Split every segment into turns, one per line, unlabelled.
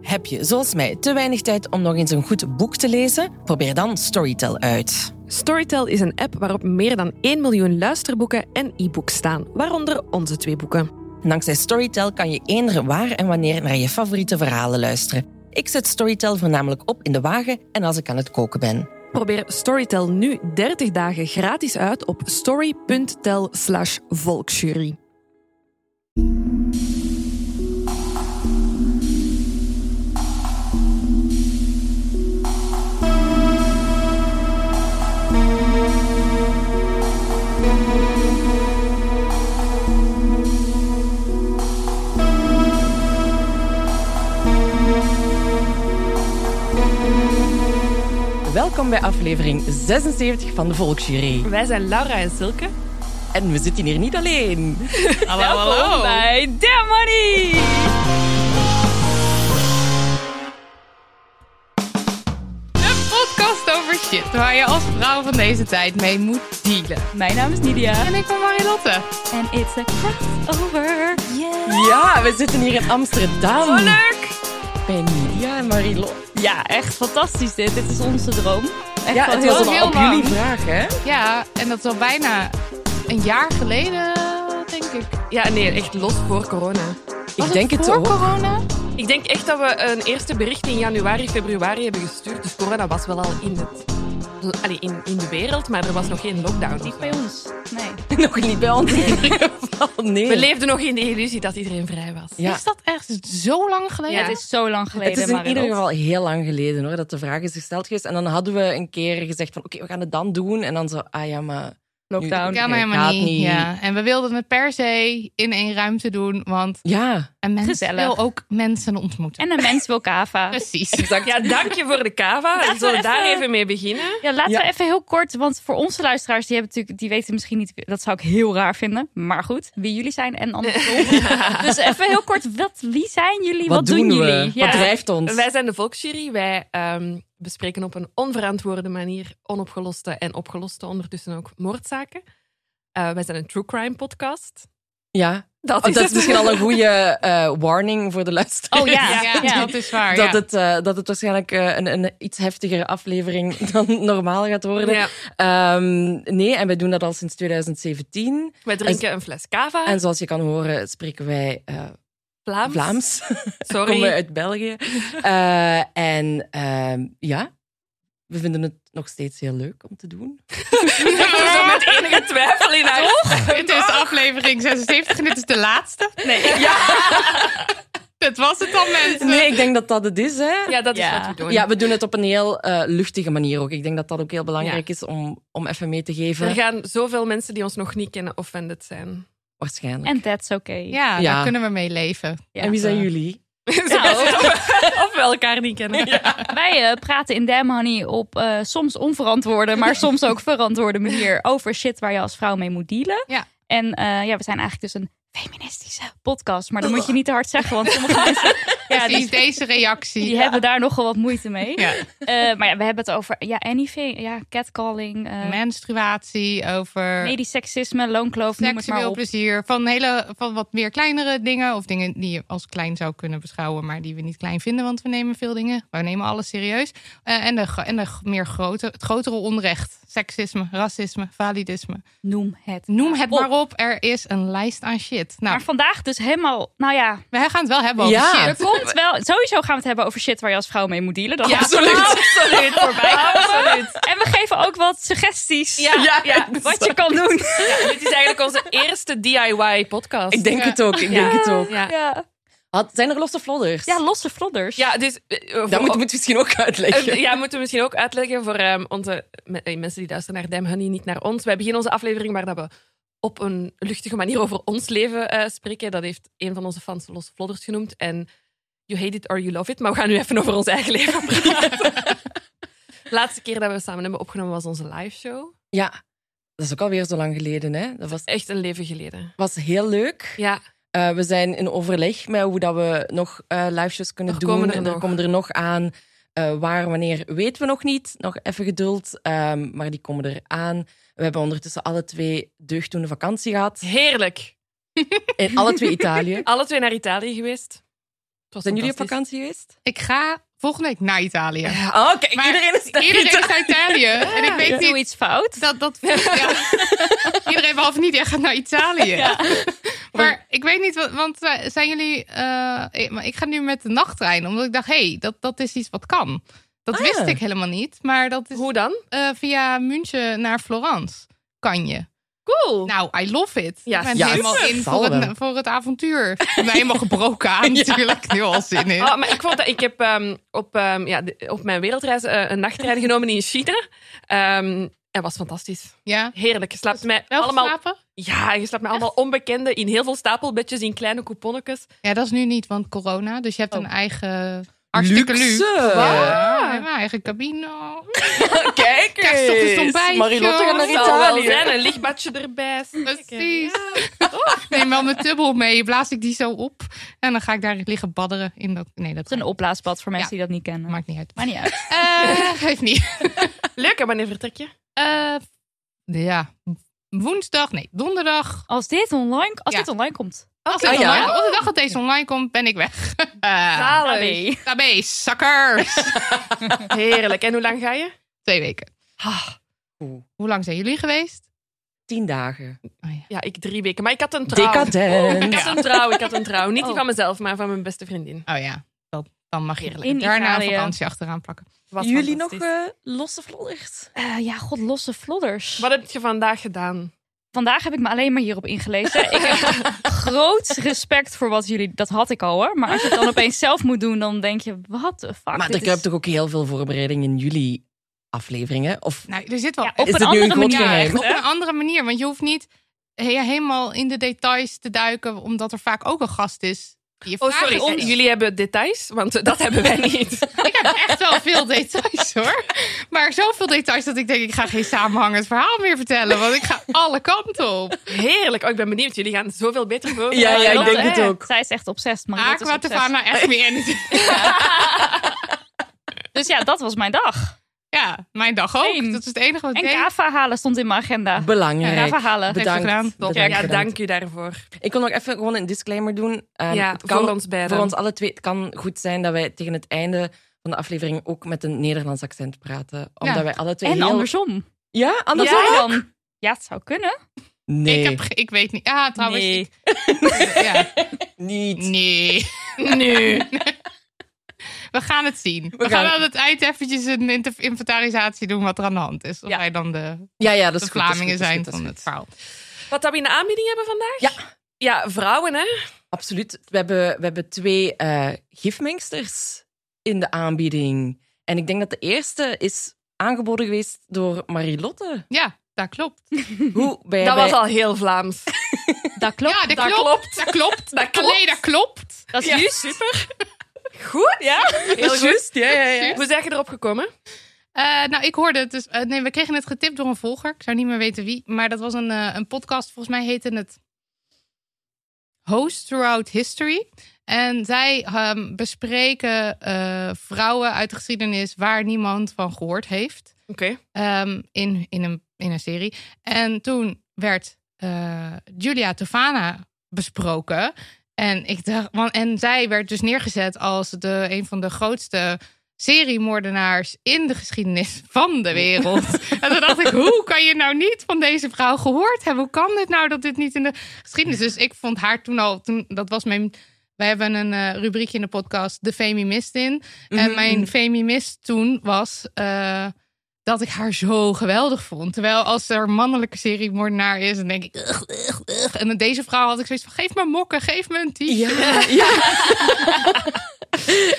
Heb je, zoals mij, te weinig tijd om nog eens een goed boek te lezen? Probeer dan Storytel uit.
Storytel is een app waarop meer dan 1 miljoen luisterboeken en e-books staan, waaronder onze twee boeken.
Dankzij Storytel kan je eender waar en wanneer naar je favoriete verhalen luisteren. Ik zet Storytel voornamelijk op in de wagen en als ik aan het koken ben.
Probeer Storytel nu 30 dagen gratis uit op story.tel slash volksjury.
Welkom bij aflevering 76 van de Volksjury.
Wij zijn Laura en Silke.
En we zitten hier niet alleen.
Hallo,
Oh.
bij Damn Money!
De podcast over shit waar je als vrouw van deze tijd mee moet dealen.
Mijn naam is Nidia.
En ik ben Marilotte.
En it's a crossover. Yeah.
Ja, we zitten hier in Amsterdam.
Zo leuk!
Bij Nidia en Marilot.
Ja, echt fantastisch dit. Dit is onze droom. Echt
Ja,
wel
het
heel
was
heel
al op
lang.
jullie vraag, hè?
Ja, en dat is al bijna een jaar geleden, denk ik.
Ja, nee, echt los voor corona.
Was
ik denk het,
voor
ook.
corona?
Ik denk echt dat we een eerste bericht in januari, februari hebben gestuurd. Dus corona was wel al in, het, allee, in, in de wereld, maar er was nog geen lockdown.
Niet bij ons. Nee.
Nog niet bij ons in ieder geval, nee.
We leefden nog in de illusie dat iedereen vrij was.
Ja.
Is dat echt zo lang geleden?
Het is zo lang geleden,
Het is in
Marilot.
ieder geval heel lang geleden hoor, dat de vraag is gesteld geweest. En dan hadden we een keer gezegd van oké, we gaan het dan doen. En dan zo, ah ja, maar...
Lockdown.
Dat kan helemaal
Gaat
niet.
niet.
Ja. En we wilden het per se in één ruimte doen, want
Ja,
een mens
Gezellig.
wil ook mensen ontmoeten.
En een mens wil kava.
Precies.
Ja, dank je voor de cava. We zullen daar even mee beginnen.
Ja, laten
Ja.
we even heel kort, want voor onze luisteraars, die, hebben natuurlijk, die weten misschien niet, dat zou ik heel raar vinden. Maar goed, wie jullie zijn en andersom. dus even heel kort, wat, wie zijn jullie? Wat,
wat, doen, we?
jullie?
Wat drijft ons?
Wij zijn de Volksjury. Wij ehm, bespreken op een onverantwoorde manier onopgeloste en opgeloste ondertussen ook moordzaken. Eh, wij zijn een true crime podcast.
Ja,
Dat
Oh, dat is misschien al een goede eh, warning voor de luisteraar.
Oh ja,
Ja,
ja.
dat is waar.
Dat,
ja.
het, eh, dat het waarschijnlijk eh, een, een iets heftigere aflevering dan normaal gaat worden.
Ja,
Ehm, nee, en wij doen dat al sinds 2017.
wij drinken een fles cava.
En zoals je kan horen, spreken wij eh,
Vlaams.
Vlaams.
Sorry.
Komen we uit België. Eh, en ehm, ja, we vinden het nog steeds heel leuk om te doen.
Zo met enige twijfel in haar
Dit is aflevering 76 en dit is de laatste.
Nee.
Dat was het al, mensen.
Nee, ik denk dat dat het is, hè?
Ja, dat is
Ja.
wat we doen.
Ja, we doen het op een heel eh, luchtige manier ook. Ik denk dat dat ook heel belangrijk is om, om even mee te geven.
Er gaan zoveel mensen die ons nog niet kennen offended zijn.
Waarschijnlijk.
En that's oké.
Ja,
Ja.
daar kunnen we mee leven.
Ja.
En wie zijn jullie?
Of we elkaar niet kennen.
Wij eh, praten in Damn Honey op eh, soms onverantwoorde, maar soms ook verantwoorde manier over shit waar je als vrouw mee moet dealen.
Ja.
En eh, ja, we zijn eigenlijk dus een feministische podcast, maar dat moet je niet te hard zeggen, want sommige mensen ja,
Precies,
die,
deze reactie.
die hebben daar nogal wat moeite mee.
Ja.
Eh, maar ja, we hebben het over ja, anything, ja, catcalling, eh
menstruatie, over
medisch seksisme, loonkloof, noem het maar
seksueel
op.
plezier, van, hele, van wat meer kleinere dingen of dingen die je als klein zou kunnen beschouwen, maar die we niet klein vinden, want we nemen veel dingen, we nemen alles serieus. Eh, en de, gro- en de g- meer grote, het grotere onrecht, seksisme, racisme, validisme.
Noem het.
Noem het
op.
maar op, er is een lijst aan shit. Nou,
Maar vandaag dus helemaal, nou ja,
we gaan het wel hebben over
Ja.
shit.
er komt wel, sowieso gaan we het hebben over shit waar je als vrouw mee moet dealen. Dat
Ja, absoluut.
absoluut voorbij. Absoluut. En we geven ook wat suggesties.
Ja, ja.
Wat je kan doen.
Dit is eigenlijk onze eerste DIY-podcast.
Ik denk
Ja.
het ook, ik denk het ook.
Ja,
Ja,
Had, zijn er losse vlodders?
ja losse vlodders.
ja dus... eh, voor-
Dat moet, moet je misschien ook uitleggen.
Eh, Ja, moeten we misschien ook uitleggen voor ehm, onze me- eh, mensen die luisteren naar Dem Honey, niet naar ons. Wij beginnen onze aflevering waar dat we op een luchtige manier over ons leven eh, spreken. Dat heeft een van onze fans Losse Vlodders genoemd. En You Hate It or You Love It. Maar we gaan nu even over ons eigen leven praten. Laatste keer dat we samen hebben opgenomen was onze live show.
Ja, dat is ook alweer zo lang geleden. Hè? Dat was,
Echt een leven geleden.
was heel leuk.
Ja,
Eh, we zijn in overleg met hoe dat we nog eh liveshows kunnen
Er
doen.
komen er
en
nog.
komen er nog aan. Eh, waar, wanneer, weten we nog niet. Nog even geduld. Ehm, maar die komen er aan. We hebben ondertussen alle twee deugdoende vakantie gehad.
heerlijk.
In alle twee Italië.
Alle twee naar Italië geweest. was
Zijn jullie op
fantastisch.
vakantie geweest?
Ik ga volgende week naar Italië.
Oh, kijk,
Maar
iedereen is daar.
Iedereen is naar Italië. en ik weet niet
iets fout.
dat dat. ja. Iedereen behalve niet, jij gaat naar Italië. Maar ik weet niet, wat- want eh, zijn jullie. eh, ik- maar ik ga nu met de nachttrein, omdat ik dacht, hé, hey, dat, dat is iets wat kan. Dat
Ah.
wist ik helemaal niet, maar dat is
Hoe dan?
eh, via München naar Florence. Kan je?
Cool.
Nou, I love it.
Ja,
ik ben
ja,
helemaal
het
in
zal
voor
wel.
het, voor het avontuur. Ik ben helemaal gebroken aan, natuurlijk. Nu al zin in.
Oh, maar ik, vond dat, ik heb ehm, op, ehm, ja, de- op mijn wereldreis eh, een nachttrein genomen in China. Ehm en was fantastisch.
Ja.
Heerlijk. Je slaapt met
Wel
allemaal,
geslapen?
ja, je slaapt met allemaal onbekenden in heel veel stapelbedjes, in kleine couponnetjes.
Ja, dat is nu niet, want corona. Dus je hebt een
Oh.
eigen...
Hartstikke luxe.
Ja, we hebben een eigen cabine.
Kijk
Krijg je ochtends ontbijt,
Marilotte gaat
joh.
naar
Dat zal wel
Italië.
zijn. Een lichtbadje erbij.
Precies. Ik Neem wel mijn tubbel mee, blaas ik die zo op. En dan ga ik daar liggen badderen. In dat... Nee, dat
Het is een opblaasbad voor mensen die dat niet kennen.
maakt niet uit.
Maar niet uit.
Eh, geeft niet.
Leuk, en wanneer vertrek je?
Eh, ja, woensdag, nee, donderdag.
Als dit online, als
Ja.
dit online komt.
Als dit
Ah, ja?
online- op de dag dat deze online komt, ben ik weg. Eh
Zalig.
Tabé, suckers.
Heerlijk. En hoe lang ga je?
Twee weken.
Oeh,
Hoe lang zijn jullie geweest?
Tien dagen.
Oh, ja.
Ja, ik drie weken. Maar ik had een trouw. Ik
Decadent.
had een trouw, ik had een trouw. Niet die
Oh.
van mezelf, maar van mijn beste vriendin.
Oh ja, dat, dan mag je
In
daarna een
Italië.
vakantie achteraan plakken.
Was
Jullie nog
fantastisch.
eh, losse vlodders?
Eh, ja, god, losse flodders.
eh?
Wat heb je vandaag gedaan?
Vandaag heb ik me alleen maar hierop ingelezen. ik heb groot respect voor wat jullie... Dat had ik al hoor. Maar als je het dan opeens zelf moet doen, dan denk je... Wat de fuck?
Maar
Ah, dit
ik heb
is-
toch ook heel veel voorbereiding in jullie afleveringen? Of
Nou, er zit wel
Ja, op
is
een
het nu een
andere manier,
godgeheim?
op een andere manier. Want je hoeft niet he- helemaal in de details te duiken, omdat er vaak ook een gast is. Die je
Oh,
vragen
sorry.
stelt.
eh, Jullie hebben details, want eh, dat hebben wij niet.
Ik heb echt wel veel details hoor. Maar zoveel details dat ik denk, ik ga geen samenhangend verhaal meer vertellen. Want ik ga alle kanten op.
Heerlijk. Oh, ik ben benieuwd. Jullie gaan zoveel beter voor.
Ja, ja, ik
Dat,
denk
eh,
het ook.
Zij is echt obsessed. Marilotte is
Aqua
obsessed.
Tavana, nou, echt meer anything.
Dus ja, dat was mijn dag.
Ja, mijn dag ook.
Same.
Dat is het enige wat ik
En
deed.
kava halen stond in mijn agenda.
belangrijk.
Kava halen.
heeft ze
Bedankt.
gedaan.
Bedankt,
Ja,
bedankt.
dank u daarvoor.
Ik wil nog even gewoon een disclaimer doen. Ehm,
ja,
het kan
voor ons beiden.
voor ons alle twee. Het kan goed zijn dat wij tegen het einde van de aflevering ook met een Nederlands accent praten. Omdat wij alle twee
En
heel...
andersom.
Ja, andersom?
Ja, dan. Ja, het zou kunnen.
Nee,
Ik, heb, ge- ik weet niet. Ah, trouwens.
Nee.
ik- ja.
niet.
nee.
Nu.
We gaan het zien. We,
gaan
gaan,
het-
aan het eind eventjes een inter- inventarisatie doen wat er aan de hand is. Of
Ja.
wij dan de,
Ja, ja, dat
de
is goed, dat is
Vlamingen
goed, dat is
zijn
goed, dat is
van
goed.
het verhaal.
Wat dat we in de aanbieding hebben vandaag? Ja. Ja, vrouwen, hè?
Absoluut. We hebben, we hebben twee eh, gifmengsters in de aanbieding. En ik denk dat de eerste is aangeboden geweest door Marilotte.
Ja, dat klopt.
Hoe bij,
Dat
bij-
was al heel Vlaams.
Dat klopt.
ja, dat,
dat klopt.
klopt. Dat klopt.
Dat klopt.
Allee, dat klopt.
Dat is
Ja,
juist.
super. Goed, ja. Heel
Dat is
goed.
juist, ja, ja, ja.
Hoe zijn je erop gekomen?
Eh, nou, ik hoorde het dus. eh, nee, we kregen het getipt door een volger. Ik zou niet meer weten wie. Maar dat was een, eh, een podcast. Volgens mij heette het Host Throughout History. En zij ehm, bespreken eh, vrouwen uit de geschiedenis waar niemand van gehoord heeft.
Oké.
Ehm, in, in, een, in een serie. En toen werd eh, Julia Tofana besproken. En, ik dacht, want, en zij werd dus neergezet als de, een van de grootste seriemoordenaars in de geschiedenis van de wereld. en toen dacht ik, hoe kan je nou niet van deze vrouw gehoord hebben? Hoe kan dit nou dat dit niet in de geschiedenis is? Dus ik vond haar toen al, toen, dat was mijn... Wij hebben een eh, rubriekje in de podcast, De Femimist in. En mijn femimist toen was eh, dat ik haar zo geweldig vond. Terwijl als er een mannelijke serie moordenaar is, dan denk ik... "Ugh, ugh, ugh." En met deze vrouw had ik zoiets van, geef me mokken, geef me een t-shirt.
Ja, ja.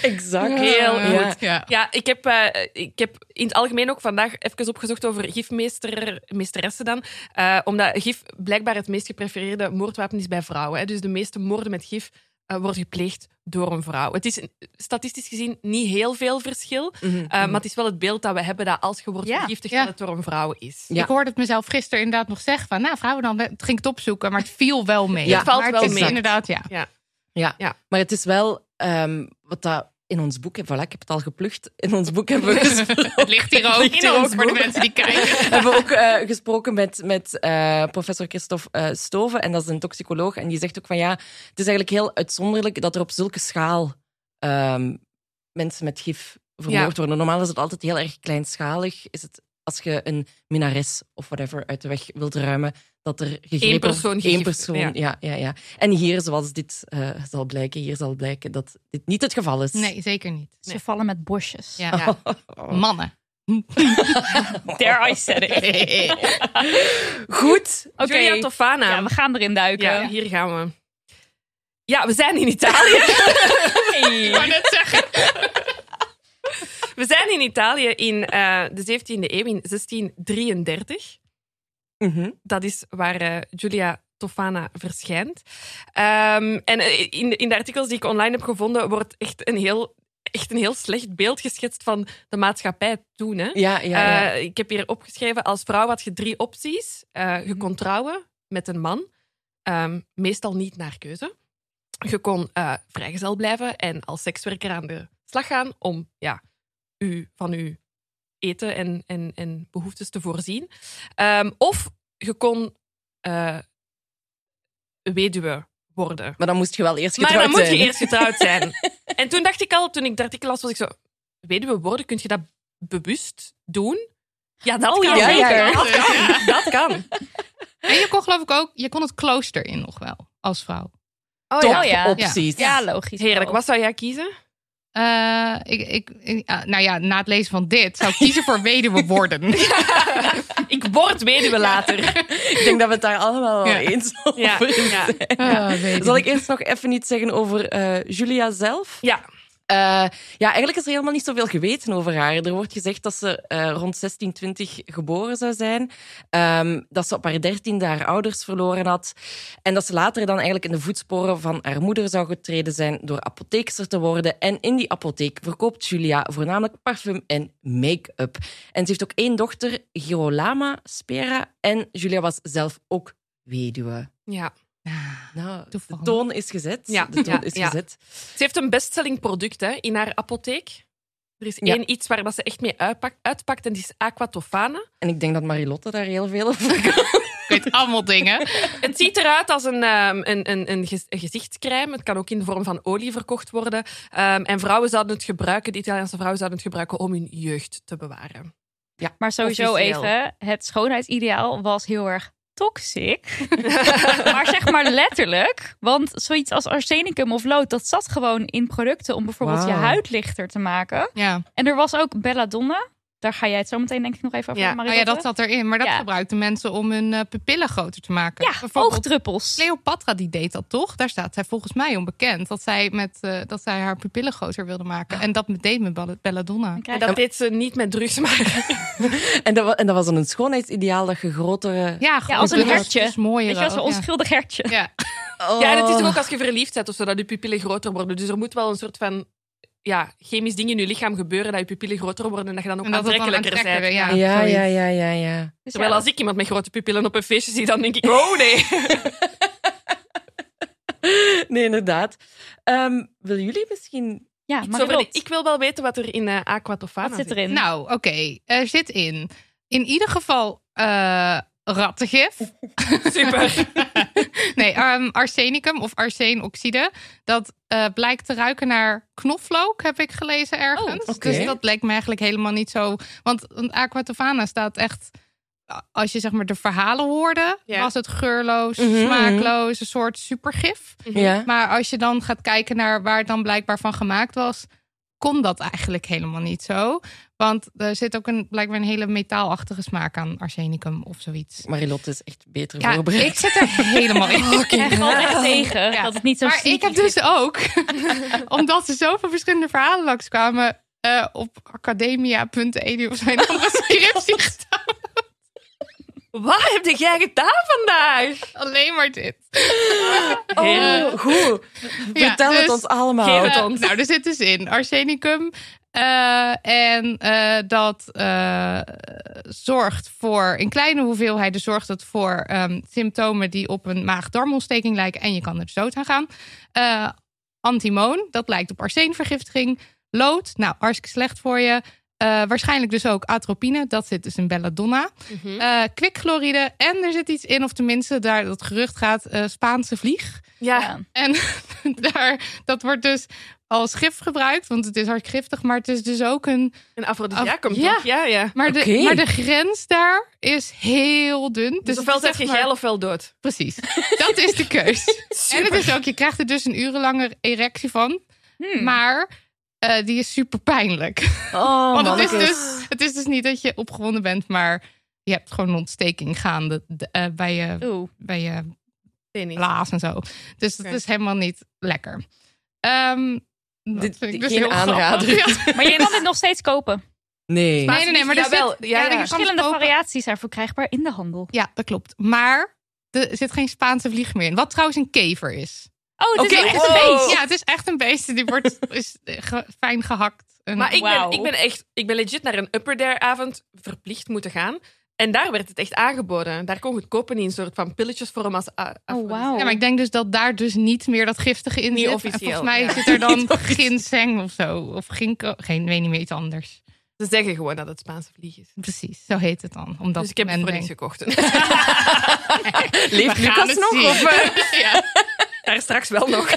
exact.
Heel
Ja.
goed.
Ja.
Ja, ik heb, eh, ik heb in het algemeen ook vandaag even opgezocht over gifmeester, meesteressen dan. Eh, omdat gif blijkbaar het meest geprefereerde moordwapen is bij vrouwen. Hè. Dus de meeste moorden met gif eh, worden gepleegd door een vrouw. Het is eh, statistisch gezien niet heel veel verschil.
Mhm.
eh, maar het is wel het beeld dat we hebben dat als je wordt
Ja.
vergiftigd,
Ja.
dat het door een vrouw is.
Ja.
Ik hoorde het mezelf gisteren inderdaad nog zeggen van... Nou, vrouwen dan, het ging het opzoeken, maar het viel wel mee.
Ja,
het valt
maar
wel
is
mee.
inderdaad, ja.
Ja.
Ja.
maar het is wel ehm, wat dat in ons boek... Voilà, ik heb het al geplukt. In ons boek hebben we gesproken.
Het ligt hier ook,
ligt hier
in
ook
ons voor de
boven.
mensen die kijken.
We hebben ook eh, gesproken met, met eh, professor Christophe eh, Stoven. En dat is een toxicoloog. En die zegt ook van ja, het is eigenlijk heel uitzonderlijk dat er op zulke schaal ehm, mensen met gif vermoord worden. Normaal is het altijd heel erg kleinschalig. Is het als je een minares of whatever uit de weg wilt ruimen, dat er gegrepen wordt-
persoon
één
gegif-
persoon. Ja.
ja.
Ja, ja, En hier, zoals dit eh, zal blijken, hier zal blijken dat dit niet het geval is.
Nee, zeker niet.
Ze vallen met bosjes.
Ja. Mannen.
There I said it.
Goed.
Oké.
Julia Tofana.
Ja, eh? we gaan erin duiken.
Ja, hier gaan we. Ja, we zijn in Italië.
Ik wou net zeggen.
We zijn in Italië in eh, de 17e eeuw, in 1633.
Mhm.
Dat is waar eh, Julia Tofana verschijnt. Ehm, en eh, in, de- in de artikels die ik online heb gevonden, wordt echt een heel, echt een heel slecht beeld geschetst van de maatschappij toen. Hè?
Ja, ja, ja.
Eh, ik heb hier opgeschreven, als vrouw had je drie opties. Eh, je kon trouwen met een man, ehm, meestal niet naar keuze. Je kon eh, vrijgezel blijven en als sekswerker aan de slag gaan om ja, u, van uw eten en, en, en behoeftes te voorzien. Ehm, of je kon eh, weduwe worden.
Maar dan moest je wel eerst
Maar
getrouwd
dan moet je
zijn.
eerst getrouwd zijn. en toen dacht ik al, toen ik dat artikel las, was ik zo... Weduwe worden, kun je dat bewust doen? Ja, dat
Oh,
kan.
ja,
zeker.
ja.
Dat kan. Dat kan.
En je kon geloof ik ook, je kon het klooster in nog wel, als vrouw.
Oh,
Top
Oh, ja.
opties.
Ja, logisch.
Heerlijk, wat zou jij kiezen?
Eh, ik, ik, ik- ah, nou ja, na het lezen van dit zou ik kiezen voor weduwe worden.
Ik word weduwe later.
Ik denk dat we het daar allemaal wel
Ja.
eens
Ja,
over
ja.
zijn.
Ah, weduwe.
Zal ik eerst nog even iets zeggen over eh, Julia zelf?
Ja.
Eh, ja, eigenlijk is er helemaal niet zoveel geweten over haar. Er wordt gezegd dat ze eh, rond 1620 geboren zou zijn. Ehm, dat ze op haar dertiende haar ouders verloren had. En dat ze later dan eigenlijk in de voetsporen van haar moeder zou getreden zijn door apotheekster te worden. En in die apotheek verkoopt Julia voornamelijk parfum en make-up. En ze heeft ook één dochter, Girolama Spera. En Julia was zelf ook weduwe.
ja.
Ah,
Nou,
Toevallig.
de toon is gezet.
Ja,
De toon
ja,
is
ja.
gezet.
Ze heeft een bestselling product hè, in haar apotheek. Er is
Ja.
één iets waar dat ze echt mee uitpakt, uitpakt en die is Aqua Tofana.
En ik denk dat Marilotte daar heel veel over kan.
ik weet allemaal dingen.
Het ziet eruit als een, ehm, een, een, een gez- een gezichtscrème. Het kan ook in de vorm van olie verkocht worden. Ehm, en vrouwen zouden het gebruiken, de Italiaanse vrouwen zouden het gebruiken om hun jeugd te bewaren.
Maar sowieso
Officieel.
even, het schoonheidsideaal was heel erg toxic. maar zeg maar letterlijk, want zoiets als arsenicum of lood, dat zat gewoon in producten om bijvoorbeeld je
Wauw.
huid lichter te maken.
Ja.
En er was ook belladonna. Daar ga jij het zo meteen denk ik nog even over
Ja.
hebben,
Oh ja, dat
Marilotte.
zat erin. Maar dat
Ja.
gebruikten mensen om hun eh, pupillen groter te maken.
Ja,
eh, Bijvoorbeeld
oogdruppels.
Cleopatra die deed dat toch? Daar staat zij volgens mij onbekend. Dat zij, met, eh, dat zij haar pupillen groter wilde maken.
Ah.
En dat deed met Bella- Belladonna.
Dan krijg
En
je-
dat deed ze niet met drugs, maar
En dat, wa- en dat was dan een schoonheidsideaal dat je grotere...
Ja, gewoon
als een
dunner,
hertje.
dus mooier
Weet je, als een
ook, ja.
onschuldig hertje.
Ja.
Ja, en het is
Oh.
Oh.
toch ook als je verliefd bent of zo, dat je pupillen groter worden. Dus er moet wel een soort van ja, chemisch ding in je lichaam gebeuren dat je pupillen groter worden en dat je dan ook
En dat het dan
aantrekkelijker
aantrekkelijker,
bent.
ja.
Ja.
Ja,
zoiets.
ja, ja, ja, ja.
Dus
Terwijl
ja,
als ik iemand met grote pupillen op een feestje zie, dan denk ik, oh nee.
Nee, inderdaad. Ehm willen jullie misschien...
ja,
Zo van,
Marilotte,
ik wil wel weten wat er in eh Aqua Tofana
wat zit erin?
Nou, oké. Er zit in. In ieder geval eh, rattengif.
Super.
nee, ehm, arsenicum of arseenoxide. Dat eh, blijkt te ruiken naar knoflook, heb ik gelezen ergens.
Oh, oké.
Dus dat lijkt me eigenlijk helemaal niet zo. Want want aqua tofana staat echt. Als je zeg maar de verhalen hoorde,
Ja.
was het geurloos,
Mhm, mhm.
smaakloos, een soort supergif.
Ja.
Maar als je dan gaat kijken naar waar het dan blijkbaar van gemaakt was, kon dat eigenlijk helemaal niet zo. Want er zit ook een, blijkbaar een hele metaalachtige smaak aan arsenicum of zoiets.
Marilotte is echt beter
Ja,
voorbereid.
ik zit er helemaal in.
Ik valt echt tegen
Ja.
dat het niet zo
Maar ik
sneaky
heb dus ook, omdat er zoveel verschillende verhalen langskwamen, eh op academia.edu of zijn andere scriptie gestaan.
wat heb jij gedaan vandaag?
Alleen maar dit.
Oh, goed.
Ja,
Vertel het
dus-
ons allemaal.
Geef het
Eh,
ons.
nou, er zit dus in arsenicum. eh, en eh, dat eh, zorgt voor, in kleine hoeveelheden, zorgt het voor ehm, symptomen die op een maag-darmontsteking lijken. En je kan er dus dood aan gaan. Eh, antimoon, dat lijkt op arseenvergiftiging. Lood, nou, hartstikke slecht voor je. Eh, waarschijnlijk dus ook atropine. Dat zit dus in belladonna.
Mhm.
Eh kwikchloride. En er zit iets in, of tenminste, daar dat gerucht gaat, eh, Spaanse vlieg.
Ja,
Ja.
En daar, dat wordt dus als gif gebruikt, want het is hard giftig, maar het is dus ook een.
een afrodisiaak
Af-
komt
Ja. Dus
toch? Ja, ja.
Maar,
Oké.
de, maar de grens daar is heel dun. Dus
Dus ofwel
het is
zet je
zeg maar-
geil ofwel dood.
Precies. Dat is de keus. en het is ook, je krijgt er dus een urenlange erectie van,
Hmm.
maar eh, die is super pijnlijk.
Oh,
Want het is,
mannetjes.
dus, het is dus niet dat je opgewonden bent, maar je hebt gewoon een ontsteking gaande eh, bij, je,
Oeh.
bij je
Penis.
blaas en zo. Dus dat
Oké.
is helemaal niet lekker. Ehm dat
Dit-
vind ik
dit-
dus
geen
heel grappig.
aanrader.
Ja.
Maar je kan dit nog steeds kopen.
Nee.
Nee, nee, nee, maar er
Jawel,
zit-
ja,
ja,
ja.
er is-
Verschillende
kopen.
variaties zijn verkrijgbaar in de handel.
Ja, dat klopt. Maar er zit geen Spaanse vlieg meer in. Wat trouwens een kever is.
Oh, het is
Oké,
echt een
wow.
beest.
Ja, het is echt een beest. Die wordt is eh, ge- fijn gehakt. En-
Maar ik ben,
Wauw.
ik ben echt, ik ben legit naar een Upper Dare avond verplicht moeten gaan. En daar werd het echt aangeboden. Daar kon je het kopen in een soort van pilletjes voor hem als a-
Oh,
afrodisiaak.
wauw.
ja, maar ik denk dus dat daar dus niet meer dat giftige in
Niet
zit. En
officieel,
Volgens mij
ja.
zit er dan ginseng of zo. Of ginkgo. Geen, weet niet meer iets anders.
Ze zeggen gewoon dat het Spaanse vlieg is.
Precies, zo heet het dan. Omdat
dus ik heb het
men
voor niks
denkt,
gekocht.
Leeft
we
Lucas
gaan het
nog?
zien.
Of, eh?
daar straks wel nog.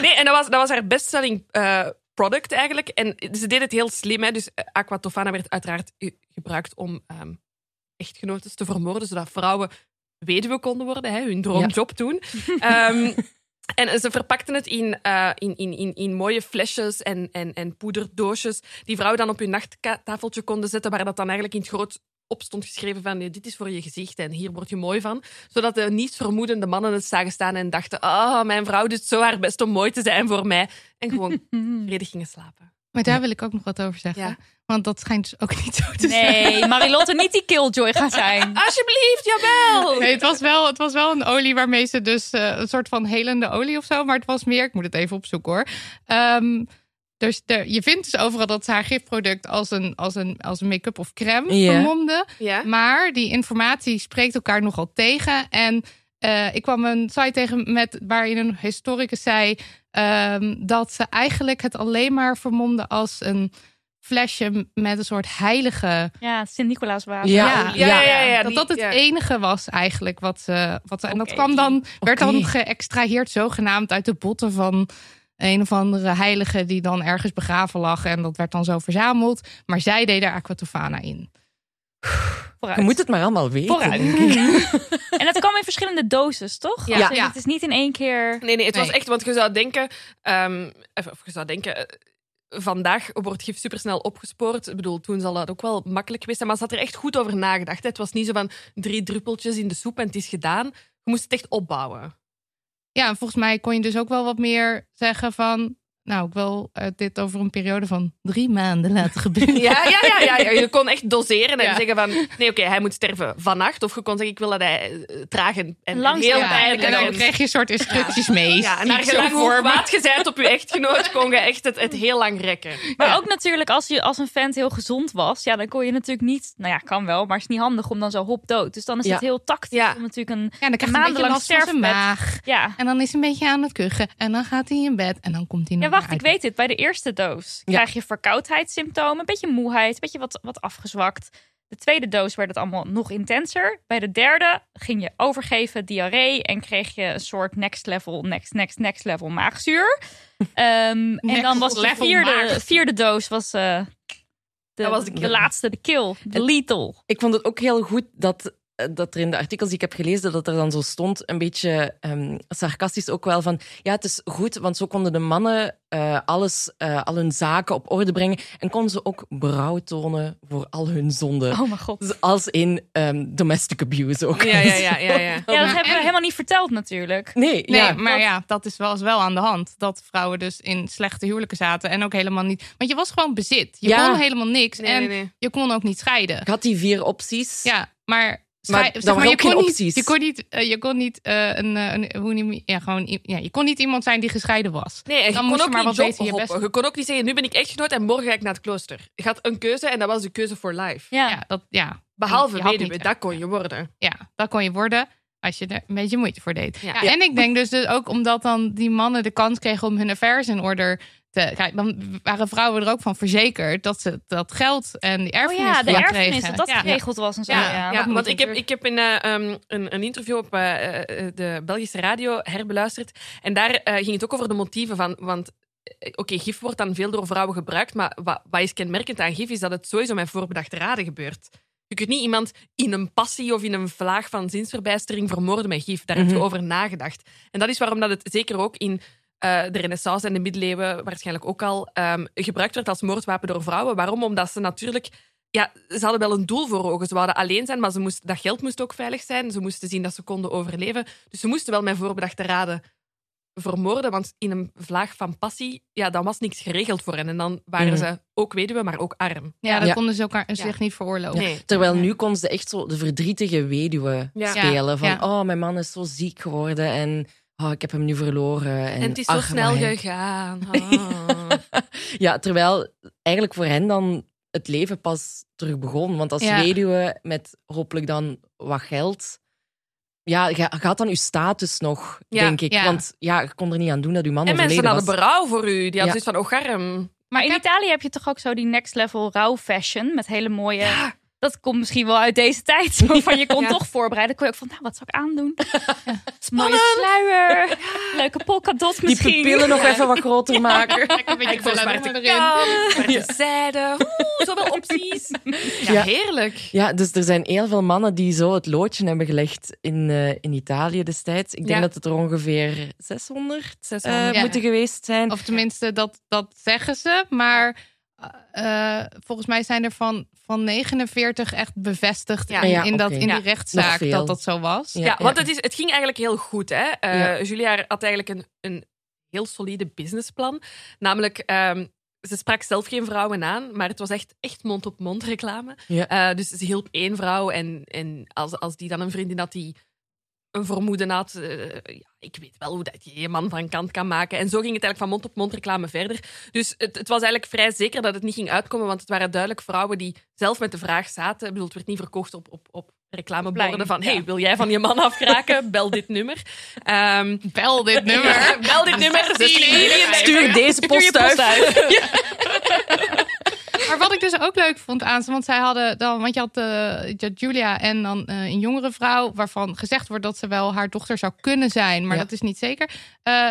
nee, en dat was, dat was haar bestselling eh, product eigenlijk. En ze deed het heel slim. Hè? Dus eh, Aquatofana werd uiteraard ge- gebruikt om ehm echtgenotes te vermoorden, zodat vrouwen weduwe konden worden, hè? hun droomjob toen. Ehm, en ze verpakten het in, eh, in, in, in, in mooie flesjes en, en, en poederdoosjes, die vrouwen dan op hun nachttafeltje konden zetten, waar dat dan eigenlijk in het groot op stond geschreven van "Nee, dit is voor je gezicht en hier word je mooi van zodat de nietsvermoedende mannen het zagen staan en dachten: Oh, mijn vrouw doet zo haar best om mooi te zijn voor mij. En gewoon
Hmm.
vredig gingen slapen.
Maar daar wil ik ook nog wat over zeggen.
Ja.
Want dat schijnt dus ook niet zo te zijn.
Nee, Marilotte niet die killjoy gaan zijn.
Alsjeblieft, jawel!
Nee, het, was wel, het was wel een olie waarmee ze dus eh, een soort van helende olie of zo. Maar het was meer, ik moet het even opzoeken hoor. Ehm, dus de- je vindt dus overal dat ze haar gifproduct als een, als een, als een make-up of crème
Ja.
vermomde.
Ja?
Maar die informatie spreekt elkaar nogal tegen. En eh, ik kwam een site tegen met, waarin een historicus zei ehm, dat ze eigenlijk het alleen maar vermomde als een flesje met een soort heilige
Ja, Sint-Nicolaas wapen.
Ja.
ja, ja, ja, ja,
dat
die-
dat het e-
ja.
enige was eigenlijk wat ze. Wat ze en dat
Oké.
kwam dan, werd
Oké.
dan geëxtraheerd zogenaamd uit de botten van een of andere heilige die dan ergens begraven lag. En dat werd dan zo verzameld. Maar zij deed daar aquatofana in.
Vooruit.
Je moet het maar allemaal weten.
Vooruit.
En dat kwam in verschillende doses, toch?
Ja.
Dus
Ja.
Het is niet in één keer.
Nee, nee, het was
Nee.
echt, want je zou denken: ehm, of, of je zou denken. eh, Vandaag wordt gif supersnel opgespoord. Ik bedoel, toen zal dat ook wel makkelijk geweest zijn. Maar ze had er echt goed over nagedacht. hè. Het was niet zo van drie druppeltjes in de soep en het is gedaan. Je moest het echt opbouwen.
Ja, en volgens mij kon je dus ook wel wat meer zeggen van. Nou, ik wil eh, dit over een periode van drie maanden laten gebeuren.
Ja, ja, ja, ja, ja. Je kon echt doseren en
Ja.
zeggen van... Nee, oké, hij moet sterven vannacht. Of je kon zeggen, ik wil dat hij eh, traag en, en
Langzaam.
heel
Dus Ja,
pijnlijk...
en dan
en-
kreeg je een soort instructies mee.
Ja, en
Niet
naar
zo
gelang hoe
voor me.
kwaad je bent op je echtgenoot... kon je echt het, het heel lang rekken.
Maar ook natuurlijk, als, je, als een vent heel gezond was, ja, dan kon je natuurlijk niet. Nou ja, kan wel, maar het is niet handig om dan zo hop dood. Dus dan is
Ja.
het heel tactisch
Ja.
om natuurlijk een.
Ja, dan krijg je een beetje
Maandenlang
last van zijn
sterfbed.
maag.
Ja.
En dan is hij een beetje aan het kuchen. En dan gaat hij in bed. En dan komt hij
Ja,
nog
wacht,
maar
ik
uit.
weet het. Bij de eerste doos
Ja.
krijg je verkoudheidssymptomen, een beetje moeheid, een beetje wat, wat afgezwakt. De tweede doos werd het allemaal nog intenser. Bij de derde ging je overgeven, diarree en kreeg je een soort next level, next, next, next level maagzuur. Ehm, en dan
Next
was de
level
vierde,
maagzuur.
vierde doos was, eh, de,
Dat was de
de,
kill.
laatste, de kill, de
En-
lethal.
Ik vond het ook heel goed dat, eh, dat er in de artikels die ik heb gelezen, dat er dan zo stond, een beetje ehm, sarcastisch ook wel, van ja, het is goed, want zo konden de mannen eh, alles, eh, al hun zaken op orde brengen en konden ze ook berouw tonen voor al hun zonden.
Oh mijn god.
Dus als in ehm, domestic abuse ook.
Ja, ja, ja, ja. ja.
Ja, dat
maar-
hebben we
en-
helemaal niet verteld natuurlijk.
Nee,
Nee,
ja.
maar ja, dat is wel, is wel aan de hand. Dat vrouwen dus in slechte huwelijken zaten. En ook helemaal niet. Want je was gewoon bezit. Je
Ja.
kon helemaal niks.
Nee,
en
nee, nee.
je kon ook niet scheiden.
Ik had die vier opties.
Ja, maar.
Maar
schei-
dan
zeg
waren
je
ook geen
kon niet-
opties.
Je kon niet, eh, je kon niet eh, een, eh, een hoe noem je- ja, gewoon, i- ja, je kon niet iemand zijn die gescheiden was.
Nee, en je
Dan
kon
moest
ook
je maar
niet job
wat beter je best
hoppen. Je kon ook niet zeggen, nu ben ik echtgenoot en morgen ga ik naar het klooster. Je had een keuze en dat was de keuze voor life.
Ja.
Ja, dat, ja,
Behalve
Je had
weduwe,
niet-
dat kon je worden.
ja, dat kon je worden als je er een beetje moeite voor deed.
Ja.
Ja, En ik denk dus, dus ook omdat dan die mannen de kans kregen om hun affairs in orde te- kijk, dan waren vrouwen er ook van verzekerd dat ze dat geld en die
Oh
erfenis
ja, de
voor kregen.
erfenis, dat dat
Ja.
geregeld was en zo.
Ja,
Ja,
ja,
dat moet
want ik heb,
natuurlijk.
ik heb een, eh, um, een, een interview op eh, eh, de Belgische radio herbeluisterd. En daar eh, ging het ook over de motieven van. Want eh, oké, gif wordt dan veel door vrouwen gebruikt. Maar wat, wat is kenmerkend aan gif is dat het sowieso met voorbedachte raden gebeurt. Je kunt niet iemand in een passie of in een vlaag van zinsverbijstering vermoorden met gif. Daar heb
Mhm.
je over nagedacht. En dat is waarom dat het zeker ook in eh, de Renaissance en de middeleeuwen waarschijnlijk ook al ehm, gebruikt werd als moordwapen door vrouwen. Waarom? Omdat ze natuurlijk. Ja, ze hadden wel een doel voor ogen. Ze wilden alleen zijn, maar ze moesten, dat geld moest ook veilig zijn. Ze moesten zien dat ze konden overleven. Dus ze moesten wel met voorbedachte raden vermoorden. Want in een vlaag van passie, ja, dan was niks geregeld voor hen. En dan waren
Mhm.
ze ook weduwe, maar ook arm.
Ja, dat
Ja.
konden ze elkaar
Ja.
zich niet veroorloven.
Nee.
Terwijl nu kon ze echt zo de verdrietige weduwe
Ja.
spelen. Van,
Ja.
oh, mijn man is zo ziek geworden en oh, ik heb hem nu verloren. En,
En het is zo
ach,
snel
maar-
gegaan. Ah.
Ja, terwijl eigenlijk voor hen dan het leven pas terug begon. Want als
Ja.
weduwe met hopelijk dan wat geld... Ja, je je had dan je status nog,
Ja,
denk ik.
ja.
Want ja, je kon er niet aan doen dat je man
En mensen
overleden was.
hadden berouw voor u. Die hadden zoiets van, oh, garm.
Maar
Ik
in
heb-
Italië heb je toch ook zo die next level rouw fashion met hele mooie... Dat komt misschien wel uit deze tijd. Zo Van je kon
Ja.
toch voorbereiden. Dan kon je ook van, nou, wat zou ik aandoen? Mooie sluier. Leuke polkadot
Die
misschien.
pupillen nog even wat groter maken.
Lekker een beetje
Ik wil
belemmeren
zwarte
erin.
Met de zijde. Oeh, zoveel opties. Ja,
Ja.
heerlijk.
Ja, dus er zijn heel veel mannen die zo het loodje hebben gelegd in, eh, in Italië destijds. Ik denk
Ja.
dat het er ongeveer 600, eh,
600,
ja.
moeten geweest zijn.
Of tenminste, dat, dat zeggen ze. Maar eh, volgens mij zijn er van, van 49 echt bevestigd
Ja.
in,
Oh Ja,
in dat,
oké.
in
Ja.
die rechtszaak
veel.
dat dat zo was.
Ja,
Ja, want het, is, het ging eigenlijk heel goed. Hè? Eh,
Ja.
Julia had eigenlijk een, een heel solide businessplan. Namelijk, ehm, ze sprak zelf geen vrouwen aan, maar het was echt, echt mond-op-mond reclame.
Ja.
Eh, dus ze hielp één vrouw en, en als, als die dan een vriendin had die een vermoeden had, eh, ja, ik weet wel hoe dat je je man van kant kan maken. En zo ging het eigenlijk van mond-op-mond reclame verder. Dus het, het was eigenlijk vrij zeker dat het niet ging uitkomen, want het waren duidelijk vrouwen die zelf met de vraag zaten. Ik bedoel, het werd niet verkocht op, op, op reclameborden
Plein,
van
ja.
hey, wil jij van je man afkraken? Bel dit nummer. Ehm,
Bel dit nummer.
bel dit nummer.
Stuur deze post uit.
Maar wat ik dus ook leuk vond aan ze, want zij hadden dan, want je had, eh, je had Julia en dan eh, een jongere vrouw, waarvan gezegd wordt dat ze wel haar dochter zou kunnen zijn, maar
Ja.
dat is niet zeker. Eh,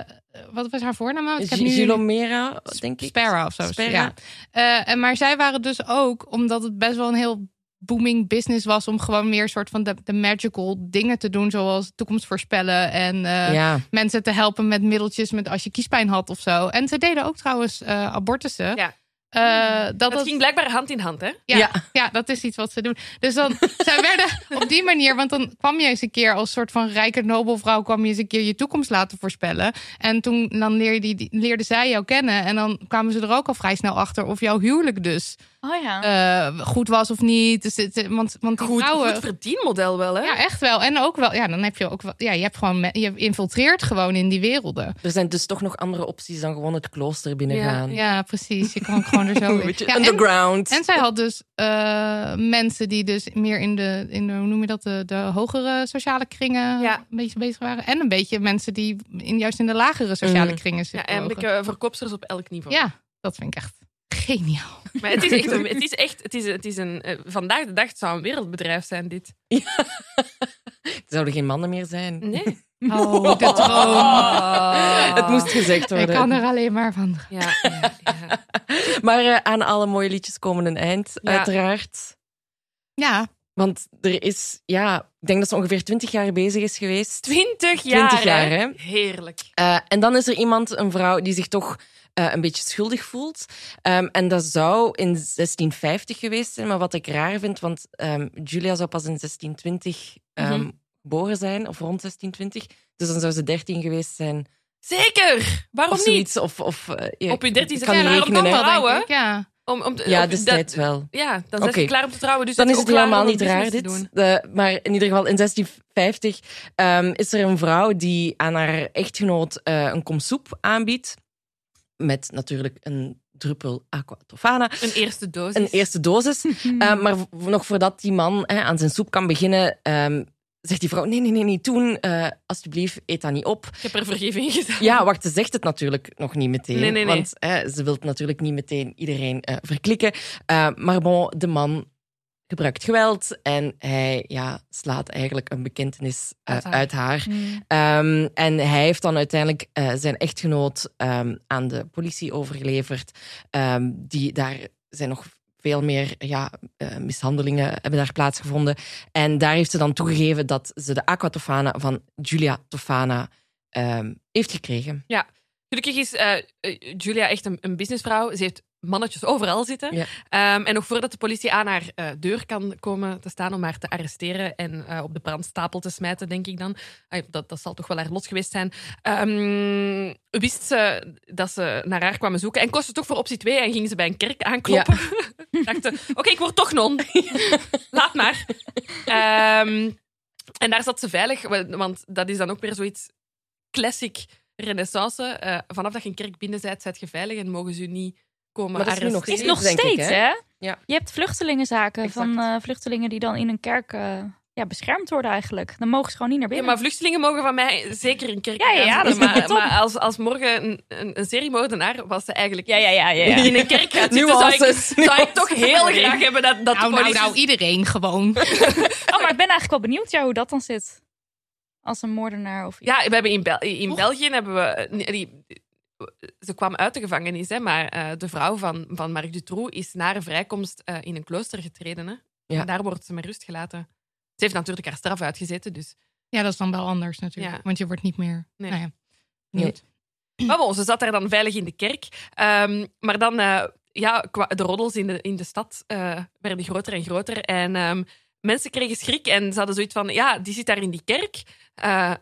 wat was haar voornaam? nou? Ik heb
G-
nu-
Gilomera, denk ik.
Sparrow of zo.
Sparrow.
Ja. Eh, en maar zij waren dus ook, omdat het best wel een heel booming business was, om gewoon meer soort van de, de magical dingen te doen, zoals toekomst voorspellen en eh,
Ja.
mensen te helpen met middeltjes met als je kiespijn had of zo. En ze deden ook trouwens eh, abortussen.
Ja.
Eh, dat,
Dat
was-
ging blijkbaar hand in hand, hè?
ja, ja.
Ja.
dat is iets wat ze doen. Dus dan, zij werden op die manier, want dan kwam je eens een keer als soort van rijke nobelvrouw, kwam je eens een keer je toekomst laten voorspellen. En toen dan leer je die- die- leerde zij jou kennen. En dan kwamen ze er ook al vrij snel achter of jouw huwelijk dus
Oh ja.
eh, goed was of niet. Dus, het- want, want die
Goed,
vrouwen,
goed verdienmodel wel, hè?
ja, echt wel. En ook wel, ja, dan heb je ook wel, ja, je hebt gewoon, me- je infiltreert gewoon in die werelden.
Er zijn dus toch nog andere opties dan gewoon het klooster binnengaan.
Ja, precies. Je kan gewoon er zo in.
Beetje
Ja, en-
underground.
En zij had dus eh, mensen die dus meer in de, in de hoe noem je dat, de, de hogere sociale kringen
Ja.
een beetje bezig waren. En een beetje mensen die in, juist in de lagere sociale
Mm.
kringen
Ja,
zitten.
en
bewogen.
ik verkoopsters op elk niveau.
ja, dat vind ik echt geniaal.
Maar het is echt, een- het is echt het is, het is een, eh, vandaag de dag het zou een wereldbedrijf zijn, dit.
Er zouden geen mannen meer zijn.
Nee.
Oh, de droom.
Het moest gezegd
Ik
worden.
kan er alleen maar van.
Ja, ja, ja.
Maar eh, aan alle mooie liedjes komen een eind,
Ja.
uiteraard.
Ja,
Want er is, ja, ik denk dat ze ongeveer 20 jaar bezig is geweest.
Twintig jaar.
20 jaar, hè?
Heerlijk.
Eh, en dan is er iemand, een vrouw, die zich toch eh, een beetje schuldig voelt. Ehm, en dat zou in 1650 geweest zijn. Maar wat ik raar vind, want ehm, Julia zou pas in 1620 ehm,
Mhm.
geboren zijn, of rond 1620. Dus dan zou ze 13 geweest zijn.
Zeker! Waarom
of
niet?
zoiets. Of, of, eh, je
Op je 13e
kan
jaar,
niet
waarom
rekenen,
kan
hè?
dat? Vrouwen?
denk ik. Ja.
Om, om te-
Ja,
om-
destijds
dat-
wel.
Ja, dan zijn ze
Oké.
klaar om te trouwen. Dus
Dan
dat
is
ze
het
ook klaar
helemaal
om
niet raar,
business te
dit.
doen.
De- maar in ieder geval, in 1650 ehm, is er een vrouw die aan haar echtgenoot eh, een kom soep aanbiedt. Met natuurlijk een druppel aqua tofana.
Een eerste dosis.
Een eerste dosis. Eh, maar v- nog voordat die man hè, aan zijn soep kan beginnen, ehm, zegt die vrouw, nee, nee, nee, niet doen. Eh, alsjeblieft, eet dat niet op.
Ik heb er vergeving gedaan.
Ja, wacht, ze zegt het natuurlijk nog niet meteen.
Nee, nee, nee.
Want hè, ze wil natuurlijk niet meteen iedereen eh, verklikken. Eh, maar bon, de man gebruikt geweld en hij ja, slaat eigenlijk een bekentenis eh,
Uit haar.
uit haar. Ehm, en hij heeft dan uiteindelijk eh, zijn echtgenoot ehm, aan de politie overgeleverd. Ehm, die, daar zijn nog veel meer ja, eh, mishandelingen hebben daar plaatsgevonden. En daar heeft ze dan toegegeven dat ze de aqua Tofana van Julia Tofana ehm, heeft gekregen.
Gelukkig is eh, eh, Julia echt een, een businessvrouw. Ze heeft mannetjes overal zitten.
Ja.
Ehm, en nog voordat de politie aan haar eh, deur kan komen te staan om haar te arresteren en eh, op de brandstapel te smijten, denk ik dan. Ah, dat, dat zal toch wel haar lot geweest zijn. Ehm, wist ze dat ze naar haar kwamen zoeken en kostte toch voor optie 2 en ging ze bij een kerk aankloppen. Dacht ze, oké, ik word toch non. Laat maar. Ehm, en daar zat ze veilig, wa- want dat is dan ook weer zoiets classic renaissance. Eh, vanaf dat je een kerk binnen bent, zijt je veilig en mogen ze je niet komen
Maar dat is nu nog
arresteren.
Is nog
Denk ik,
steeds,
hè?
hè?
Ja.
Je hebt vluchtelingenzaken
Exact.
van eh, vluchtelingen die dan in een kerk eh, ja, beschermd worden eigenlijk. Dan mogen ze gewoon niet naar
Ja,
binnen.
maar vluchtelingen mogen van mij zeker een kerk
Ja, ja, ja,
gaan
dat is
zitten, maar,
top.
maar als, als morgen een, een, een seriemoordenaar was ze eigenlijk
ja, ja, ja, ja, ja.
in een kerk gaat zitten, dus zou ik,
Nuances,
zou ik toch heel
nuances.
graag hebben dat, dat
nou,
de
nou,
politie...
nou, iedereen gewoon.
Oh, maar ik ben eigenlijk wel benieuwd ja, hoe dat dan zit. Als een moordenaar of iets.
Ja, we hebben in, Bel- in België hebben we... eh, nee, Die, ze kwam uit de gevangenis, hè, maar eh, de vrouw van, van Marc Dutroux is na haar vrijkomst eh, in een klooster getreden. Hè.
Ja.
En daar wordt ze met rust gelaten. Ze heeft natuurlijk haar straf uitgezeten, dus...
Ja, dat is dan wel anders natuurlijk.
Ja.
Want je wordt niet meer...
Nee.
Nou ja, benieuwd.
Maar bon, Ah, ze zat daar dan veilig in de kerk. Ehm, maar dan, eh, ja, kwa- de roddels in de, in de stad eh, werden groter en groter. En ehm, mensen kregen schrik en ze hadden zoiets van, ja, die zit daar in die kerk. Eh,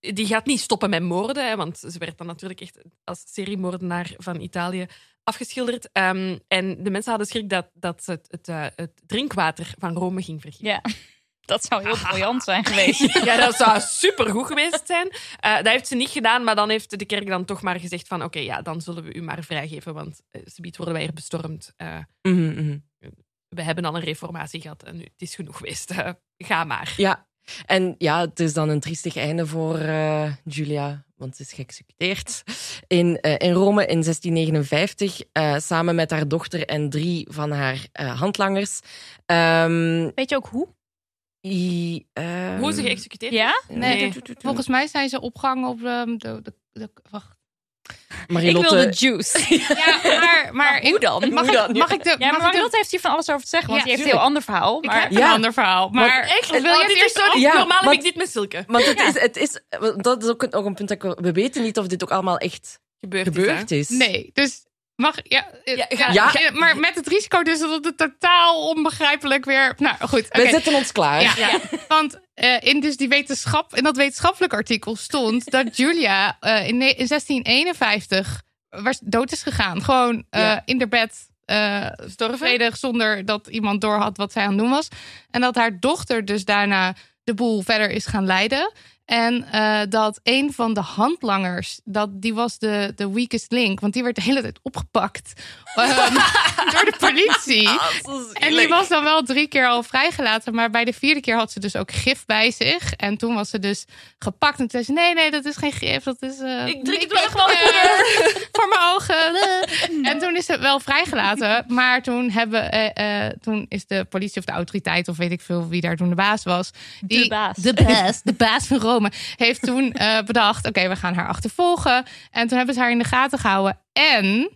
die gaat niet stoppen met moorden, hè, want ze werd dan natuurlijk echt als seriemoordenaar van Italië afgeschilderd. Ehm, en de mensen hadden schrik dat, dat ze het, het, eh, het drinkwater van Rome ging vergiftigen.
Ja. Dat zou heel briljant zijn geweest.
Ja, dat zou supergoed geweest zijn. Eh, dat heeft ze niet gedaan, maar dan heeft de kerk dan toch maar gezegd van... Oké, ja, dan zullen we u maar vrijgeven, want eh, subiet worden wij hier bestormd. Eh,
Mhm, mhm.
we hebben al een reformatie gehad en nu, het is genoeg geweest. Eh, ga maar.
Ja, en ja, het is dan een triestig einde voor eh, Julia, want ze is geëxecuteerd. In, eh, in Rome in 1659, eh, samen met haar dochter en drie van haar eh, handlangers. Ehm,
Weet je ook hoe?
i- ehm,
Hoe ze geëxecuteerd
Ja?
Nee.
Nee.
Volgens mij zijn ze opgehangen op ehm, de... de, de wacht.
Marilotte,
juice.
Ja, maar... maar
hoe dan?
Mag,
Hoe dan?
ik, mag ik de...
Ja, maar
mag ik de-
Marilotte heeft hier van alles over te zeggen, want
Ja,
die heeft een
tuurlijk.
heel ander verhaal.
Ik
Maar
heb een
Ja.
ander verhaal. Maar
Echt?
Wil je
Oh,
het
dit is
eerst
zo niet
Ja,
normaal heb
want-
ik dit met Silke.
Want het is, het is, dat is ook een, ook een punt dat ik- we weten niet of dit ook allemaal echt
Gebeurd,
gebeurd is.
Nee, dus mag... Ja, eh,
Ja,
ja,
ga-
ga-
maar met het risico dus dat het totaal onbegrijpelijk weer... Nou, goed.
We
oké.
zetten ons klaar.
Ja,
Ja.
ja. want eh, in, dus die wetenschap, in dat wetenschappelijk artikel stond dat Julia eh, in, ne- in 1651 was, dood is gegaan. Gewoon eh,
Ja.
in haar bed. eh vredig, zonder dat iemand doorhad wat zij aan het doen was. En dat haar dochter dus daarna de boel verder is gaan leiden. En eh, dat een van de handlangers, dat, die was de, de weakest link, want die werd de hele tijd opgepakt ehm, door de politie.
Oh.
En die was dan wel drie keer al vrijgelaten. Maar bij de vierde keer had ze dus ook gif bij zich. En toen was ze dus gepakt. En toen zei ze, nee, nee, dat is geen gif. Dat is... eh,
Ik drink het
ben
wel gewoon
eh, Voor mijn ogen. eh." En toen is ze wel vrijgelaten. Maar toen, hebben, eh, eh, toen is de politie of de autoriteit... of weet ik veel wie daar toen de baas was. Die,
baas.
De baas. De baas van Rome. Heeft toen eh, bedacht, oké, we gaan haar achtervolgen. En toen hebben ze haar in de gaten gehouden. En...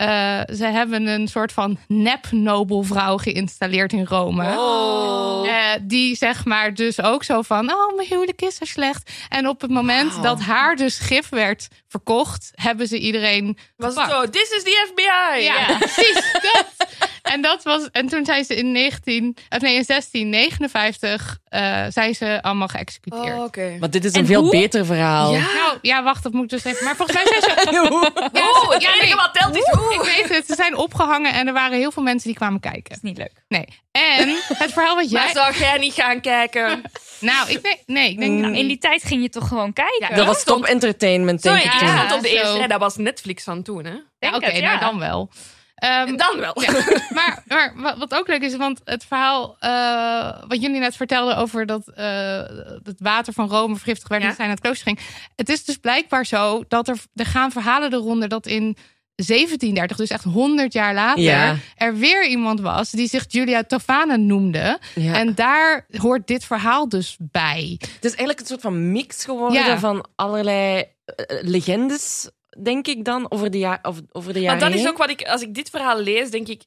Eh, ze hebben een soort van nep-nobelvrouw geïnstalleerd in Rome.
Oh.
Eh, die zeg maar dus ook zo van, oh, mijn huwelijk is zo slecht. En op het moment dat haar dus gif werd verkocht, hebben ze iedereen
Was het
gepakt.
zo, this is the FBI.
Ja, precies dat. En, dat was, en toen zijn ze in, 19, of nee, in 1659 eh, zijn ze allemaal geëxecuteerd.
Oh, oké.
Maar dit is een
En
veel
hoe?
beter verhaal.
Ja.
Nou, ja, wacht, dat moet ik dus even. Maar volgens mij zijn ze
Hoe?
Oh, het enige wat telt is hoe.
Ik weet het, ze zijn opgehangen en er waren heel veel mensen die kwamen kijken.
is niet leuk.
Nee. En het verhaal wat
Maar
jij...
zou jij niet gaan kijken?
Nou, ik denk... Nee, ik denk...
Nou, in die tijd ging je toch gewoon kijken?
Ja,
Dat was top
stond-
entertainment, denk
Sorry,
ik.
ik
toen.
ja.
stond op de
zo.
eerste rij. Dat was Netflix van toen, hè?
Ja,
Denk
Oké,
het, ja.
nou dan wel. Eh, Ehm,
Dan wel.
Ja. maar, maar wa- wat ook leuk is, want het verhaal eh, wat jullie net vertelden over dat eh, het water van Rome vergiftigd werd
Ja.
en zij naar het klooster ging. Het is dus blijkbaar zo dat er, er gaan verhalen eronder dat in 1730, dus echt 100 jaar later,
Ja.
er weer iemand was die zich Julia Tofana noemde.
Ja.
En daar hoort dit verhaal dus bij.
Het is eigenlijk een soort van mix geworden
Ja.
van allerlei eh, legendes, denk ik dan, over de, ja of, over de
Maar
jaren
dat is
heen.
ook wat ik, als ik dit verhaal lees, denk ik.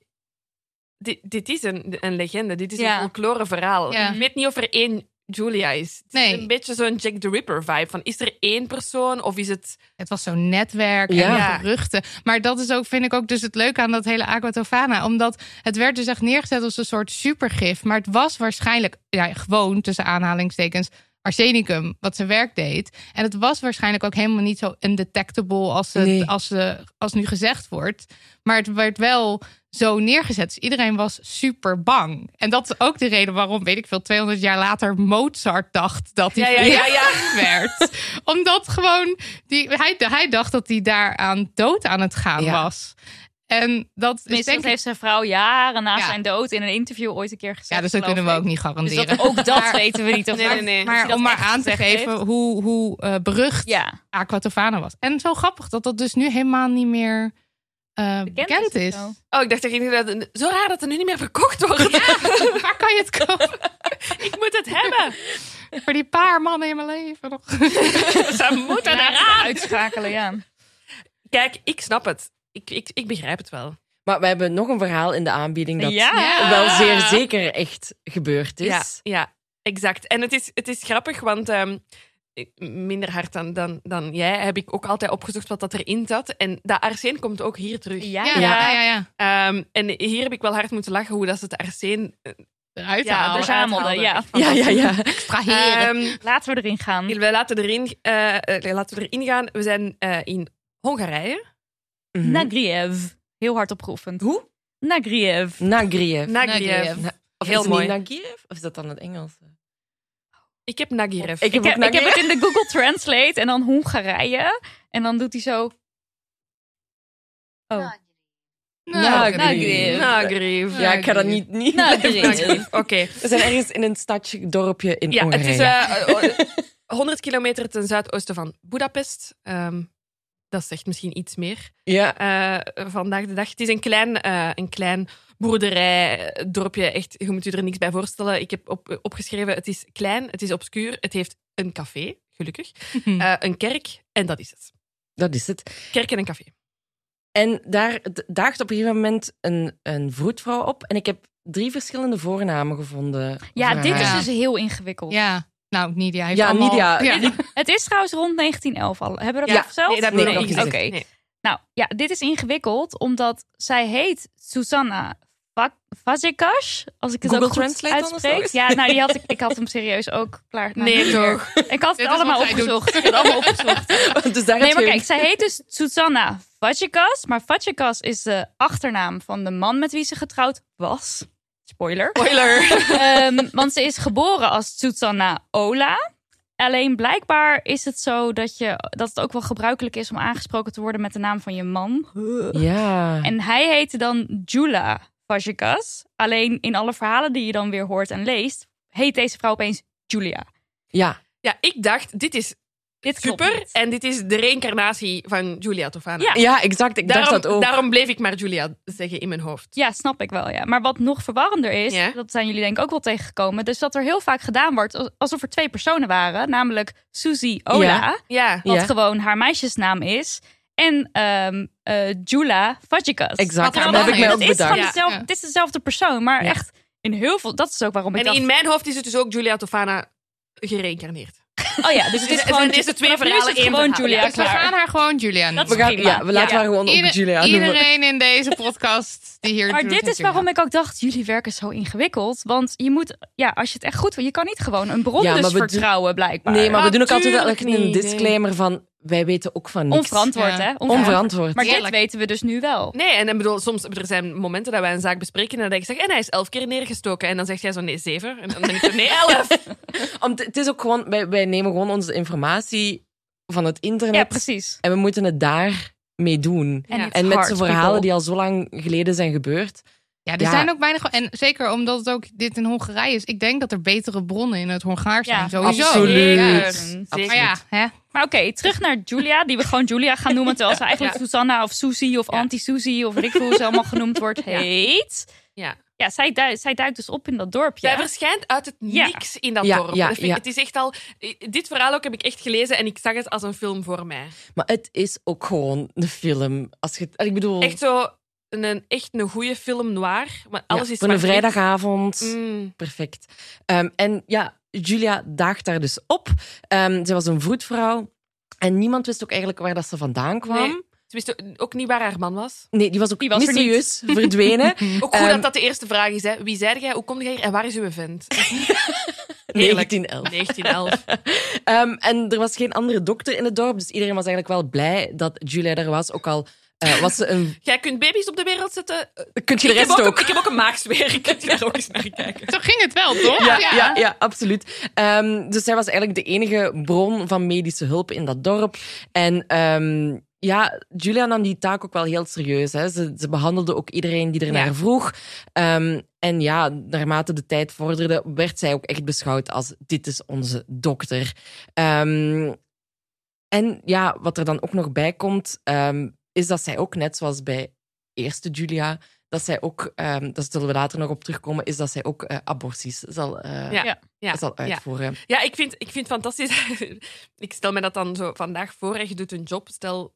Dit, dit is een, een legende, dit is
Ja.
een folklore verhaal.
Ja.
Ik weet niet of er één Julia is. Het
Nee.
is een beetje zo'n Jack the Ripper vibe. Van, is er één persoon of is het.
Het was zo'n netwerk en
Ja.
geruchten. Maar dat is ook, vind ik ook dus het leuke aan dat hele Aquatofana. Omdat het werd dus echt neergezet als een soort supergif. Maar het was waarschijnlijk ja, gewoon, tussen aanhalingstekens, arsenicum wat zijn werk deed. En het was waarschijnlijk ook helemaal niet zo undetectable als, het,
Nee.
als, eh, als nu gezegd wordt. Maar het werd wel zo neergezet. Dus iedereen was super bang. En dat is ook de reden waarom, weet ik veel, 200 jaar later Mozart dacht dat hij
Ja, ja, ja, ja.
vergiftigd werd. Omdat gewoon, die, hij, hij dacht dat hij daaraan dood aan het gaan
Ja.
was. En dat is
Tenminste,
Dus denk
dat
ik...
heeft zijn vrouw jaren na
Ja.
zijn dood in een interview ooit een keer gezegd.
Ja, dus dat
geloof
kunnen we ook
ik.
niet garanderen.
Dus dat, ook dat weten we niet. Of
Nee, nee,
waar-
nee.
of hij
Maar
dat
om maar
echt
aan te
gezegd
geven
heeft.
hoe, hoe eh, berucht
Ja,
Aquatofana was. En zo grappig dat dat dus nu helemaal niet meer eh, bekend,
of
is.
zo.
Oh, ik dacht inderdaad. Zo raar dat het nu niet meer verkocht wordt.
Waar kan je het kopen?
Ik moet het hebben.
Voor die paar mannen in mijn leven nog.
Ze moeten
Ja,
eraan.
Uitschakelen, ja.
Kijk, ik snap het. Ik, ik, ik begrijp het wel.
Maar we hebben nog een verhaal in de aanbieding dat
Ja.
wel zeer zeker echt gebeurd is.
Ja, ja exact. En het is, het is grappig, want ehm, ik- minder hard dan, dan, dan jij heb ik ook altijd opgezocht wat dat erin zat. En dat arsen komt ook hier terug.
Ja,
Ja, ja, ja. ja.
Ehm, en hier heb ik wel hard moeten lachen hoe dat ze het arsen eh,
Eruit
Ja,
halen.
dus-
verzamelde. Ja.
ja, ja. ja.
Extraheren.
Ehm,
Laten we erin gaan.
wij laten erin, eh, eh, laten we erin gaan. We zijn eh, in Hongarije.
Mhm.
Nagriev. Heel hard opgeoefend. Hoe? Nagriev.
Nagriev.
Nagriev.
Nagriev.
Of
Heel
is het
mooi.
niet Nagriev? Of is dat dan het Engels?
Ik heb Nagriev.
Ik heb
Ik,
ook
heb- ik heb
Nagriev.
het in de Google Translate en dan Hongarije. En dan doet hij zo... Oh,
Nou,
Nagriev.
Nagriev.
Ja, ik ga dat niet... niet
Nagriev.
Oké.
We zijn ergens in een stadje, dorpje in
Ja, het
Hongarije.
is eh, eh, 100 kilometer ten zuidoosten van Budapest. Ehm, dat zegt misschien iets meer
ja.
eh, vandaag de dag. Het is een klein, eh, een klein boerderij, eh, dorpje. Echt, je moet je er niks bij voorstellen. Ik heb op, opgeschreven, het is klein, het is obscuur. Het heeft een café, gelukkig. eh, een kerk en dat is het.
dat is het.
Kerk en een café.
En daar d- daagt op een gegeven moment een, een vroedvrouw op. En ik heb drie verschillende voornamen gevonden.
Ja,
voor
dit
haar.
is
Ja.
dus heel ingewikkeld.
Ja. Nou, Nidia heeft
Ja,
allemaal...
Nidia.
Het is trouwens rond 1911 al. Hebben we dat
Ja.
al verteld?
Nee, dat heb
Nee,
ik nog
nee,
niet gezegd.
Oké.
Nee.
Nou ja, dit is ingewikkeld omdat zij heet Susanna Va- Vazekas. Als ik het
Google
ook goed
Translate dan of zo?
uitspreek. Ja, nou die had ik, ik had hem serieus ook klaar. nou,
Nee,
niet meer.
toch?
Ik had
Dit
het
is
allemaal
wat zij doet.
opgezocht. Ik had het allemaal opgezocht.
dus daar
Nee,
heb
maar
je-
kijk, zij heet dus Susanna Vazekas. Maar Vazekas is de achternaam van de man met wie ze getrouwd was. Spoiler.
Spoiler.
Ehm, want ze is geboren als Susanna Ola. Alleen blijkbaar is het zo dat, je, dat het ook wel gebruikelijk is om aangesproken te worden met de naam van je man.
Ja.
En hij heette dan Jula Vajikas. Alleen in alle verhalen die je dan weer hoort en leest, heet deze vrouw opeens Julia.
ja.
Ja, ik dacht, dit is
Dit klopt
super.
niet.
En dit is de reïncarnatie van Julia Tofana.
Ja.
Ja, exact. Ik
Daarom,
dacht dat ook.
daarom bleef ik maar Julia zeggen in mijn hoofd.
Ja, snap ik wel, ja. Maar wat nog verwarrender is,
Ja.
dat zijn jullie denk ik ook wel tegengekomen, dus dat er heel vaak gedaan wordt als- alsof er twee personen waren, namelijk Susie Ola,
Ja.
Ja.
wat
Ja.
gewoon haar meisjesnaam is, en ehm eh, Jula Vajikas.
Exact.
Wat er
Dat
dan
heb ik mij
is.
ook
Het is
bedacht.
gewoon
Ja.
dezelfde,
Ja.
het is dezelfde persoon, maar
Ja.
echt in heel veel, dat is ook waarom ik
En
dacht,
in mijn hoofd is het dus ook Julia Tofana gereïncarneerd.
oh ja, dus het
Dus
is
het
gewoon,
zijn deze twee
vanaf nu is
verhalen
het
één verhaal.
gewoon Julia,
Ja,
Dus we
klaar.
gaan haar gewoon Julia noemen.
Dat
We, gaan,
prima.
ja, we laten
Ja.
haar gewoon
Ieder-
op Julia noemen.
iedereen in deze podcast die hier
Maar
doet
dit
het
is waarom ik ook dacht, jullie werken zo ingewikkeld. Want je moet, ja, als je het echt goed wil, je kan niet gewoon een bron
Ja, maar
dus
we doen-
vertrouwen blijkbaar.
Nee, maar we doen ook altijd wel
Natuurlijk
echt een
niet, nee.
disclaimer van... Wij weten ook van niks.
Onverantwoord,
Ja.
hè? Onverantwoord.
Onverantwoord.
Maar dit
Eerlijk.
weten we dus nu wel.
Nee, en, en bedoel, soms er zijn momenten dat wij een zaak bespreken en dat ik zeg, en hij is elf keer neergestoken. En dan zegt jij zo, nee, zeven. En dan denk ik zo, nee, elf.
Om te- het is ook gewoon... Wij, wij nemen gewoon onze informatie van het internet.
Ja, precies.
En we moeten het daar mee doen.
En
En met zo'n verhalen die al zo lang geleden zijn gebeurd.
Ja, er
Ja.
zijn ook weinig. En zeker omdat het ook dit in Hongarije is. Ik denk dat er betere bronnen in het Hongaars zijn. sowieso.
absoluut.
Ja.
Absoluut.
Maar ja, hè?
Maar oké, terug naar Julia, die we gewoon Julia gaan noemen. Terwijl ze eigenlijk
Ja.
Susanna of Susie of
Ja.
Anti-Susie of weet ik veel hoe ze allemaal genoemd wordt heet.
Ja.
Ja, zij, duikt, zij duikt dus op in dat dorpje.
Zij verschijnt uit het
Ja.
niks in dat
Ja,
dorp.
ja,
Dat vind ik-
ja.
Het is echt al... Dit verhaal ook heb ik echt gelezen en ik zag het als een film voor mij.
Maar het is ook gewoon een film. Als je, ik bedoel,
Echt zo een, een- echt een goede film noir.
Oh.
Maar
ja,
alles is
voor een
zwart-wit.
vrijdagavond.
Mm.
Perfect. Ehm, en ja, Julia daagt daar dus op. Ehm, ze was een vroedvrouw. En niemand wist ook eigenlijk waar dat ze vandaan kwam.
Nee. Ze wist ook niet waar haar man was.
Nee, die was ook
Die was er niet.
mysterieus verdwenen.
Ook goed
Ehm.
dat dat de eerste vraag is. Hè. Wie zei jij? Hoe kom jij hier? En waar is uw vent? Heerlijk.
1911.
1911.
Ehm, en er was geen andere dokter in het dorp, dus iedereen was eigenlijk wel blij dat Julia er was. Ook al eh, was ze een...
Jij kunt baby's op de wereld zetten.
Kun je de
ik, heb
rest
ook,
ook?
ik heb ook een maagsfeer. Ik kan daar ook eens naar kijken.
Zo ging het wel, toch?
Ja, ja. ja, absoluut. Ehm, dus zij was eigenlijk de enige bron van medische hulp in dat dorp. En ehm, ja, Julia nam die taak ook wel heel serieus. Hè. Ze, ze behandelde ook iedereen die ernaar
Ja.
vroeg. Ehm, en ja, naarmate de tijd vorderde, werd zij ook echt beschouwd als dit is onze dokter. Ehm, en ja, wat er dan ook nog bij komt, ehm, is dat zij ook net zoals bij eerste Julia, dat zij ook, ehm daar zullen we later nog op terugkomen, is dat zij ook eh, aborties zal, eh,
Ja, ja,
zal
ja.
uitvoeren.
Ja, ik vind, ik vind het fantastisch. ik stel me dat dan zo vandaag voor. hè. Je doet een job. Stel,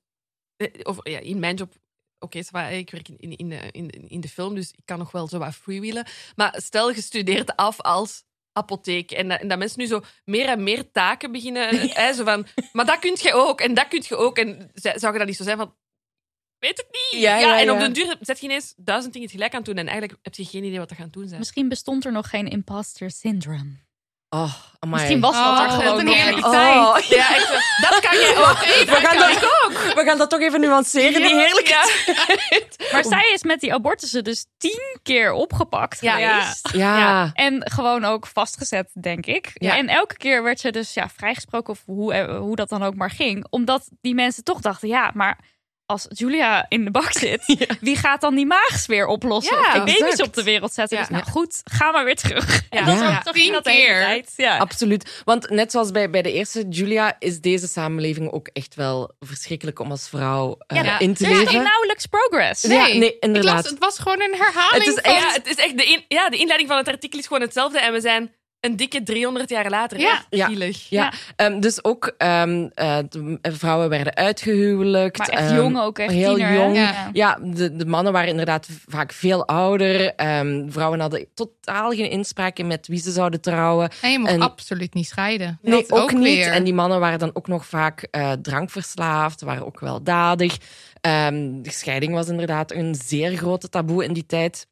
eh, of ja, in mijn job. Oké, ça va, ik werk in, in, in, de- in, in de film, dus ik kan nog wel zo wat freewheelen. Maar stel, je studeert af als apotheek. En, dat- en dat mensen nu zo meer en meer taken beginnen. hè, zo van, maar dat kunt je ook, en dat kunt je ook. En zou zou je dat niet zo zijn van... Weet het niet.
Ja, ja,
en op
ja.
den duur zet je ineens duizend dingen tegelijk aan het doen. En eigenlijk heb je geen idee wat er gaan doen zijn.
Misschien bestond er nog geen imposter syndrome.
Oh, amai.
Misschien was dat
Oh,
er gewoon
wat een
nog
heerlijke
niet.
tijd.
Oh,
Ja, echt, zo, dat kan jij ook.
we, gaan dat, we gaan dat toch even nuanceren, die heerlijke
Ja.
Maar zij is met die abortussen dus tien keer opgepakt
Ja.
geweest.
Ja.
Ja.
En gewoon ook vastgezet, denk ik.
Ah. Ja.
En elke keer werd ze dus ja, vrijgesproken, of hoe, eh, hoe dat dan ook maar ging. Omdat die mensen toch dachten, ja, maar als Julia in de bak zit... wie gaat dan die maags weer oplossen?
Ja,
of die baby's
exact.
op de wereld zetten?
Ja.
Dus nou goed, ga maar weer terug.
Ja.
En dat
Ja.
is ook toch
Tien
in dat hele
keer.
tijd. Ja.
Absoluut. Want net zoals bij, bij de eerste Julia is deze samenleving ook echt wel verschrikkelijk om als vrouw eh,
Ja.
in te
Er is toch
leven.
nauwelijks progress.
Ja, nee,
ik
inderdaad.
las- het was gewoon een herhaling.
Het is
van-
Ja, het is echt de, in- ja, de inleiding van het artikel is gewoon hetzelfde. En we zijn een dikke 300 jaar later.
Ja.
Echt
Ja.
Zielig.
Ja,
Ja.
ehm, dus ook ehm, eh, de- eh, vrouwen werden uitgehuwelijkt.
Maar echt
ehm,
jong ook, echt
heel
tiener, hè?
jong.
Ja.
Ja, de, de mannen waren inderdaad vaak veel ouder. Ehm, vrouwen hadden totaal geen inspraak in met wie ze zouden trouwen.
En je mocht
En-
absoluut niet scheiden.
Nee,
Dat
ook, niet.
weer.
En die mannen waren dan ook nog vaak eh, drankverslaafd, waren ook weldadig. Ehm, de scheiding was inderdaad een zeer grote taboe in die tijd.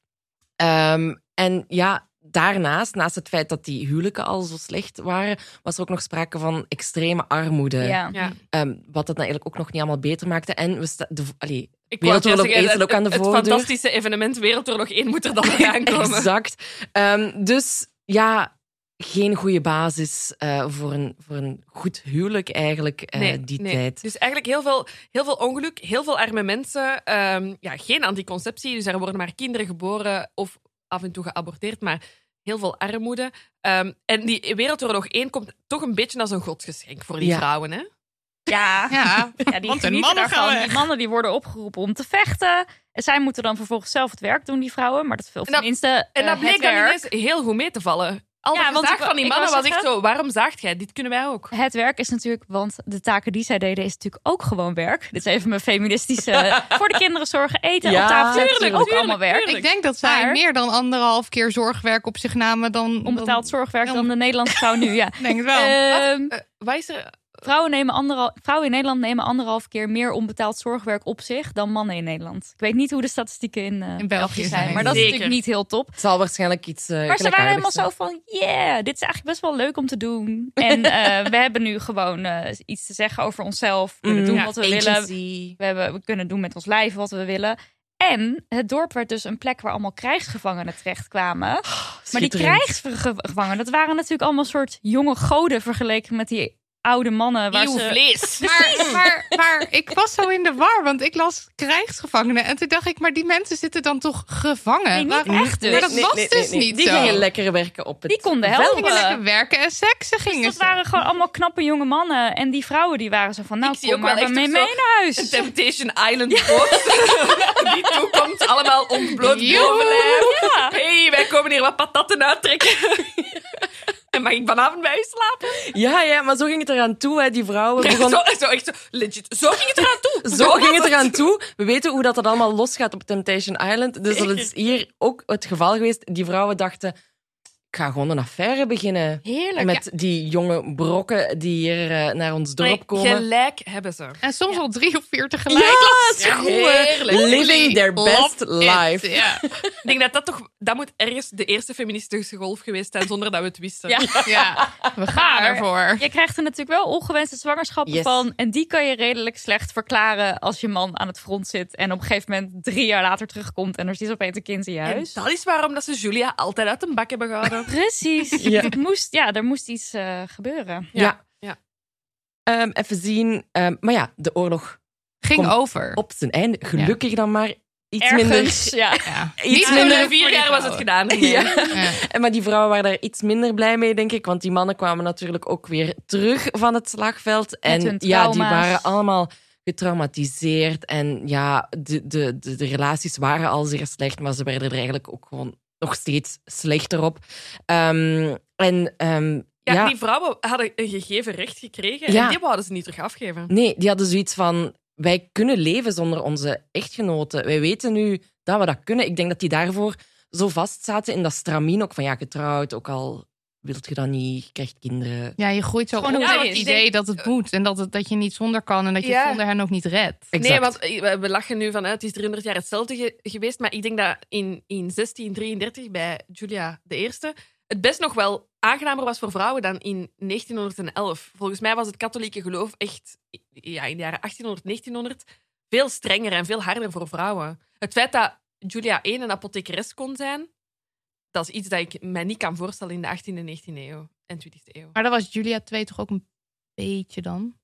Ehm, en ja, daarnaast, naast het feit dat die huwelijken al zo slecht waren, was er ook nog sprake van extreme armoede.
Ja.
Ja.
Ehm, wat dat nou eigenlijk ook nog niet allemaal beter maakte. En we sta- de, allee,
Ik
Wereldoorlog
wou net zeggen,
één staat
het-
ook aan de
het- Het
voordeur.
fantastische evenement Wereldoorlog 1 moet er dan nog aankomen.
exact. Ehm, dus ja, geen goede basis eh, voor, een, voor een goed huwelijk eigenlijk eh,
Nee,
die
nee.
tijd.
Dus eigenlijk heel veel, heel veel ongeluk, heel veel arme mensen. ehm, ja, geen anticonceptie, dus er worden maar kinderen geboren of af en toe geaborteerd, maar heel veel armoede. Ehm, en die Wereldoorlog 1 komt toch een beetje als een godsgeschenk voor die
Ja.
vrouwen. Hè?
Ja.
Ja,
Ja, die
Want de
genieten
mannen gaan
daarvan.
weg.
Die mannen die worden opgeroepen om te vechten. En zij moeten dan vervolgens zelf het werk doen, die vrouwen. Maar dat veel
En dat-
tenminste
En dat
eh,
bleek
het
dan
werk.
ineens heel goed mee te vallen. Al
Ja,
ja,
want
want
ik wou-
van die
ik
mannen
wou
was echt
zeggen-
zo, waarom zaagt jij? Dit kunnen wij ook.
Het werk is natuurlijk, want de taken die zij deden is natuurlijk ook gewoon werk. Dit is even mijn feministische. voor de kinderen zorgen, eten,
Ja,
op tafel zetten,
tuurlijk,
is ook
tuurlijk,
allemaal werk.
tuurlijk.
ik denk dat zij
Maar-
meer dan anderhalf keer zorgwerk op zich namen dan...
Onbetaald zorgwerk dan
dan-
de Nederlandse vrouw nu, ja.
dan- Denk het wel.
Ehm,
Eh, wat is er?
vrouwen, nemen anderhal- vrouwen in Nederland nemen anderhalf keer meer onbetaald zorgwerk op zich dan mannen in Nederland. Ik weet niet hoe de statistieken in, eh,
In België
België zijn,
zijn.
maar dat is
Zeker.
natuurlijk niet heel top.
Het zal waarschijnlijk iets. eh,
Maar ze waren helemaal
gelijkaardigs
zo van, yeah, dit is eigenlijk best wel leuk om te doen. En eh, we hebben nu gewoon eh, iets te zeggen over onszelf. We kunnen
Mm.
doen
Ja,
wat we
zijn.
willen.
Agency.
We, hebben, we kunnen doen met ons lijf wat we willen. En het dorp werd dus een plek waar allemaal krijgsgevangenen
Ah,
terechtkwamen. Maar die
Schitterend.
krijgsgevangenen, dat waren natuurlijk allemaal soort jonge goden vergeleken met die oude mannen. Waar
Eeuw,
ze...
vlees.
Maar, maar, maar ik was zo in de war, want ik las krijgsgevangenen. En toen dacht ik, maar die mensen zitten dan toch gevangen?
Nee, niet
Waarom-
echt dus.
Maar dat
Nee,
was
nee, nee,
dus
nee.
niet
Die
zo.
gingen lekker werken op het
Die konden
veld.
helpen.
Ze gingen lekker werken en seksen
Dus
gingen
dat
ze.
waren gewoon allemaal knappe jonge mannen. En die vrouwen die waren zo van, nou
Ik zie
kom
ook wel
maar
echt
mee,
op
mee
zo-
naar
Een
huis.
Temptation Island post. Die toekomt allemaal ontbloot
Joehoe.
bovenlijf. hey, wij komen hier wat patatten uittrekken. en mag ik vanavond bij u slapen?
Ja, ja, maar zo ging het eraan toe. Hè. Die vrouwen begonnen...
Zo, zo, echt zo, legit. Zo ging het eraan toe.
Zo ging het eraan toe. We weten hoe dat, dat allemaal losgaat op Temptation Island. Dus dat is hier ook het geval geweest. Die vrouwen dachten, ik ga gewoon een affaire beginnen.
Heerlijk.
met die jonge brokken die hier eh, naar ons dorp komen.
gelijk hebben ze.
En soms al drie of vier tegelijk.
ja, het is
Ja,
goed.
heerlijk.
Living their best life.
Ja.
Ik denk dat dat toch... Dat moet ergens de eerste feministische golf geweest zijn, zonder dat we het wisten.
Ja.
ja, we gaan
Maar-
ervoor.
Je krijgt er natuurlijk wel ongewenste zwangerschappen
Yes.
van. En die kan je redelijk slecht verklaren als je man aan het front zit. En op een gegeven moment drie jaar later terugkomt. En er zit opeens een kind in je
En
huis.
dat is waarom dat ze Julia altijd uit een bak hebben gehouden.
Precies.
Ja.
Het moest, ja, er moest iets eh, gebeuren.
Ja.
Ja.
Ehm, even zien. Ehm, maar ja, de oorlog
Ging
Kom.
over.
op zijn einde. Gelukkig dan maar. Iets
Ergens,
minder.
ja.
Ja.
Iets
Iets
minder
minder vier jaar was het gedaan.
Ja.
Ja.
En Maar die vrouwen waren daar iets minder blij mee, denk ik. Want die mannen kwamen natuurlijk ook weer terug van het slagveld. En
hun
ja, die
trauma's.
waren allemaal getraumatiseerd. En ja, de, de, de, de relaties waren al zeer slecht, maar ze werden er eigenlijk ook gewoon nog steeds slechter op. Ehm, en ehm,
Ja,
ja,
die vrouwen hadden een gegeven recht gekregen
Ja.
en die wouden ze niet terug afgeven.
nee, die hadden zoiets van... Wij kunnen leven zonder onze echtgenoten. Wij weten nu dat we dat kunnen. Ik denk dat die daarvoor zo vast zaten in dat stramien. Ook van ja, getrouwd, ook al wilt je dat niet, je krijgt kinderen.
Ja, je groeit zo op
Gewoon
met
hoe
het
het
is.
idee dat het moet. En dat, het, dat je niet zonder kan en dat je
Ja.
het zonder hen ook niet redt.
Exact.
Nee, want eh, we- we lachen nu vanuit, het is 300 jaar hetzelfde ge- geweest. Maar ik denk dat in, in 1633 bij Julia de Eerste het best nog wel aangenamer was voor vrouwen dan in 1911. Volgens mij was het katholieke geloof echt ja, in de jaren 1800, 1900 veel strenger en veel harder voor vrouwen. Het feit dat Julia I een apothekeres kon zijn, dat is iets dat ik mij niet kan voorstellen in de 18e, 19e eeuw en 20e eeuw.
Maar dat was Julia 2 toch ook een beetje dan?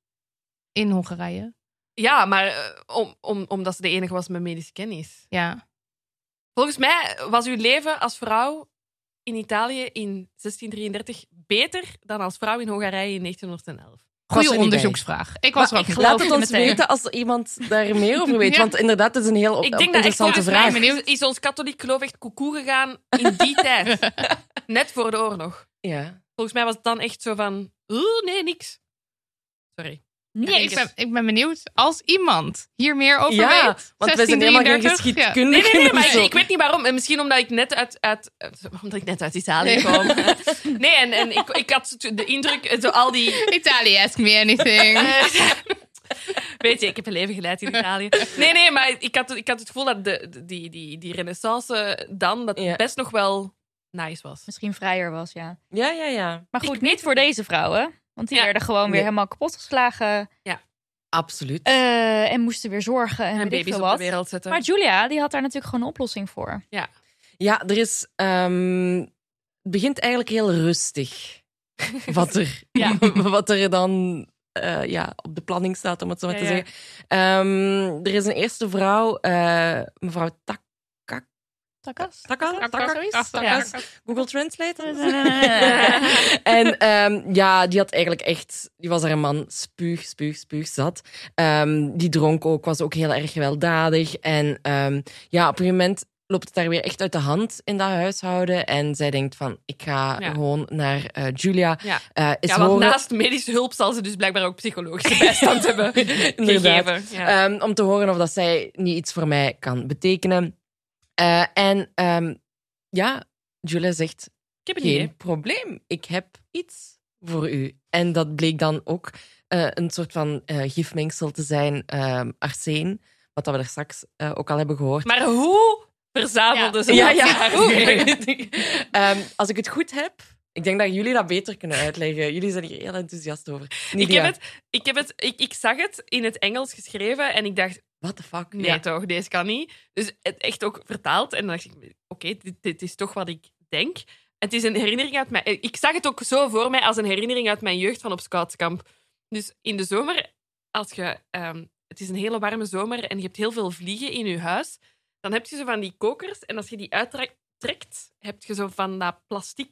In Hongarije.
Ja, maar eh, om, om, omdat ze de enige was met medische kennis.
Ja.
Volgens mij was uw leven als vrouw in Italië in 1633 beter dan als vrouw in Hongarije in 1911.
was er
Goede
niet
onderzoeksvraag. Ik was er ook
ik
niet
geloof
Laat
bij.
het
je
ons
meteen.
weten als er iemand daar meer over weet.
Ja.
Want inderdaad, het is een heel op-
Ik denk dat echt
Oh, interessante
volgens mij
vraag.
vraag.
is- is ons katholiek geloof echt koekoe gegaan in die tijd. Net voor de oorlog.
Ja.
Volgens mij was het dan echt zo van, "Oeh, nee, niks. Sorry.
Ja, ik, ben, ik ben benieuwd als iemand hier meer over
ja,
weet.
want wij zijn helemaal geen
1633, ja.
geschiedkundigen.
Nee, nee, nee, maar ik,
Zo.
ik weet niet waarom. En misschien omdat ik net uit, uit, uit- omdat ik net uit Italië
Nee.
kwam. Nee, en, en ik, ik had de indruk, eh, zo al die
Italië, ask me anything.
Weet je, ik heb een leven geleid in Italië. Nee, nee, maar ik had, ik had het gevoel dat de, de- die, die, die renaissance dan dat
Ja.
best nog wel nice was.
Misschien vrijer was, ja.
Ja, ja, ja.
Maar goed, niet voor deze vrouwen. Want die
Ja.
werden gewoon weer
Nee.
helemaal kapot geslagen.
Absoluut.
eh, en moesten weer zorgen en,
En
weet ik
baby's
veel
op de
wat.
wereld eh. zetten.
Maar Julia, die had daar natuurlijk gewoon een oplossing voor.
Ja, er is... ehm, het begint eigenlijk heel rustig. Wat er,
Ja.
wat er dan eh, ja, op de planning staat, om het zo maar
Ja,
te
ja.
zeggen. Ehm, er is een eerste vrouw, eh, mevrouw Tak...
Takas.
Takka? Takka?
Ja.
Google Translate? en ehm, ja, die had eigenlijk echt... Die was haar man spuug, spuug, spuug zat. Ehm, die dronk ook, was ook heel erg gewelddadig. En ehm, ja, op een gegeven moment loopt het daar weer echt uit de hand in dat huishouden. En zij denkt van, ik ga
Ja.
gewoon naar eh, Julia.
Ja.
Eh, is
ja, want
horen-
naast medische hulp zal ze dus blijkbaar ook psychologische bijstand hebben
Inderdaad.
gegeven. Ja.
Ehm, om te horen of dat zij niet iets voor mij kan betekenen. Eh, en ehm, ja, Julia zegt,
ik heb het
Geen
idee.
probleem. Ik heb iets voor u. En dat bleek dan ook eh, een soort van eh, gifmengsel te zijn, ehm arseen. Wat dat we daar straks eh, ook al hebben gehoord.
Maar hoe verzamelde ze
Ja,
dat?
ja.
Hoe?
Ehm, als ik het goed heb, ik denk dat jullie dat beter kunnen uitleggen. Jullie zijn hier heel enthousiast over.
Ik,
Nidia,
heb het, ik, heb het, ik, ik zag het in het Engels geschreven en ik dacht,
what the fuck?
nee
Ja.
toch, deze kan niet. Dus het echt ook vertaald. En dan dacht ik, oké, dit, dit is toch wat ik denk. Het is een herinnering uit mijn... Ik zag het ook zo voor mij als een herinnering uit mijn jeugd van op scoutskamp. Dus in de zomer, als je, ehm, het is een hele warme zomer en je hebt heel veel vliegen in je huis, dan heb je zo van die kokers en als je die uittrekt, heb je zo van dat plastic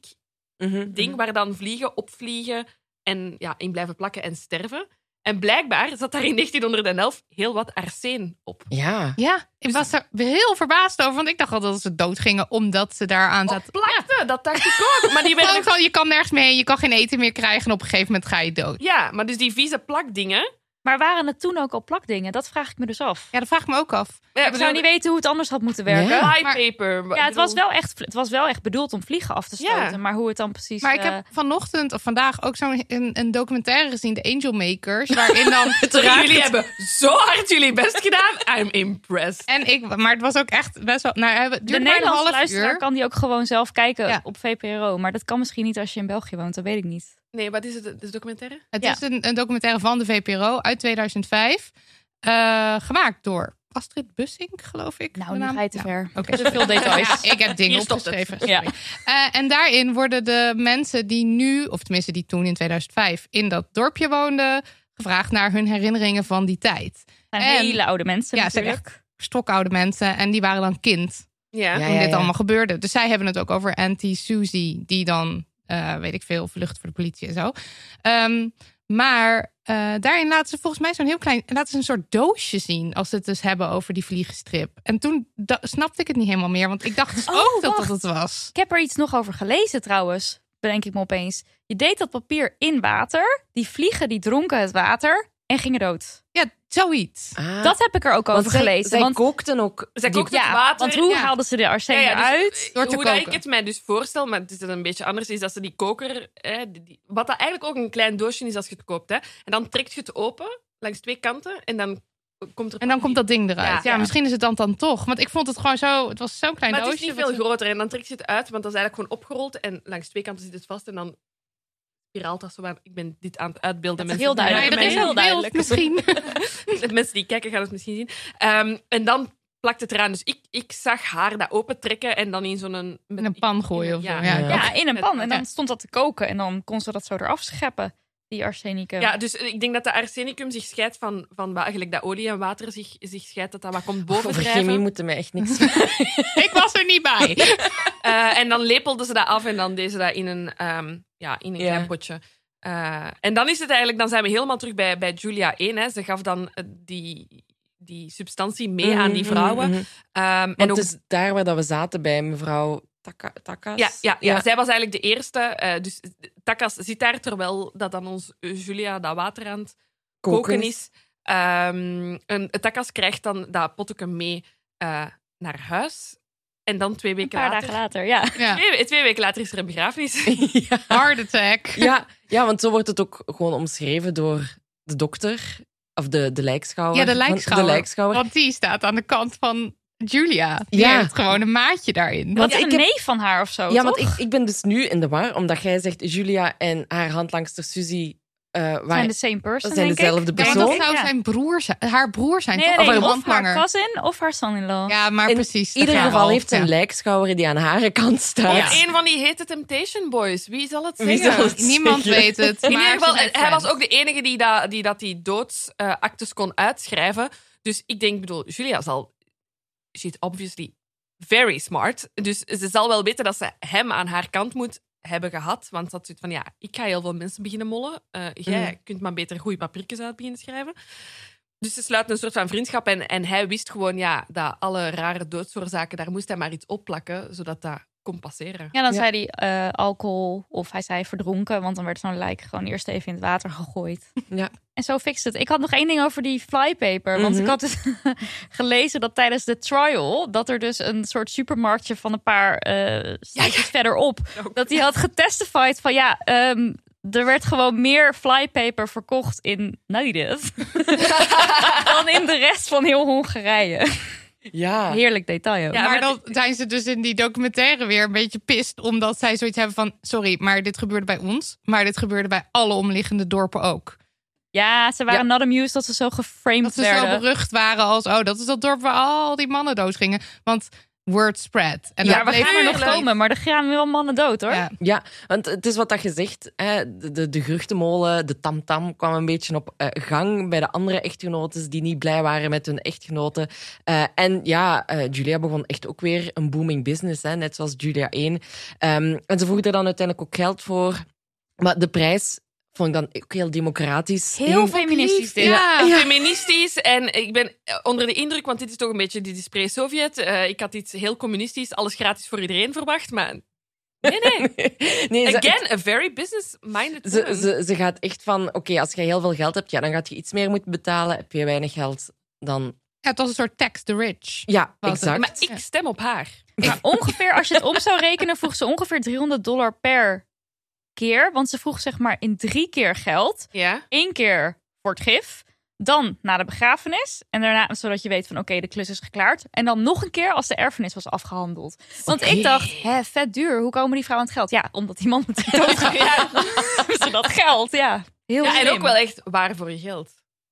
Mhm.
ding waar dan vliegen opvliegen en ja, in blijven plakken en sterven. En blijkbaar zat daar in 1911 heel wat arsen op.
Ja.
Ja, ik was daar heel verbaasd over, want ik dacht al dat ze dood gingen omdat ze daar aan zaten.
Dat plakte, dat dacht ik ook. Maar die
Gewoon
werden
van, je kan nergens mee, je kan geen eten meer krijgen en op een gegeven moment ga je dood.
Ja, maar dus die vieze plakdingen.
Maar waren het toen ook al plakdingen? Dat vraag ik me dus af.
Ja, dat vraag ik me ook af.
Ja,
ik zou niet weten hoe het anders had moeten werken.
Ja.
Ja,
Fly
maar-
paper.
het, was wel echt, het was wel echt bedoeld om vliegen af te
Ja.
stoten. Maar hoe het dan precies...
Maar ik
eh,
heb vanochtend of vandaag ook zo'n een, een documentaire gezien, de Angel Makers, waarin dan...
Jullie hebben zo hard jullie best gedaan. I'm impressed.
En ik, maar het was ook echt best wel... Nou, het duurde
de
maar een
Nederlandse
half
luisteraar
uur.
kan die ook gewoon zelf kijken
Ja.
op VPRO. Maar dat kan misschien niet als je in België woont, dat weet ik niet.
Nee, wat is het? Het is documentaire?
Het
Ja.
is een, een documentaire van de VPRO uit 2005. eh, gemaakt door Astrid Bussink, geloof ik.
Nou,
de
nu
naam.
ga je te
Ja.
ver.
Oké.
Te veel details.
Ja, ik heb dingen
Hier stopt het.
opgeschreven.
Ja.
sorry. Eh, en daarin worden de mensen die nu, of tenminste die toen in 2005 in dat dorpje woonden, gevraagd naar hun herinneringen van die tijd.
Het zijn
En-
hele oude mensen
Ja, ze zijn
natuurlijk.
Stokoude mensen en die waren dan kind
Ja.
Ja.
toen dit allemaal gebeurde. Dus zij hebben het ook over Auntie Susie, die dan, eh, weet ik veel, vlucht voor de politie en zo. Ehm, maar eh, daarin laten ze volgens mij zo'n heel klein, laten ze een soort doosje zien als ze het dus hebben over die vliegenstrip. En toen da- snapte ik het niet helemaal meer, want ik dacht dus
Oh,
ook dat dat
wacht.
het was.
Ik heb er iets nog over gelezen trouwens, bedenk ik me opeens. Je deed dat papier in water, die vliegen die dronken het water en gingen dood.
Ja, zoiets.
Ah.
Dat heb ik er ook
Want
over
zij-
gelezen.
Zij
want,
kookten ook.
Zij
die-
kookten het water.
want hoe
Ja.
haalden ze de arsene
Ja, ja, dus,
uit?
eh,
Door te
hoe dat ik
koken.
het mij dus voorstel, maar het is dan een beetje anders, is dat ze die koker, eh, die- die- wat dat eigenlijk ook een klein doosje is als je het koopt, hè, en dan trekt je het open langs twee kanten en dan komt er
En dan komt dat ding eruit. Ja,
Ja.
misschien is het dan dan toch. Want ik vond het gewoon zo, het was zo'n klein
Maar het is
doosje.
niet
wat
veel
ze-
groter en dan trekt je het uit, want dat is eigenlijk gewoon opgerold en langs twee kanten zit het vast en dan spiraalt dat zo aan. Ik ben dit aan het uitbeelden.
Dat is
mensen.
heel
Nee,
duidelijk.
er is
Heel
heel
duidelijk.
duidelijk. Misschien.
De mensen die kijken gaan het misschien zien. Ehm, en dan plakt het eraan. Dus ik, ik zag haar dat opentrekken en dan in zo'n... met-
In een pan gooien of zo.
Ja.
Ja,
Ja.
Ja, in een pan. En
Ja.
dan stond dat te koken en dan kon ze dat zo eraf scheppen, die arsenicum.
Ja, dus ik denk dat de arsenicum zich scheidt van, van wa- eigenlijk dat olie en water zich, zich scheidt, dat dat wat komt
Over
bovendrijven.
chemie moeten mij echt niks meer.
Ik was er niet bij.
Eh, en dan lepelden ze dat af en dan deden ze dat in een, ehm, ja, in een
Ja.
klein potje. Eh, en dan is het eigenlijk, dan zijn we helemaal terug bij, bij Julia 1. Hè. Ze gaf dan eh, die, die substantie mee aan die vrouwen.
Mhm, mhm, mhm.
Ehm, en
Want
ook,
het is daar waar dat we zaten bij mevrouw Taka, Takas.
ja, ja, ja. zij was eigenlijk de eerste. eh, dus Takas zit daar terwijl dat dan ons eh, Julia dat water aan het koken is. Ehm, en Takas krijgt dan dat potje mee eh, naar huis. En dan twee
een
weken
paar
later.
dagen later, ja.
Ja.
Twee, twee weken later is er een begrafenis.
ja.
Heart attack.
Ja, ja, want zo wordt het ook gewoon omschreven door de dokter. Of de, de lijkschouwer.
Ja, de
Van-
lijkschouwer.
De lijkschouwer.
Want die staat aan de kant van Julia. Die
Ja.
heeft gewoon een maatje daarin.
Want
Want
een
ik heb-
neef van haar of zo,
ja,
toch?
want ik, ik ben dus nu in de war. Omdat jij zegt, Julia en haar handlangster Suzy eh
zijn
waren
de same person,
dat zijn
denk
dezelfde
ik.
Ja, want
persoon.
dat zou
Ja.
zijn broer zijn, haar broer zijn.
Nee,
toch?
nee,
Of
of
een
haar
handlanger.
cousin of haar son-in-law.
Ja, maar
In
precies.
ieder
daar gaan we
geval
al.
heeft ze een
Ja.
lijkschouwer die aan haar kant staat.
Of een van die hete Temptation Boys. Wie zal het
Wie
zeggen?
zal het
Niemand
zeggen?
weet het.
In ieder
maar
geval, eh,
ze zijn
hij was
friends.
ook de enige die dat die, dat die doodsactes kon uitschrijven. Dus ik denk, bedoel, Julia zal... She's obviously very smart. Dus ze zal wel weten dat ze hem aan haar kant moet hebben gehad. Want ze had zoiets van, ja, ik ga heel veel mensen beginnen mollen. Eh, jij kunt maar beter goede papiertjes uit beginnen schrijven. Dus ze sluiten een soort van vriendschap. En, en hij wist gewoon, ja, dat alle rare doodsoorzaken... daar moest hij maar iets opplakken, zodat dat kon passeren.
Ja, dan
Ja.
zei hij eh, alcohol of hij zei verdronken, want dan werd zo'n lijk gewoon eerst even in het water gegooid.
Ja.
En zo fixt het. Ik had nog één ding over die flypaper, want
Mhm.
ik had dus gelezen dat tijdens de trial dat er dus een soort supermarktje van een paar eh steekjes verderop dat hij had getestified van ja. ehm, er werd gewoon meer flypaper verkocht in Nederland dan in de rest van heel Hongarije.
Ja.
Heerlijk detail ook.
Ja,
maar
maar
dan zijn ze dus in die documentaire weer een beetje pist. Omdat zij zoiets hebben van: sorry, maar dit gebeurde bij ons. Maar dit gebeurde bij alle omliggende dorpen ook.
Ja, ze waren not amused dat ze zo geframed
Dat ze
werden.
zo berucht waren als: oh, dat is dat dorp waar al die mannen doodgingen. Want word spread. En
Ja,
dat
we
bleef-
gaan er nog
tuurlijk.
komen, maar er gaan wel mannen dood hoor.
Ja.
Ja, want het is wat dat je zegt. Hè, de, de, de geruchtenmolen, de tamtam kwam een beetje op eh, gang bij de andere echtgenotes die niet blij waren met hun echtgenoten. Eh, en ja, eh, Julia begon echt ook weer een booming business, hè, net zoals Julia 1. Ehm, en ze vroeg er dan uiteindelijk ook geld voor. Maar de prijs vond ik dan ook heel democratisch.
Heel feministisch dit.
Ja.
Feministisch en ik ben eh, onder de indruk, want dit is toch een beetje die pre-Sovjet. Eh, ik had iets heel communistisch, alles gratis voor iedereen verwacht, maar nee, nee.
Nee, ze-
Again, a very business-minded
Ze,
woman.
ze, ze gaat echt van, oké, als je heel veel geld hebt, ja, dan gaat je iets meer moeten betalen. Heb je weinig geld, dan...
Ja, het was een soort tax the rich.
Ja,
Wat-
exact.
Maar ik stem op haar.
Maar ongeveer, als je het om zou rekenen, vroeg ze ongeveer 300 dollar per keer. Want ze vroeg zeg maar in drie keer geld.
Ja.
Eén keer voor het gif. Dan na de begrafenis. En daarna, zodat je weet van oké, de klus is geklaard. En dan nog een keer als de erfenis was afgehandeld. Want ik dacht, hè, vet duur. Hoe komen die vrouwen aan het geld? Ja, omdat die man met doodgaat.
Ja.
ze dat geld, ja. Heel
Ja, en
slim.
ook wel echt waar voor je geld.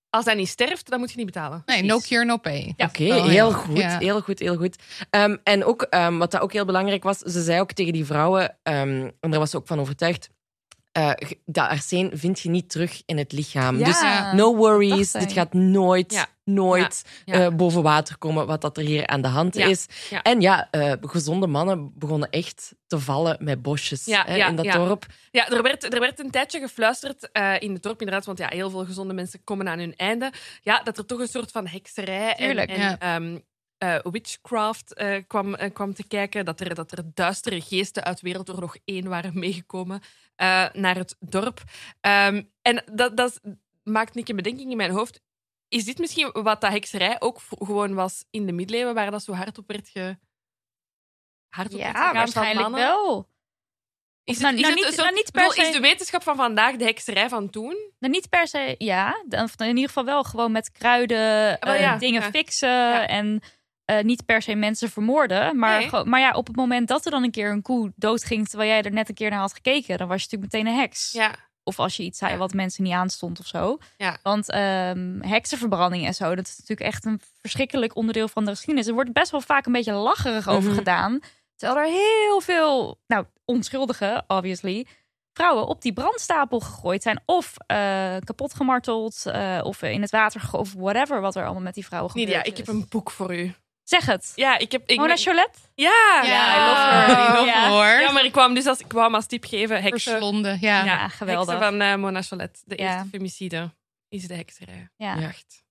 Als hij niet sterft, dan moet je niet betalen.
Nee, no cure, no pay.
Ja.
Oké,
Wel,
heel,
ja.
goed,
Ja.
heel goed, heel goed. Ehm, en ook, ehm, wat dat ook heel belangrijk was, ze zei ook tegen die vrouwen, ehm, en daar was ze ook van overtuigd, eh, ge- dat arsen vind je niet terug in het lichaam. Dus
Ja.
no worries,
dacht zij.
dit gaat nooit,
Ja.
nooit
Ja.
eh, boven water komen wat dat er hier aan de hand
Ja.
is.
Ja.
En ja, eh, gezonde mannen begonnen echt te vallen met bosjes
Ja,
hè,
ja,
in dat
ja.
dorp.
Ja, er werd, er werd een tijdje gefluisterd eh, in het dorp, inderdaad. Want ja, heel veel gezonde mensen komen aan hun einde. Ja, dat er toch een soort van hekserij en,
Tuurlijk.
en
Ja.
ehm, eh, witchcraft eh, kwam, eh, kwam te kijken. Dat er, dat er duistere geesten uit Wereldoorlog 1 waren meegekomen eh, naar het dorp. Ehm, en dat, dat maakt niet een bedenking in mijn hoofd. Is dit misschien wat dat hekserij ook v- gewoon was in de middeleeuwen, waar dat zo hard op werd ge... Hard op werd gegaan
Ja,
van
waarschijnlijk
mannen?
wel.
Is het,
Nou,
is
nou
het een
niet-
soort-
nou niet
ik
per
bedoel,
se-
is de wetenschap van vandaag de hekserij van toen?
Nou, niet per se, ja. De- Of in ieder geval wel gewoon met kruiden
wel,
eh,
Oh, ja.
dingen
Ja.
fixen
Ja.
en eh, niet per se mensen vermoorden. Maar,
Nee.
gewoon- maar ja, op het moment dat er dan een keer een koe doodging terwijl jij er net een keer naar had gekeken, dan was je natuurlijk meteen een heks.
Ja.
Of als je iets zei
Ja.
wat mensen niet aanstond of zo.
Ja.
Want ehm heksenverbranding en zo, dat is natuurlijk echt een verschrikkelijk onderdeel van de geschiedenis. Er wordt best wel vaak een beetje lacherig over
Mhm.
gedaan. Terwijl er heel veel, nou, onschuldige, obviously, vrouwen op die brandstapel gegooid zijn. Of eh, kapot gemarteld, eh, of in het water gegooid, of whatever wat er allemaal met die vrouwen gebeurt.
Nidia, ik heb een boek voor u.
Zeg het.
Ja, ik heb... Ik,
Mona
ja.
Cholet?
Ja,
Ja, I love
Oh,
her.
I love
Ja.
her.
Ja, maar ik kwam dus als, ik kwam als tip geven. Heksen,
Verslonden, ja.
Ja, geweldig.
heksen van eh, Mona Cholet. De
Ja.
eerste femicide is de hekserij.
Ja.
Ja.
Echt.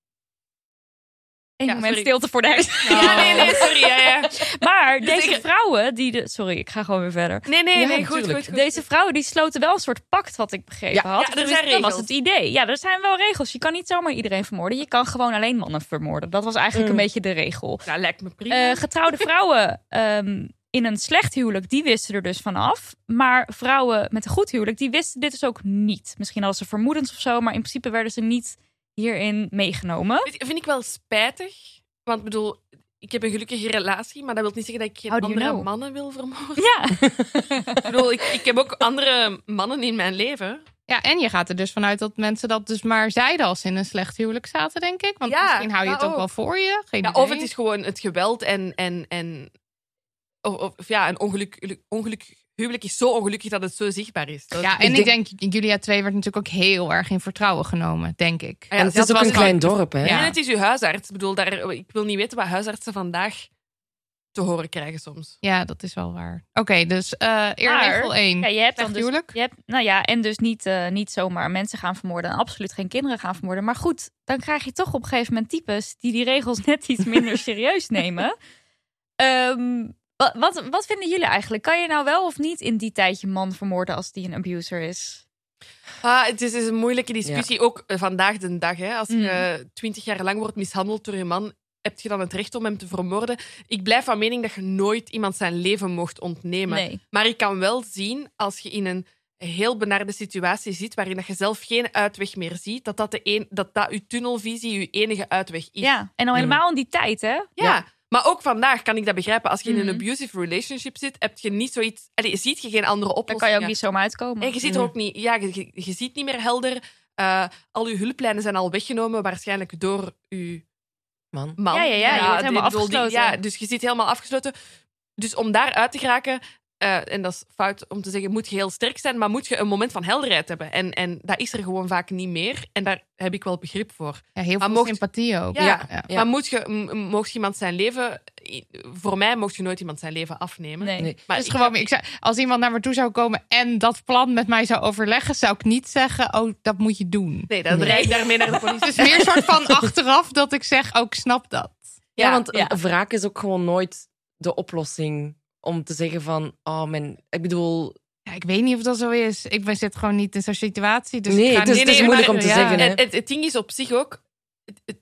Eén
Ja,
moment
sorry.
stilte voor de heks.
Ja, nee, nee, sorry. Ja, ja.
Maar
Dus
deze
ik-
vrouwen die de... Sorry, ik ga gewoon weer verder.
Nee, nee,
Ja,
nee, goed, goed,
natuurlijk.
goed, goed.
Deze vrouwen die sloten wel een soort pact, wat ik begrepen
Ja.
had.
Ja, er
Dus
zijn
dat was
regels.
het idee. Ja, er zijn wel regels. Je kan niet zomaar iedereen vermoorden. Je kan gewoon alleen mannen vermoorden. Dat was eigenlijk
Mm.
een beetje de regel.
Ja, lijkt me prima.
Eh, getrouwde vrouwen ehm, in een slecht huwelijk, die wisten er dus vanaf. Maar vrouwen met een goed huwelijk, die wisten dit dus ook niet. Misschien hadden ze vermoedens of zo, maar in principe werden ze niet hierin meegenomen.
Weet je, vind ik wel spijtig. Want ik bedoel, ik heb een gelukkige relatie, maar dat wil niet zeggen dat ik geen
How do you
andere
know?
mannen wil vermoorden.
Ja,
Ik bedoel, ik, ik heb ook andere mannen in mijn leven.
Ja, en je gaat er dus vanuit dat mensen dat dus maar zeiden als ze in een slecht huwelijk zaten, denk ik. Want
Ja,
misschien hou je het
dat
ook wel
ook.
voor je. Geen
Ja,
idee.
of het is gewoon het geweld en. en, en of, of- of ja, een ongeluk, ongeluk. Huwelijk is zo ongelukkig dat het zo zichtbaar is. Dat-
Ja, en ik denk, Julia 2 werd natuurlijk ook heel erg in vertrouwen genomen, denk ik.
Ja,
en het
dat
is ook
was
een
het-
klein dorp, hè.
Ja.
En het is uw huisarts. Ik bedoel, daar, ik wil niet weten wat huisartsen vandaag te horen krijgen soms.
Ja, dat is wel waar. Oké, dus eh eerregel
Maar,
1.
Ja, je hebt dan
Slecht
dus,
huwelijk.
je hebt, nou ja, en dus niet, eh, niet zomaar mensen gaan vermoorden en absoluut geen kinderen gaan vermoorden. Maar goed, dan krijg je toch op een gegeven moment types die die regels net iets minder serieus nemen. Ehm, wa- wat, wat, vinden jullie eigenlijk? Kan je nou wel of niet in die tijd je man vermoorden als die een abuser is?
Ah, het is, is een moeilijke discussie, ook eh, vandaag de dag. Hè. Als je twintig jaar lang wordt mishandeld door je man, heb je dan het recht om hem te vermoorden? Ik blijf van mening dat je nooit iemand zijn leven mocht ontnemen.
Nee.
Maar ik kan wel zien, als je in een heel benarde situatie zit, waarin dat je zelf geen uitweg meer ziet, dat dat, de een, dat, dat je tunnelvisie je enige uitweg is.
Ja, en al helemaal in die tijd, hè?
Ja. Maar ook vandaag kan ik dat begrijpen. Als je in een
Mhm.
abusive relationship zit, heb je niet zoiets... Allee, ziet je geen andere
Daar
oplossing.
kan je ook niet Mhm. zomaar uitkomen.
En je ziet er ook niet... Ja, je, je- je ziet niet meer helder. Eh, al je hulplijnen zijn al weggenomen, waarschijnlijk door je
man.
man.
Ja, ja, ja, je wordt
die-
helemaal
bedoel, die-
afgesloten.
ja, dus je zit helemaal afgesloten. Dus om daar uit te geraken, eh, en dat is fout om te zeggen, moet je heel sterk zijn, maar moet je een moment van helderheid hebben. En, en dat is er gewoon vaak niet meer. En daar heb ik wel begrip voor.
Ja, heel
Maar
veel
mocht-
sympathie ook.
Ja,
ja.
Ja.
Maar moet je, m- m- mocht iemand zijn leven... i- Voor mij mocht je nooit iemand zijn leven afnemen.
Nee.
Nee.
Maar
Dus
ik-
gewoon, ik zou, als iemand naar me toe zou komen en dat plan met mij zou overleggen, zou ik niet zeggen: Oh, dat moet je doen.
nee, dan
Nee.
rijd ik daarmee naar de politie.
Het is meer een soort van achteraf dat ik zeg: Oh, ik snap dat.
Ja, want een wraak is ook gewoon nooit de oplossing om te zeggen van, oh mijn, ik bedoel,
Ja, ik weet niet of dat zo is. Ik ben zit gewoon niet in zo'n situatie. Dus
Nee,
ik ga
het is-
niet-
het is moeilijk om te
ja.
zeggen, hè.
En het, het ding is op zich ook, het- het-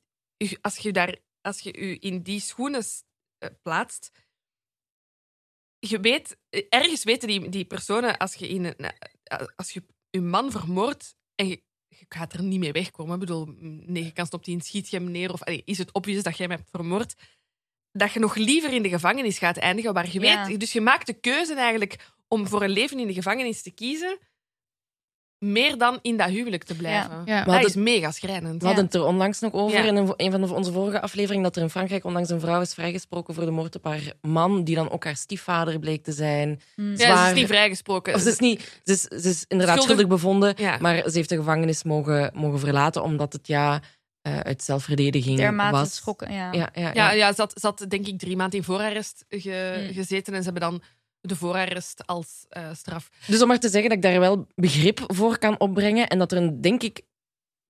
u- als je daar, als je u in die schoenen s- eh, plaatst, je weet, eh, ergens weten die, die personen, als je, in een, eh, als je je man vermoordt en je, je gaat er niet mee wegkomen, ik bedoel, 9 kans op 10 schiet je hem neer, of allee, is het obvious dat jij hem hebt vermoord, dat je nog liever in de gevangenis gaat eindigen, waar je
Ja.
weet, dus je maakt de keuze eigenlijk om voor een leven in de gevangenis te kiezen, meer dan in dat huwelijk te blijven.
Ja.
Maar
Maar dus-
dat is
dat-
mega schrijnend.
we hadden het er onlangs nog over
Ja.
in een, een van onze vorige afleveringen, dat er in Frankrijk onlangs een vrouw is vrijgesproken voor de moord op haar man, die dan ook haar stiefvader bleek te zijn.
Hm.
Ja, ze
zwaar-
is niet vrijgesproken.
Of ze is, niet, ze is, ze is inderdaad
Schuldig-
schuldig, bevonden,
Ja.
maar ze heeft de gevangenis mogen, mogen verlaten, omdat het ja eh, uit zelfverdediging
Dermate
was.
schokken. Ja.
Ja, ja, ja.
ja, ja, ze had, ze had denk ik drie maanden in voorarrest ge-
Mm.
gezeten en ze hebben dan de voorarrest als eh, straf.
Dus om maar te zeggen dat ik daar wel begrip voor kan opbrengen en dat er, een, denk ik,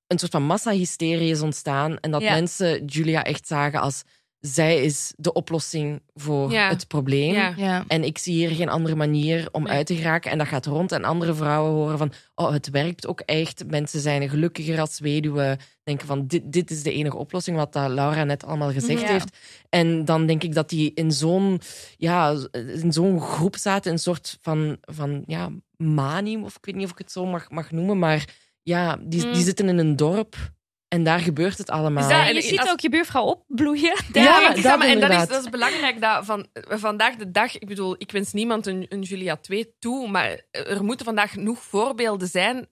een soort van massahysterie is ontstaan en dat
Ja.
mensen Julia echt zagen als zij is de oplossing voor
Ja.
het probleem.
Ja.
Ja.
En ik zie hier geen andere manier om
Nee.
uit te geraken. En dat gaat rond en andere vrouwen horen van... Oh, het werkt ook echt. Mensen zijn gelukkiger als weduwe. Denken van, dit, dit is de enige oplossing. Wat dat Laura net allemaal gezegd
Ja.
heeft. En dan denk ik dat die in zo'n ja, in zo'n groep zaten. Een soort van, van ja, manie. Of ik weet niet of ik het zo mag, mag noemen. Maar ja, die,
Mm.
die zitten in een dorp. En daar gebeurt het allemaal.
Is dat-
En je
en
ziet
als-
ook je buurvrouw opbloeien.
Ja,
maar
maar
ik
dat
zeg maar, en dat is,
inderdaad.
dat is belangrijk dat van, we vandaag de dag, ik bedoel, ik wens niemand een, een Julia 2 toe, maar er moeten vandaag genoeg voorbeelden zijn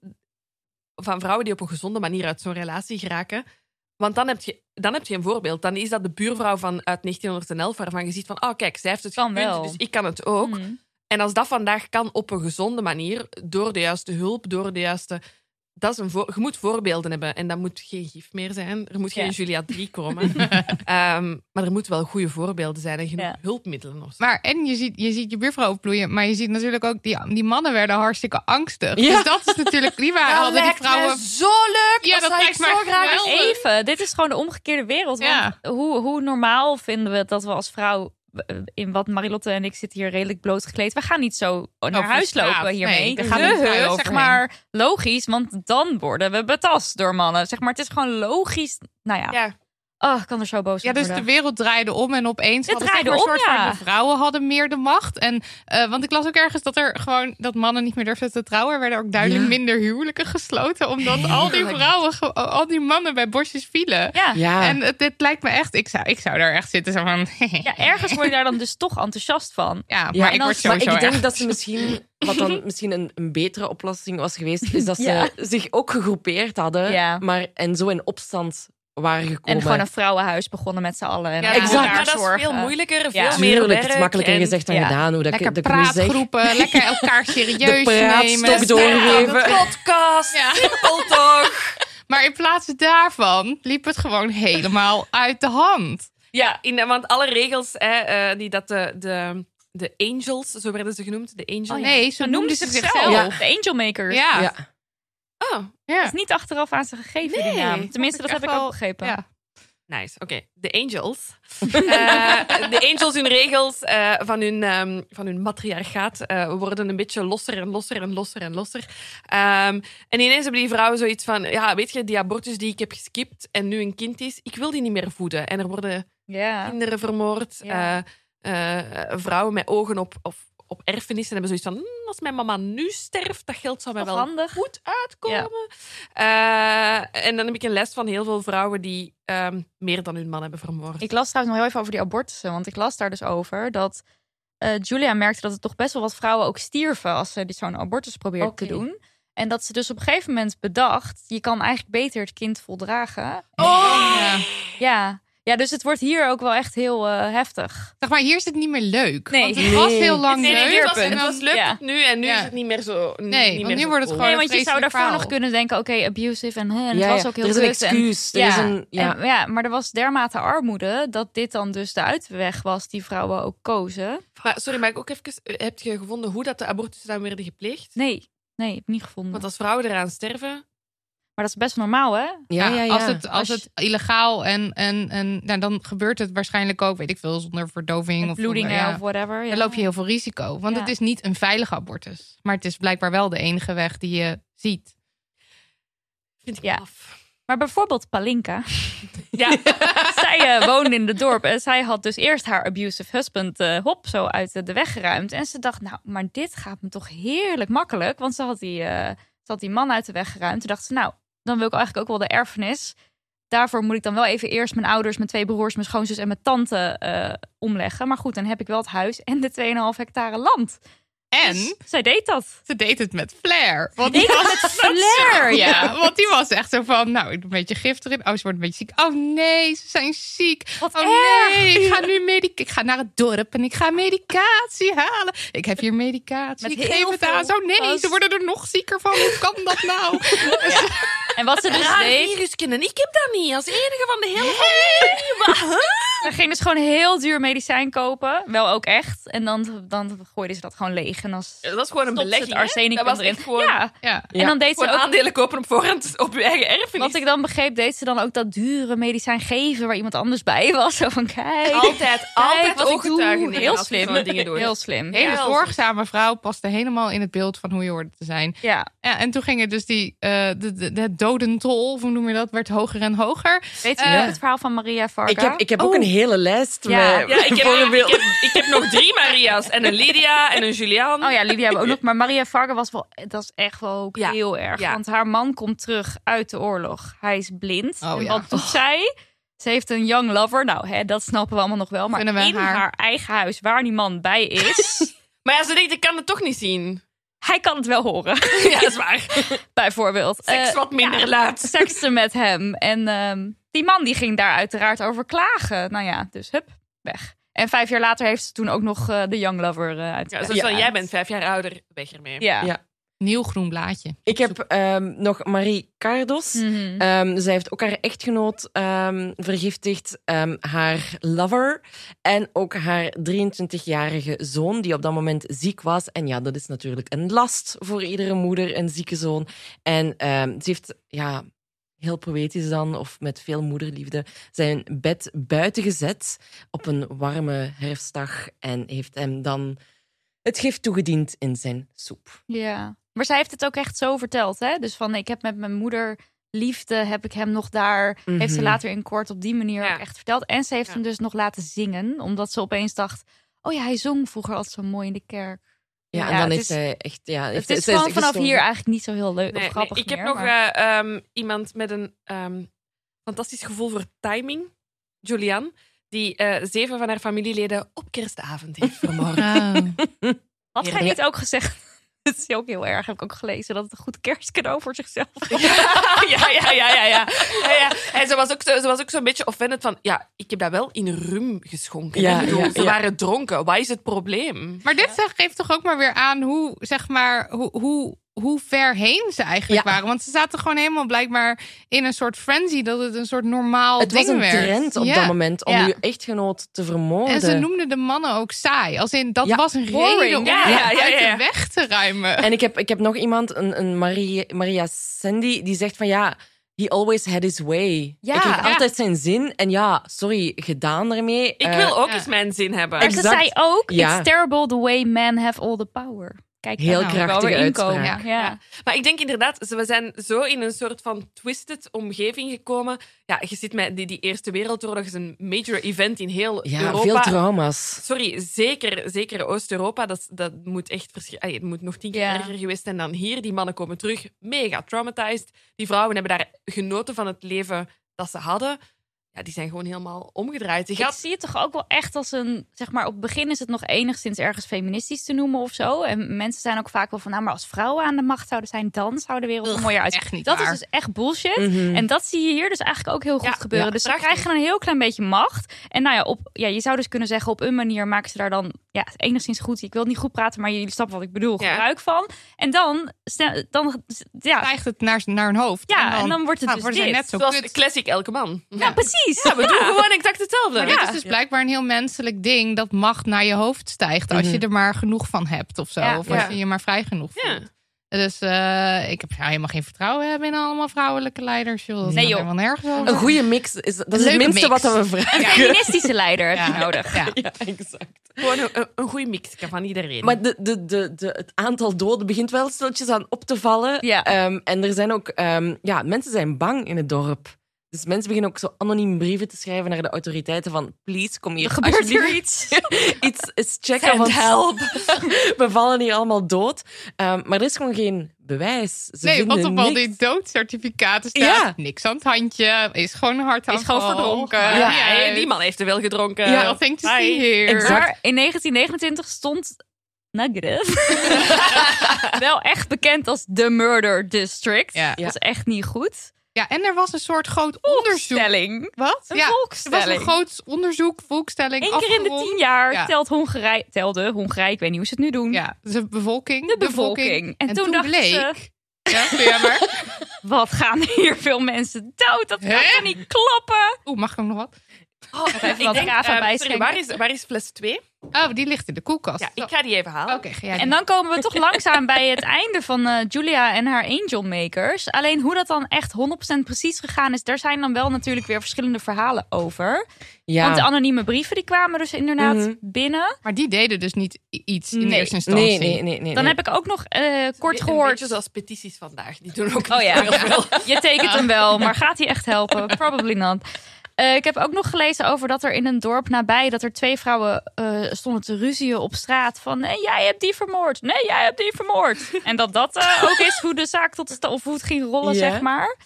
van vrouwen die op een gezonde manier uit zo'n relatie geraken. Want dan heb, je, dan heb je een voorbeeld. Dan is dat de buurvrouw van uit 1911, waarvan je ziet van, oh kijk, zij heeft het
Kan
gekund,
wel.
dus ik kan het ook.
Hm.
En als dat vandaag kan op een gezonde manier, door de juiste hulp, door de juiste. Dat is een voor- je moet voorbeelden hebben en dat moet geen gif meer zijn. Er moet geen
Ja.
Julia 3 komen. Ehm, maar er moeten wel goede voorbeelden zijn en genoeg
Ja.
hulpmiddelen. Of zo.
Maar en je ziet, je ziet je buurvrouw opbloeien, maar je ziet natuurlijk ook die, die mannen werden hartstikke angstig.
Ja. Nou,
Dus dat is natuurlijk die waren
Dat
hadden die
lijkt mij
vrouwen.
zo leuk!
Ja,
dat
dat
zou ik
lijkt mij
zo graag
geweldig.
eens-
Even, dit is gewoon de omgekeerde wereld. Want
Ja.
hoe, hoe normaal vinden we dat we als vrouw... eh, In wat Marilotte en ik zitten hier redelijk blootgekleed. We gaan niet zo naar
Over
huis
straat.
lopen hiermee.
Nee, daar gaan we
Huh,
niet
huh,
vrij
zeg
overheen.
maar logisch, want dan worden we betast door mannen. Zeg maar, het is gewoon logisch. Nou ja,
Ja.
Oh, ik kan er zo boos
Ja,
op
dus de
worden.
wereld draaide om en opeens
Het
hadden zeg
draaide
maar,
om,
een soort
ja.
van de vrouwen hadden meer de macht. En, eh, want ik las ook ergens dat er gewoon dat mannen niet meer durfden te trouwen. Er werden ook duidelijk
Ja.
minder huwelijken gesloten. Omdat al die
Heerlijk.
vrouwen, ge- al die mannen bij bosjes vielen.
Ja. ja.
Ja.
En het, dit lijkt me echt, ik zou, ik zou daar echt zitten. Zo van,
ergens word je daar dan dus toch enthousiast van.
Ja, maar
Ja,
ik
en
word
als-
Maar
sowieso
ik denk
erg.
dat ze misschien, wat dan misschien een, een betere oplossing was geweest, is dat ze
Ja.
zich ook gegroepeerd hadden
Ja.
maar, en zo in opstand waren gekomen.
En gewoon een vrouwenhuis begonnen met z'n allen. En
Ja,
allemaal
exact.
elkaar
Maar dat is veel
zorgen.
moeilijker, veel
Ja.
meer
Tuurlijk, het
werk
is makkelijker
en-
gezegd dan
ja,
gedaan. Hoe dat
Lekker
ik, dat ik nu zeg.
praatgroepen, lekker elkaar serieus
De
nemen.
praatstok doorgeven.
Een podcast,
Ja.
simpel toch?
Maar in plaats daarvan liep het gewoon helemaal uit de hand.
Ja, in, want alle regels hè, eh, die dat de, de, de angels, zo werden ze genoemd, de angels.
Oh, Nee, zo
Zo
noemden
noemden
ze
ze
zichzelf.
zichzelf. De Angel Makers.
Ja.
Ja.
Oh,
Ja.
Dat is niet achteraf aan ze gegeven,
Nee,
die naam. Tenminste,
vond
dat
ik
heb ik
echt
ook
wel-
begrepen.
Ja.
nice. Oké, de angels. Eh, De angels, hun regels eh, van, hun, ehm, van hun matriarchaat eh, worden een beetje losser en losser en losser en losser. Ehm, en ineens hebben die vrouwen zoiets van, ja, weet je, die abortus die ik heb geskipt en nu een kind is, ik wil die niet meer voeden. En er worden
Ja.
kinderen vermoord.
Ja.
eh, eh, vrouwen met ogen op, op, op erfenissen hebben zoiets van... "Hmm, als mijn mama nu sterft, dat geld zou mij
Toch
wel
handig.
goed uitkomen. Eh, en dan heb ik een les van heel veel vrouwen die ehm, meer dan hun man hebben vermoord.
Ik las trouwens nog heel even over die abortussen. Want ik las daar dus over dat eh, Julia merkte dat er toch best wel wat vrouwen ook stierven als ze dit zo'n abortus probeerden te
Oké.
doen. En dat ze dus op een gegeven moment bedacht, je kan eigenlijk beter het kind voldragen.
Oh!
Ja.
Ja. Ja, dus het wordt hier ook wel echt heel eh, heftig.
Zeg maar, hier is het niet meer leuk.
Nee.
Want het was
Nee.
heel lang
Het is
leuk.
een
Het was,
en
het
keerpunt.
dan-
was leuk
Ja.
tot nu en nu
Ja.
is het niet meer zo. n-
Nee,
niet
want
meer
nu
zo
wordt het
cool.
gewoon
Nee, want je zou
vreselijk
daarvoor
verhaal.
nog kunnen denken, oké, abusive en, hè, en
Ja,
het was
ja.
ook heel
er is een
kut en-
excuus. Dus Er
ja.
is een, ja.
En, ja, maar er was dermate armoede dat dit dan dus de uitweg was die vrouwen ook kozen.
Maar, sorry, maar ik ook even. Heb je gevonden hoe dat de abortussen dan werden gepleegd?
Nee, nee, heb niet gevonden.
Want als vrouwen eraan sterven.
Maar dat is best normaal, hè?
Ja, ja, ja.
Als het, als
Als je-
het illegaal en, en, en nou, dan gebeurt het waarschijnlijk ook, weet ik veel, zonder verdoving
Met
of
bloedingen
zonder- ja.
of whatever. Ja.
Dan loop je heel veel risico. Want
Ja.
het is niet een veilige abortus. Maar het is blijkbaar wel de enige weg die je ziet.
Vind ik
Ja.
af.
Maar bijvoorbeeld Palinka. ja, zij eh, woonde in het dorp en zij had dus eerst haar abusive husband eh, hop zo uit eh, de weg geruimd. En ze dacht, nou, maar dit gaat me toch heerlijk makkelijk. Want ze had die, eh, ze had die man uit de weg geruimd. Toen dacht ze, nou, dan wil ik eigenlijk ook wel de erfenis. Daarvoor moet ik dan wel even eerst mijn ouders, mijn twee broers, mijn schoonzus en mijn tante eh, omleggen. Maar goed, dan heb ik wel het huis en de 2,5 hectare land.
En
Dus zij deed dat.
ze deed het met flair. Want
Deed
die
dat
was,
met flair,
ja, want die was echt zo van, nou, ik doe een beetje gif erin. Oh, ze wordt een beetje ziek. Oh nee, ze zijn ziek.
Wat
Oh
erg.
nee, ik ga nu medic ik ga naar het dorp en ik ga medicatie halen. Ik heb hier medicatie.
Met
ik geef
heel
het
veel
aan. Zo nee,
pas.
ze worden er nog zieker van. Hoe kan dat nou?
En wat ze dus
Raar
deed...
viruskind en ik heb dat niet als enige van de hele.
Ze ging dus gewoon heel duur medicijn kopen. Wel ook echt. En dan, dan gooiden ze dat gewoon leeg. En dan stopte
Dat was gewoon een
het
belegging. hè?
arsenicum
dat was
erin.
echt gewoon.
ja.
ja.
Ja,
en dan deed ze
Gewoon
ook...
aandelen kopen op voorhand op je eigen erfenis.
Wat ik dan begreep, deed ze dan ook dat dure medicijn geven... waar iemand anders bij was. Zo van, kijk,
altijd,
kijk
altijd
wat ik doe.
ooggetuigen.
Heel slim.
Dingen doet.
Heel slim.
Hele
Ja.
Ja.
zorgzame vrouw paste helemaal in het beeld van hoe je hoorde te zijn.
Ja.
Ja, en toen ging het dus die, eh de, de, de dodentol, of hoe noem je dat, werd hoger en hoger.
Weet je
Eh,
nog het verhaal van Maria Varga?
Ik heb, ik heb ook een hele lijst
Ja.
met
Ja, ik heb, ik,
voorbeelden.
heb, ik heb nog drie Maria's. En een Lydia en een Julian.
Oh ja, Lydia hebben we ook nog. Maar Maria Varga was wel... Dat is echt wel ook
Ja,
heel erg.
ja.
Want haar man komt terug uit de oorlog. Hij is blind.
Oh
en
ja.
wat doet zij? Ze heeft een young lover. Nou, hè, dat snappen we allemaal nog wel. Maar
Kunnen we
in haar...
haar-
eigen huis, waar die man bij is...
Maar ja, ze denkt, ik kan het toch niet zien.
hij kan het wel horen,
Ja, dat is waar.
bijvoorbeeld.
Seks
Eh,
wat minder
ja,
laat.
Seksen met hem. En ehm, die man die ging daar uiteraard over klagen. Nou ja, dus hup, weg. En vijf jaar later heeft ze toen ook nog eh, de young lover eh uit.
Ja, dus zoals van,
uit-
jij bent vijf jaar ouder, weg ermee.
Ja.
Ja.
Nieuw groen blaadje.
Ik heb ehm, nog Marie Cardos.
Mhm.
Ehm, zij heeft ook haar echtgenoot ehm, vergiftigd, ehm, haar lover en ook haar 23-jarige zoon, die op dat moment ziek was. En ja, dat is natuurlijk een last voor iedere moeder, een zieke zoon. En ehm, ze heeft, ja, heel poëtisch dan, of met veel moederliefde, zijn bed buiten gezet op een warme herfstdag en heeft hem dan het gif toegediend in zijn soep.
Ja, maar zij heeft het ook echt zo verteld, hè? Dus van, ik heb met mijn moeder liefde, heb ik hem nog daar.
Mhm.
Heeft ze later in kort op die manier
Ja.
ook echt verteld. En ze heeft
Ja.
hem dus nog laten zingen, omdat ze opeens dacht... Oh ja, hij zong vroeger altijd zo mooi in de kerk.
Ja, en
Ja,
dan
het
is
is-
zij echt... Ja, heeft-
het is
zij
gewoon vanaf
gestorven.
hier eigenlijk niet zo heel leuk
Nee,
of grappig
nee, ik heb
meer,
nog
maar-
eh, ehm, iemand met een ehm, fantastisch gevoel voor timing, Julian, die eh, zeven van haar familieleden op kerstavond heeft vermoord.
Had hij
Ja.
niet ook gezegd... Dat is ook heel erg, heb ik ook gelezen, dat het een goed kerstcadeau voor zichzelf was.
ja, ja, ja, ja, ja. ja, ja. En ze was ook, zo- ze was ook zo'n beetje offended van, ja, ik heb dat wel in rum geschonken.
Ja,
Ik bedoel,
ja,
ze
ja.
waren dronken. Wat is het probleem?
Maar dit zeg- geeft toch ook maar weer aan hoe, zeg maar, hoe, hoe, hoe ver heen ze eigenlijk
Ja.
waren. Want ze zaten gewoon helemaal blijkbaar in een soort frenzy dat het een soort normaal
Het
ding
was een
werd.
trend op
Ja.
dat moment om
Ja.
je echtgenoot te vermoorden.
En ze noemden de mannen ook saai. Als in, dat
Ja.
was een
Boring.
reden om
Ja,
ja,
ja, ja,
uit
ja.
de weg te ruimen.
En ik heb, ik heb nog iemand, een, een Marie, Maria Sandy, die zegt van ja, he always had his way.
Ja.
Hij kreeg
Ja.
altijd zijn zin. En ja, sorry, gedaan ermee.
Ik
Eh,
wil ook
ja.
eens mijn zin hebben.
Maar ze
Exact.
zei ook,
Ja.
it's terrible the way men have all the power. Kijk, daar
Heel
moet ik wel
krachtige
weer inkomen.
uitspraak.
Ja.
Ja. Maar ik denk inderdaad, ze- we zijn zo in een soort van twisted omgeving gekomen. Ja, je ziet met die, die Eerste Wereldoorlog is een major event in heel
Eh, Ja,
Europa.
veel trauma's.
Sorry, zeker, zeker Oost-Europa. Dat, is- dat moet echt verschi- Allee, het moet nog tien keer
Ja.
erger geweest zijn dan hier. Die mannen komen terug, mega traumatized. Die vrouwen hebben daar genoten van het leven dat ze hadden. ja, die zijn gewoon helemaal omgedraaid. Die
Ik
gaat
zie het toch ook wel echt als een, zeg maar, op het begin is het nog enigszins ergens feministisch te noemen of zo. En mensen zijn ook vaak wel van, nou, maar als vrouwen aan de macht zouden zijn, dan zou de wereld er
Ugh,
mooier uitzien.
echt niet
Dat
waar. Mm.
is dus echt bullshit.
Mhm.
En dat zie je hier dus eigenlijk ook heel goed
Ja,
gebeuren.
ja,
dus ze
prachtig.
krijgen een heel klein beetje macht. En nou ja, op, ja, je zou dus kunnen zeggen, op een manier maken ze daar dan ja, enigszins goed. Ik wil niet goed praten, maar jullie snappen wat ik bedoel.
Ja.
Gebruik van. En dan, stel- dan ja,
krijgt het naar, naar hun hoofd.
ja, en dan wordt het
nou,
dus
worden ze
dit.
net zo
zoals
kut.
classic elke man. Ja,
Ja, precies.
we doen gewoon exact hetzelfde.
Maar
Ja.
dit is dus blijkbaar een heel menselijk ding dat macht naar je hoofd stijgt als je er maar genoeg van hebt of zo.
Ja.
of als
Ja.
je je maar vrij genoeg
Ja.
voelt. Dus eh, ik heb nou helemaal geen vertrouwen hebben in allemaal vrouwelijke leiders. Joh. Dat
Nee,
gaat
joh.
helemaal nergens over.
Een goede mix, is, dat is het
Leuke
minste
mix.
wat we vragen.
Een feministische leider heb je
Ja.
nodig.
Ja.
Ja, exact.
dus Gewoon een, een- een goede mix van iedereen.
Maar de, de, de, de, het aantal doden begint wel stiltjes aan op te vallen.
Ja.
Ehm, en er zijn ook... ehm, ja, mensen zijn bang in het dorp. Dus mensen beginnen ook zo anoniem brieven te schrijven naar de autoriteiten van... Please, kom hier
Er gebeurt
alsjeblieft.
hier iets.
iets is checken. Want help. we vallen hier allemaal dood. Ehm, maar er is gewoon geen bewijs. Ze
Nee,
vinden
want op al
niks.
die doodcertificaten staat
Ja.
niks aan het handje. Is gewoon een hart
gewoon verdronken.
ja,
Ja,
hey, die man heeft er wel gedronken.
Ja,
Nothing to
Bye.
see here.
Exact.
Maar in 1929 stond Nagrev wel echt bekend als de Murder District.
Ja.
Dat is echt niet goed.
Ja, en er was een soort groot onderzoek.
Stelling.
Wat?
Een
ja, er was een
volkstelling.
groot onderzoek, volkstelling.
Eén keer in de
afgerond.
tien jaar
Ja.
telt Hongarije, telde Hongarije, ik weet niet hoe ze het nu doen,
Ja, dus de bevolking.
de bevolking. En, toen, dacht
bleek.
ze,
Ja, doe jij maar.
wat gaan hier veel mensen dood? Dat kan
Hè?
toch niet kloppen?
Oeh, mag ik hem nog wat?
Oh, ik denk,
wat Rafa
ehm, sorry,
bijschenken.
waar is, waar is fles Oh, 2?
Oh, die ligt in de koelkast.
Ja,
Zo.
ik ga die even halen.
Oké, ga jij
En
doen.
dan komen we toch langzaam bij het einde van eh, Julia en haar Angel Makers. Alleen hoe dat dan echt 100% precies gegaan is, daar zijn dan wel natuurlijk weer verschillende verhalen over.
Ja.
Want de anonieme brieven die kwamen dus inderdaad
Mhm.
binnen.
Maar die deden dus niet i- iets in
Nee.
eerste instantie.
Nee, nee, nee. nee
Dan
nee.
heb ik ook nog eh,
Een
kort
beetje
gehoord.
zoals petities vandaag. Die doen ook
Oh ja,
heel veel.
je tekent hem wel, maar gaat hij echt helpen? Probably not. Eh, ik heb ook nog gelezen over dat er in een dorp nabij... dat er twee vrouwen eh, stonden te ruzien op straat van... nee, jij hebt die vermoord. Nee, jij hebt die vermoord. En dat dat eh, ook is hoe de zaak tot stand... of hoe het ging rollen,
Ja.
zeg maar.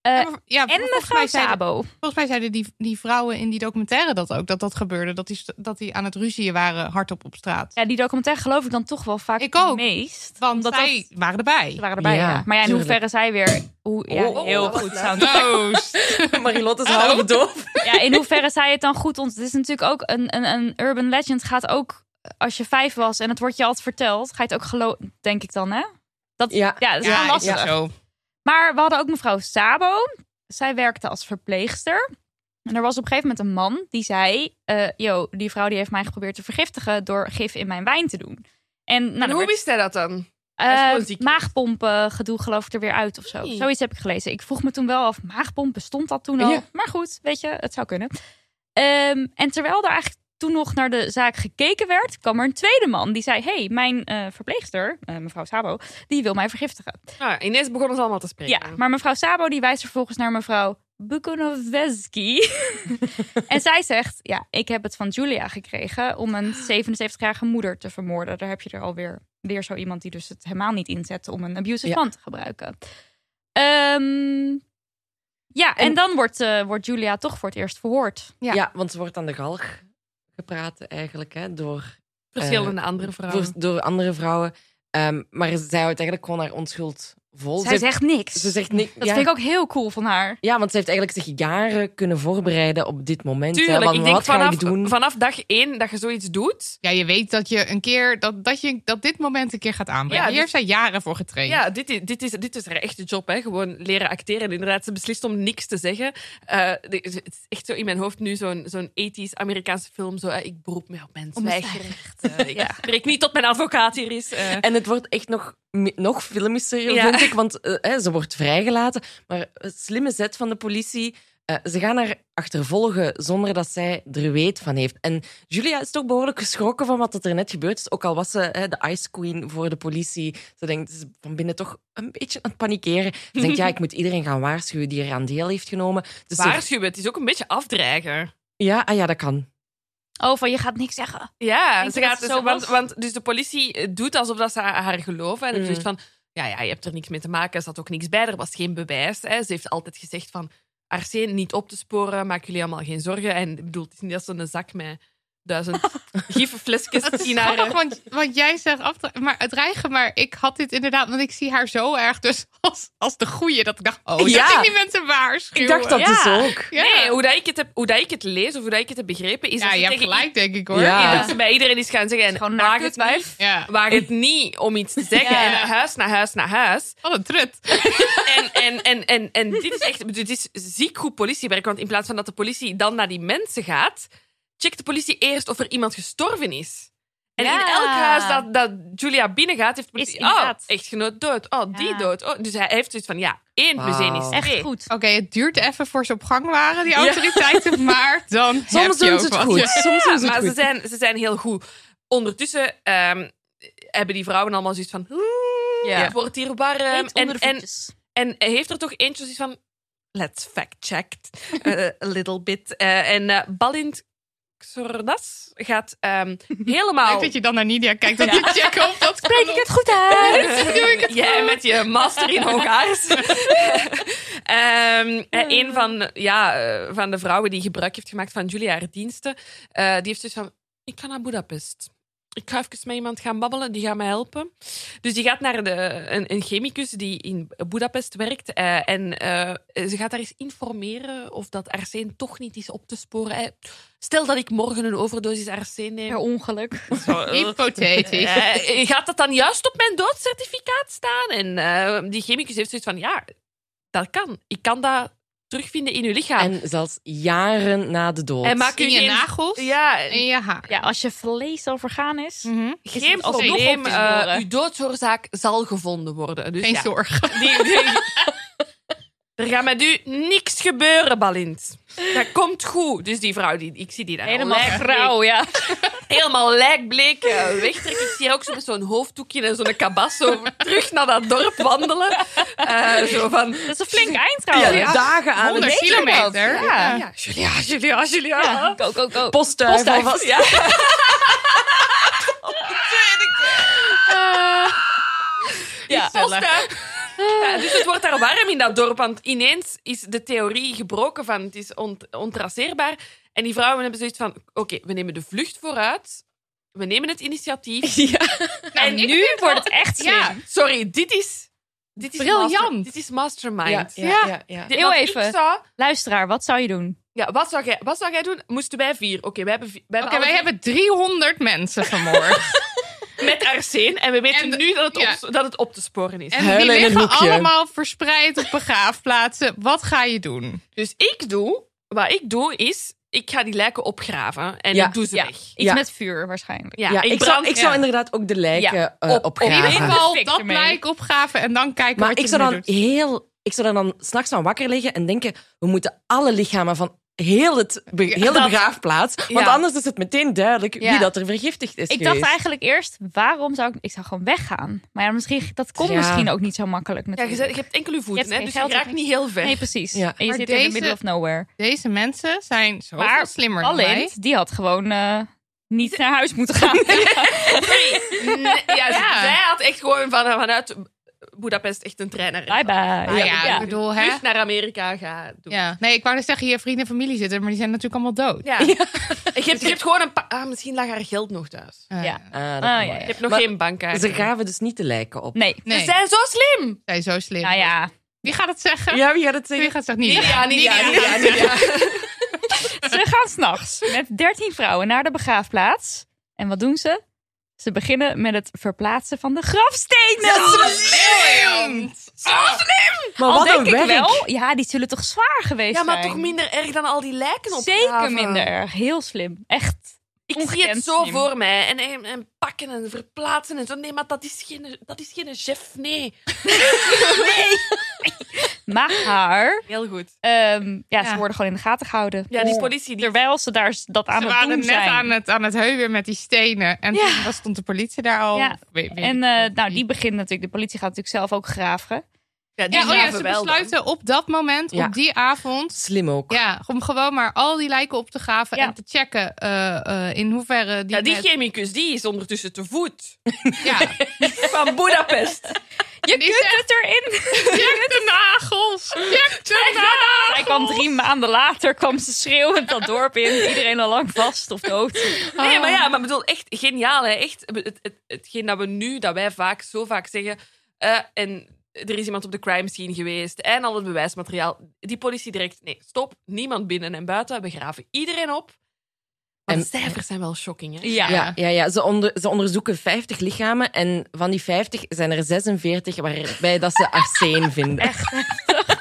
Eh,
Ja, maar- ja,
En
volgens
mevrouw
mij zeiden-
Sabo.
Volgens mij zeiden die, die vrouwen in die documentaire dat ook. Dat dat gebeurde. Dat die, st- dat die aan het ruzieën waren hardop op straat.
Ja, die documentaire geloof ik dan toch wel vaak
Ik ook.
het meest.
Want
omdat
zij
dat-
waren erbij.
Ze waren erbij,
Ja,
ja. Maar ja, in
tuurlijk.
hoeverre zij weer... Hoe, ja,
Oh, oh,
heel
oh,
goed
oh,
sound
Proost.
Marilotte is half doof.
Ja, in hoeverre zei het dan goed? Want het is natuurlijk ook een, een, een urban legend gaat ook... Als je vijf was en het wordt je altijd verteld, ga je het ook geloven, denk ik dan, hè? Dat, ja.
Ja.
dat is
ja,
wel
is
lastig.
het zo.
Maar we hadden ook mevrouw Sabo. Zij werkte als verpleegster. En er was op een gegeven moment een man die zei... eh, yo, die vrouw die heeft mij geprobeerd te vergiftigen door gif in mijn wijn te doen. En, nou,
En
dan
hoe
werd-
wist hij dat dan? Hij is
eh
gewoon ziek.
maagpompen gedoe geloof ik er weer uit of zo.
Nee.
Zoiets heb ik gelezen. Ik vroeg me toen wel af, maagpompen bestond dat toen al?
Ja.
Maar goed, weet je, het zou kunnen. Ehm, en terwijl er eigenlijk toen nog naar de zaak gekeken werd, kwam er een tweede man die zei: hey, mijn eh, verpleegster, eh, mevrouw Sabo, die wil mij vergiftigen.
Nou, ja, ineens begonnen ze allemaal te spreken.
Ja, maar mevrouw Sabo die wijst vervolgens naar mevrouw Bukonoveski. en zij zegt: Ja, ik heb het van Julia gekregen om een 77-jarige moeder te vermoorden. Daar heb je er alweer weer zo iemand die dus het helemaal niet inzet om een abusive
Ja.
man te gebruiken. Ehm, ja, en,
En-
dan wordt, eh, wordt Julia toch voor het eerst verhoord.
Ja.
Ja. want ze wordt aan de galg gepraat eigenlijk hè, door,
Verschillende andere vrouwen.
voor- door andere vrouwen. Ehm, maar zij houdt eigenlijk gewoon haar onschuld vol.
Zij
Oh, ze, heeft-
zegt niks.
ze zegt niks.
dat
ja.
vind ik ook heel cool van haar.
Ja, want ze heeft eigenlijk zich jaren kunnen voorbereiden op dit moment. hè,
Tuurlijk,
want
ik denk
wat ga
vanaf,
ik doen?
vanaf dag één dat je zoiets doet.
Ja, je weet dat je een keer dat, dat, je, dat dit moment een keer gaat aanbrengen.
Ja,
Hier
dus-
dit-
zijn jaren voor getraind.
Ja, dit is, dit is, dit is haar echte job, hè? gewoon leren acteren. En inderdaad, ze beslist om niks te zeggen. Eh, de- het is echt zo in mijn hoofd nu zo'n zo'n 80s Amerikaanse film. Zo, eh, ik beroep me op mijn
Om mijn
zwijgrecht. Eh, ik spreek niet tot mijn advocaat hier is. eh.
En het wordt echt nog, mi- nog filmischer,
Ja.
vind ik. Want eh, hè, ze wordt vrijgelaten. Maar een slimme zet van de politie. eh, ze gaan haar achtervolgen zonder dat zij er weet van heeft. En Julia is toch behoorlijk geschrokken van wat er net gebeurd is. Ook al was ze hè, de Ice Queen voor de politie. Ze denkt ze is van binnen toch een beetje aan het panikeren. Ze denkt, ja, ik moet iedereen gaan waarschuwen die er aan deel heeft genomen. Dus ze-
Waarschuwen, het is ook een beetje afdreigen.
ja, ah, ja, dat kan.
Oh, van je gaat niks zeggen.
Ja,
Denk
ze
je
gaat
dat
dus,
het zo
want,
was?
want dus de politie eh, doet alsof dat ze haar haar geloven. En
Mm.
dus van, ja, ja, je hebt er niks mee te maken. Er zat ook niks bij, er was geen bewijs. Hè. Ze heeft altijd gezegd van, Arsen niet op te sporen. Maak jullie allemaal geen zorgen. En ik bedoel, het is niet dat ze een zak met duizend gievenflesjes
Dat is
in haar...
grappig, want, want jij zegt af te- maar het dreigen, maar ik had dit inderdaad, want ik zie haar zo erg dus als, als de goeie dat ik dacht, oh, dat
Ja.
ging die mensen waarschuwen.
Ik dacht dat
Ja.
dus ook.
Ja.
Nee, hoe, dat ik het heb, hoe dat ik het lees of hoe dat ik het heb begrepen... is
ja,
dat ze
je hebt
tegen
gelijk, denk ik hoor.
Ja.
i- dat ze bij iedereen is gaan zeggen... En,
Gewoon naar
waar, het niet,
Ja.
waar het niet om iets te zeggen.
Ja.
En naar huis, naar huis, naar huis.
Wat een trut.
En, en, en, en, en dit is echt dit is ziek goed politiewerk. Want in plaats van dat de politie dan naar die mensen gaat, checkt de politie eerst of er iemand gestorven is. En
Ja.
in elk huis dat, dat Julia binnengaat, heeft de
Is
politie... oh,
inderdaad.
echtgenoot dood. Oh, die
Ja.
dood. Oh, dus hij heeft zoiets van, ja, één plus één is
Wauw.
twee.
Echt goed.
Oké, het duurt even voor ze op gang waren, die autoriteiten, maar dan heb
Soms
je
doen
ook
ze het
wat.
goed.
Ja.
Soms doen ze het
maar ze
goed.
zijn, ze zijn heel goed. Ondertussen ehm, hebben die vrouwen allemaal zoiets van... "Oeh,
Ja.
Het wordt hier warm. Ehm, En,
Eet onder de
en,
voetjes.
En heeft er toch eentje zoiets van... Let's fact-check eh, a little bit. Eh, en eh Balint Xordas gaat ehm, helemaal...
Leuk dat je dan naar Nidia kijkt, dat je check of dat
Spreek ik het goed uit?
doe ik het
Jij met je master in Hongaars. Ehm, eh, een van, ja, eh, van de vrouwen die gebruik heeft gemaakt van Julia haar diensten, eh, die heeft dus van, ik ga naar Budapest. Ik ga even met iemand gaan babbelen, die gaat mij helpen. Dus die gaat naar de, een, een chemicus die in Budapest werkt. eh, en eh, ze gaat daar eens informeren of dat arsen toch niet is op te sporen. Eh, stel dat ik morgen een overdosis arsen neem.
Per ongeluk.
Zo, eh.
Hypothetisch.
Eh, gaat dat dan juist op mijn doodcertificaat staan? En eh, die chemicus heeft zoiets van, ja, dat kan. Ik kan dat terugvinden in uw lichaam. En,
En zelfs jaren na de dood.
maak
In
u
je
geen...
nagels
Ja,
en je haar.
Ja, als je vlees al vergaan is.
Mhm.
is
geen
het alsnog op
probleem.
te sporen.
eh, uw doodsoorzaak zal gevonden worden. Dus
Geen
ja,
zorgen.
die- die- er gaat met u niks gebeuren, Balint. Dat komt goed. Dus die vrouw, die, ik zie die daar al
Helemaal
lijkbleek-
grauw, ja.
Helemaal lijkbleek eh, wegtrekken. Ik zie haar ook zo met zo'n hoofddoekje en zo'n kabas zo terug naar dat dorp wandelen. Eh, zo van, Ah,
Dat is een flink eind
Ja,
trouwens.
dagen aan
100
het
kilometer.
Ja. Julia, Julia, Julia.
Ja. Go, go, go.
postduif
Postduif.
alvast.
Ja.
Ja.
Postduif. Ja, dus het wordt daar warm in dat dorp, want ineens is de theorie gebroken van het is ont- ontraceerbaar. En die vrouwen hebben zoiets van, oké, we nemen de vlucht vooruit, we nemen het initiatief.
Nou,
en nu
ik
Nu wordt het echt slim.
Ja.
Sorry, dit is... Dit is
Briljant.
master- dit is mastermind.
Ja,
Ja.
ja, ja, ja.
Dit-
Heel
want
even.
Ik zou,
Luisteraar, wat zou je doen?
ja, wat, zou jij, wat zou jij doen? Moesten wij vier? Oké, wij hebben, vi- wij
Oké,
alle
wij
vier-
hebben 300 mensen vermoord.
met arsen en we weten
En de-
nu dat het,
ja.
op, dat het op te sporen is.
En
Huilen
die
in een
liggen
hoekje.
allemaal verspreid op begraafplaatsen. Wat ga je doen?
Dus ik doe, wat ik doe is, ik ga die lijken opgraven en
Ja,
ik doe ze
ja.
weg.
Iets
Ja.
met vuur waarschijnlijk.
Ja,
Ja, ik, zou, ik zou
ja.
inderdaad ook de lijken
Ja,
eh,
op- op
opgraven.
In ieder
Ja.
geval
Fik
dat
ermee.
blijk opgraven en dan kijken
Maar
wat
ik
je
zou
ermee
dan
doet.
heel. Ik zou daar dan s'nachts aan wakker liggen en denken: we moeten alle lichamen van heel, het, be-
Ja,
heel de
dat-
begraafplaats. Want
Ja.
anders is het meteen duidelijk
Ja.
wie dat er vergiftigd is.
Ik dacht
geweest.
eigenlijk eerst, waarom zou ik... Ik zou gewoon weggaan. Maar ja, misschien, dat kon
Ja.
misschien ook niet zo makkelijk
Ja, je,
natuurlijk.
zet- je hebt enkel je voeten,
Je hebt
hè, dus
geen
je
geld,
raakt
je
niet heel ver.
Nee, precies.
Ja.
En je
Maar
zit in
deze-
the middle of nowhere.
Deze mensen zijn zoveel
Maar
slimmer dan wij.
Allint, die had gewoon eh, niet naar huis moeten gaan.
Nee, ja,
Ja.
Zij had echt gewoon van, vanuit Budapest echt een trein naar
Bye bye.
Nou ja, ik bedoel, hè?
terug naar Amerika gaan doen.
Ja. Nee, ik wou dus zeggen, je vrienden en familie zitten, maar die zijn natuurlijk allemaal dood.
Ja. Je, hebt, je hebt gewoon een paar... Ah, misschien lag haar geld nog thuis.
Eh,
Ja.
Ah, dat
Ah,
kan
ja,
wel.
Je hebt nog
Maar
geen bankkaart.
Ze graven dus niet de lijken op.
Nee.
Nee,
Ze zijn zo slim!
zij zo slim.
Nou ja,
Wie gaat het zeggen?
Ja, wie gaat het
Wie
zeggen?
gaat het zeggen? Niet.
Ja, niet ja, niet ja, niet ja.
ze gaan s'nachts met 13 vrouwen naar de begraafplaats. En wat doen ze? Ze beginnen met het verplaatsen van de grafstenen.
Maar
Al
wat
denk
een
ik
werk.
wel, ja, die zullen toch zwaar geweest
Ja,
zijn?
maar toch minder erg dan al die lijken op
Zeker minder erg. Heel slim. Echt.
Ik zie het
Ongekend
zo
slim.
voor mij. En, en, en pakken en verplaatsen en zo. Nee, maar dat is geen, dat is geen chef. Nee.
Maar haar,
Heel goed.
ehm, ja,
Ja.
ze worden gewoon in de gaten gehouden.
Ja, die politie. Die...
Terwijl ze daar s- dat aan
Ze
het doen
waren net
zijn.
aan het, aan het heuwen met die stenen. En
Ja.
toen was- stond de politie daar al.
Ja.
Weet- weet
En
ik
eh,
veel.
nou, die begint natuurlijk, de politie gaat natuurlijk zelf ook graven.
Ja, die
Ja, oh ja,
graven
ze
wel dan.
besluiten op dat moment,
Ja.
op die avond...
Slim ook.
Ja, om gewoon maar al die lijken op te graven
Ja.
en te checken eh, eh, in hoeverre die...
Ja, die
met-
chemicus die is ondertussen te voet
ja.
van Budapest.
Je
En die
kunt
zegt,
het erin.
"Jack de nagels! Jack de nagels!
Hij kwam
Oh.
drie maanden later, kwam ze schreeuwend dat dorp in. Iedereen al lang vast of dood.
Nee, maar ja, maar ik bedoel, echt geniaal. Hè? Echt, het, het, hetgeen dat we nu, dat wij vaak zo vaak zeggen. eh, en er is iemand op de crime scene geweest en al het bewijsmateriaal. Die politie direct, nee, stop. Niemand binnen en buiten. We graven iedereen op. Maar
En-
de cijfers zijn wel shocking, hè?
Ja.
Ja, ja, ja. Ze, onder, ze onderzoeken 50 lichamen en van die 50 zijn er 46 waarbij dat ze arsen vinden. Echt?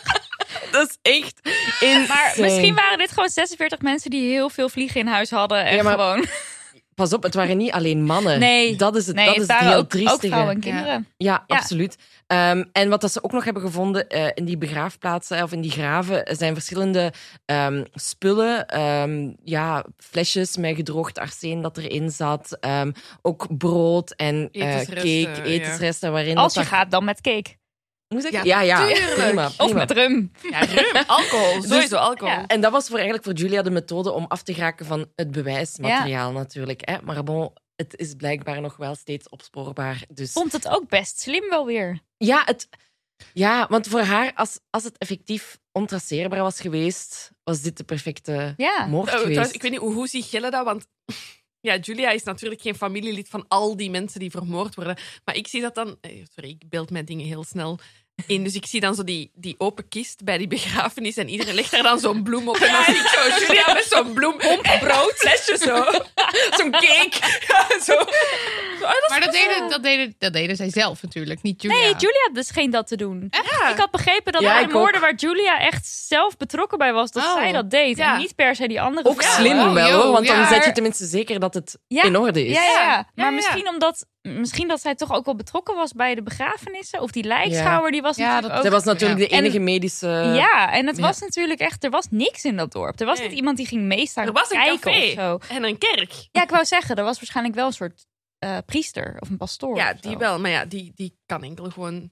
Dat is echt insane.
Maar misschien waren dit gewoon 46 mensen die heel veel vliegen in huis hadden. En
Ja, maar-
gewoon...
Pas op, het waren niet alleen mannen.
Nee.
Dat is het,
Nee,
dat
het
is het
waren
heel
ook, ook
triestige.
vrouwen en
Ja.
kinderen.
Ja,
Ja.
absoluut. Ehm, en wat dat ze ook nog hebben gevonden eh, in die begraafplaatsen of in die graven eh, zijn verschillende ehm, spullen. ehm, ja, flesjes met gedroogd arsen dat erin zat. ehm, ook brood en eh,
Etensresten,
cake,
ja.
etensresten. Waarin
Als je
dat dat-
gaat, dan met cake.
Hoe zeg ik?
Ja,
Ja, ja,
tuurlijk.
prima,
Of
prima.
met rum.
Ja, rum, alcohol, sowieso alcohol.
ja.
En dat was voor, eigenlijk voor Julia de methode om af te geraken van het bewijsmateriaal natuurlijk. Hè? Maar bon, het is blijkbaar nog wel steeds opspoorbaar. Dus
Vond het ook best slim wel weer.
Ja, het, ja, want voor haar, als, als het effectief ontraceerbaar was geweest, was dit de perfecte
Ja.
moord
Oh,
geweest.
trouwens, ik weet niet hoe, hoe ziet Gille dat, want ja, Julia is natuurlijk geen familielid van al die mensen die vermoord worden. Maar ik zie dat dan... eh, Sorry, ik beeld mijn dingen heel snel in. Dus ik zie dan zo die, die open kist bij die begrafenis en iedereen legt daar dan zo'n bloem op. En dan zie ik zo Julia met zo'n bloem, brood, flesje zo. Zo'n cake. Ja, zo.
Maar dat deden, dat, deden, dat deden zij zelf natuurlijk, niet Julia.
Nee, Julia had dus geen dat te doen. Ik had begrepen dat
Ja,
bij
ik
de
ook.
moorden waar Julia echt zelf betrokken bij was, dat
Oh.
zij dat deed.
Ja.
En niet per se die andere
Ook
vrouwen.
slim
oh,
wel,
yo,
hoor, want dan
ja.
zet je tenminste zeker dat het
Ja.
in orde is.
Ja, ja, ja.
Ja,
Maar
ja.
misschien omdat misschien dat zij toch ook wel betrokken was bij de begrafenissen. Of die lijkschouwer, die was
Ja,
natuurlijk
dat-
ook...
Zij was natuurlijk de
En-
enige medische...
ja, en het
eh, ja.
was natuurlijk echt... Er was niks in dat dorp. Er was
Nee.
niet iemand die ging meestaan
Er was een
kijken
café.
of zo.
En een kerk.
Ja, ik wou zeggen, er was waarschijnlijk wel een soort eh, priester of een pastoor.
Ja,
of zo.
die wel. Maar ja, die, die kan enkel gewoon...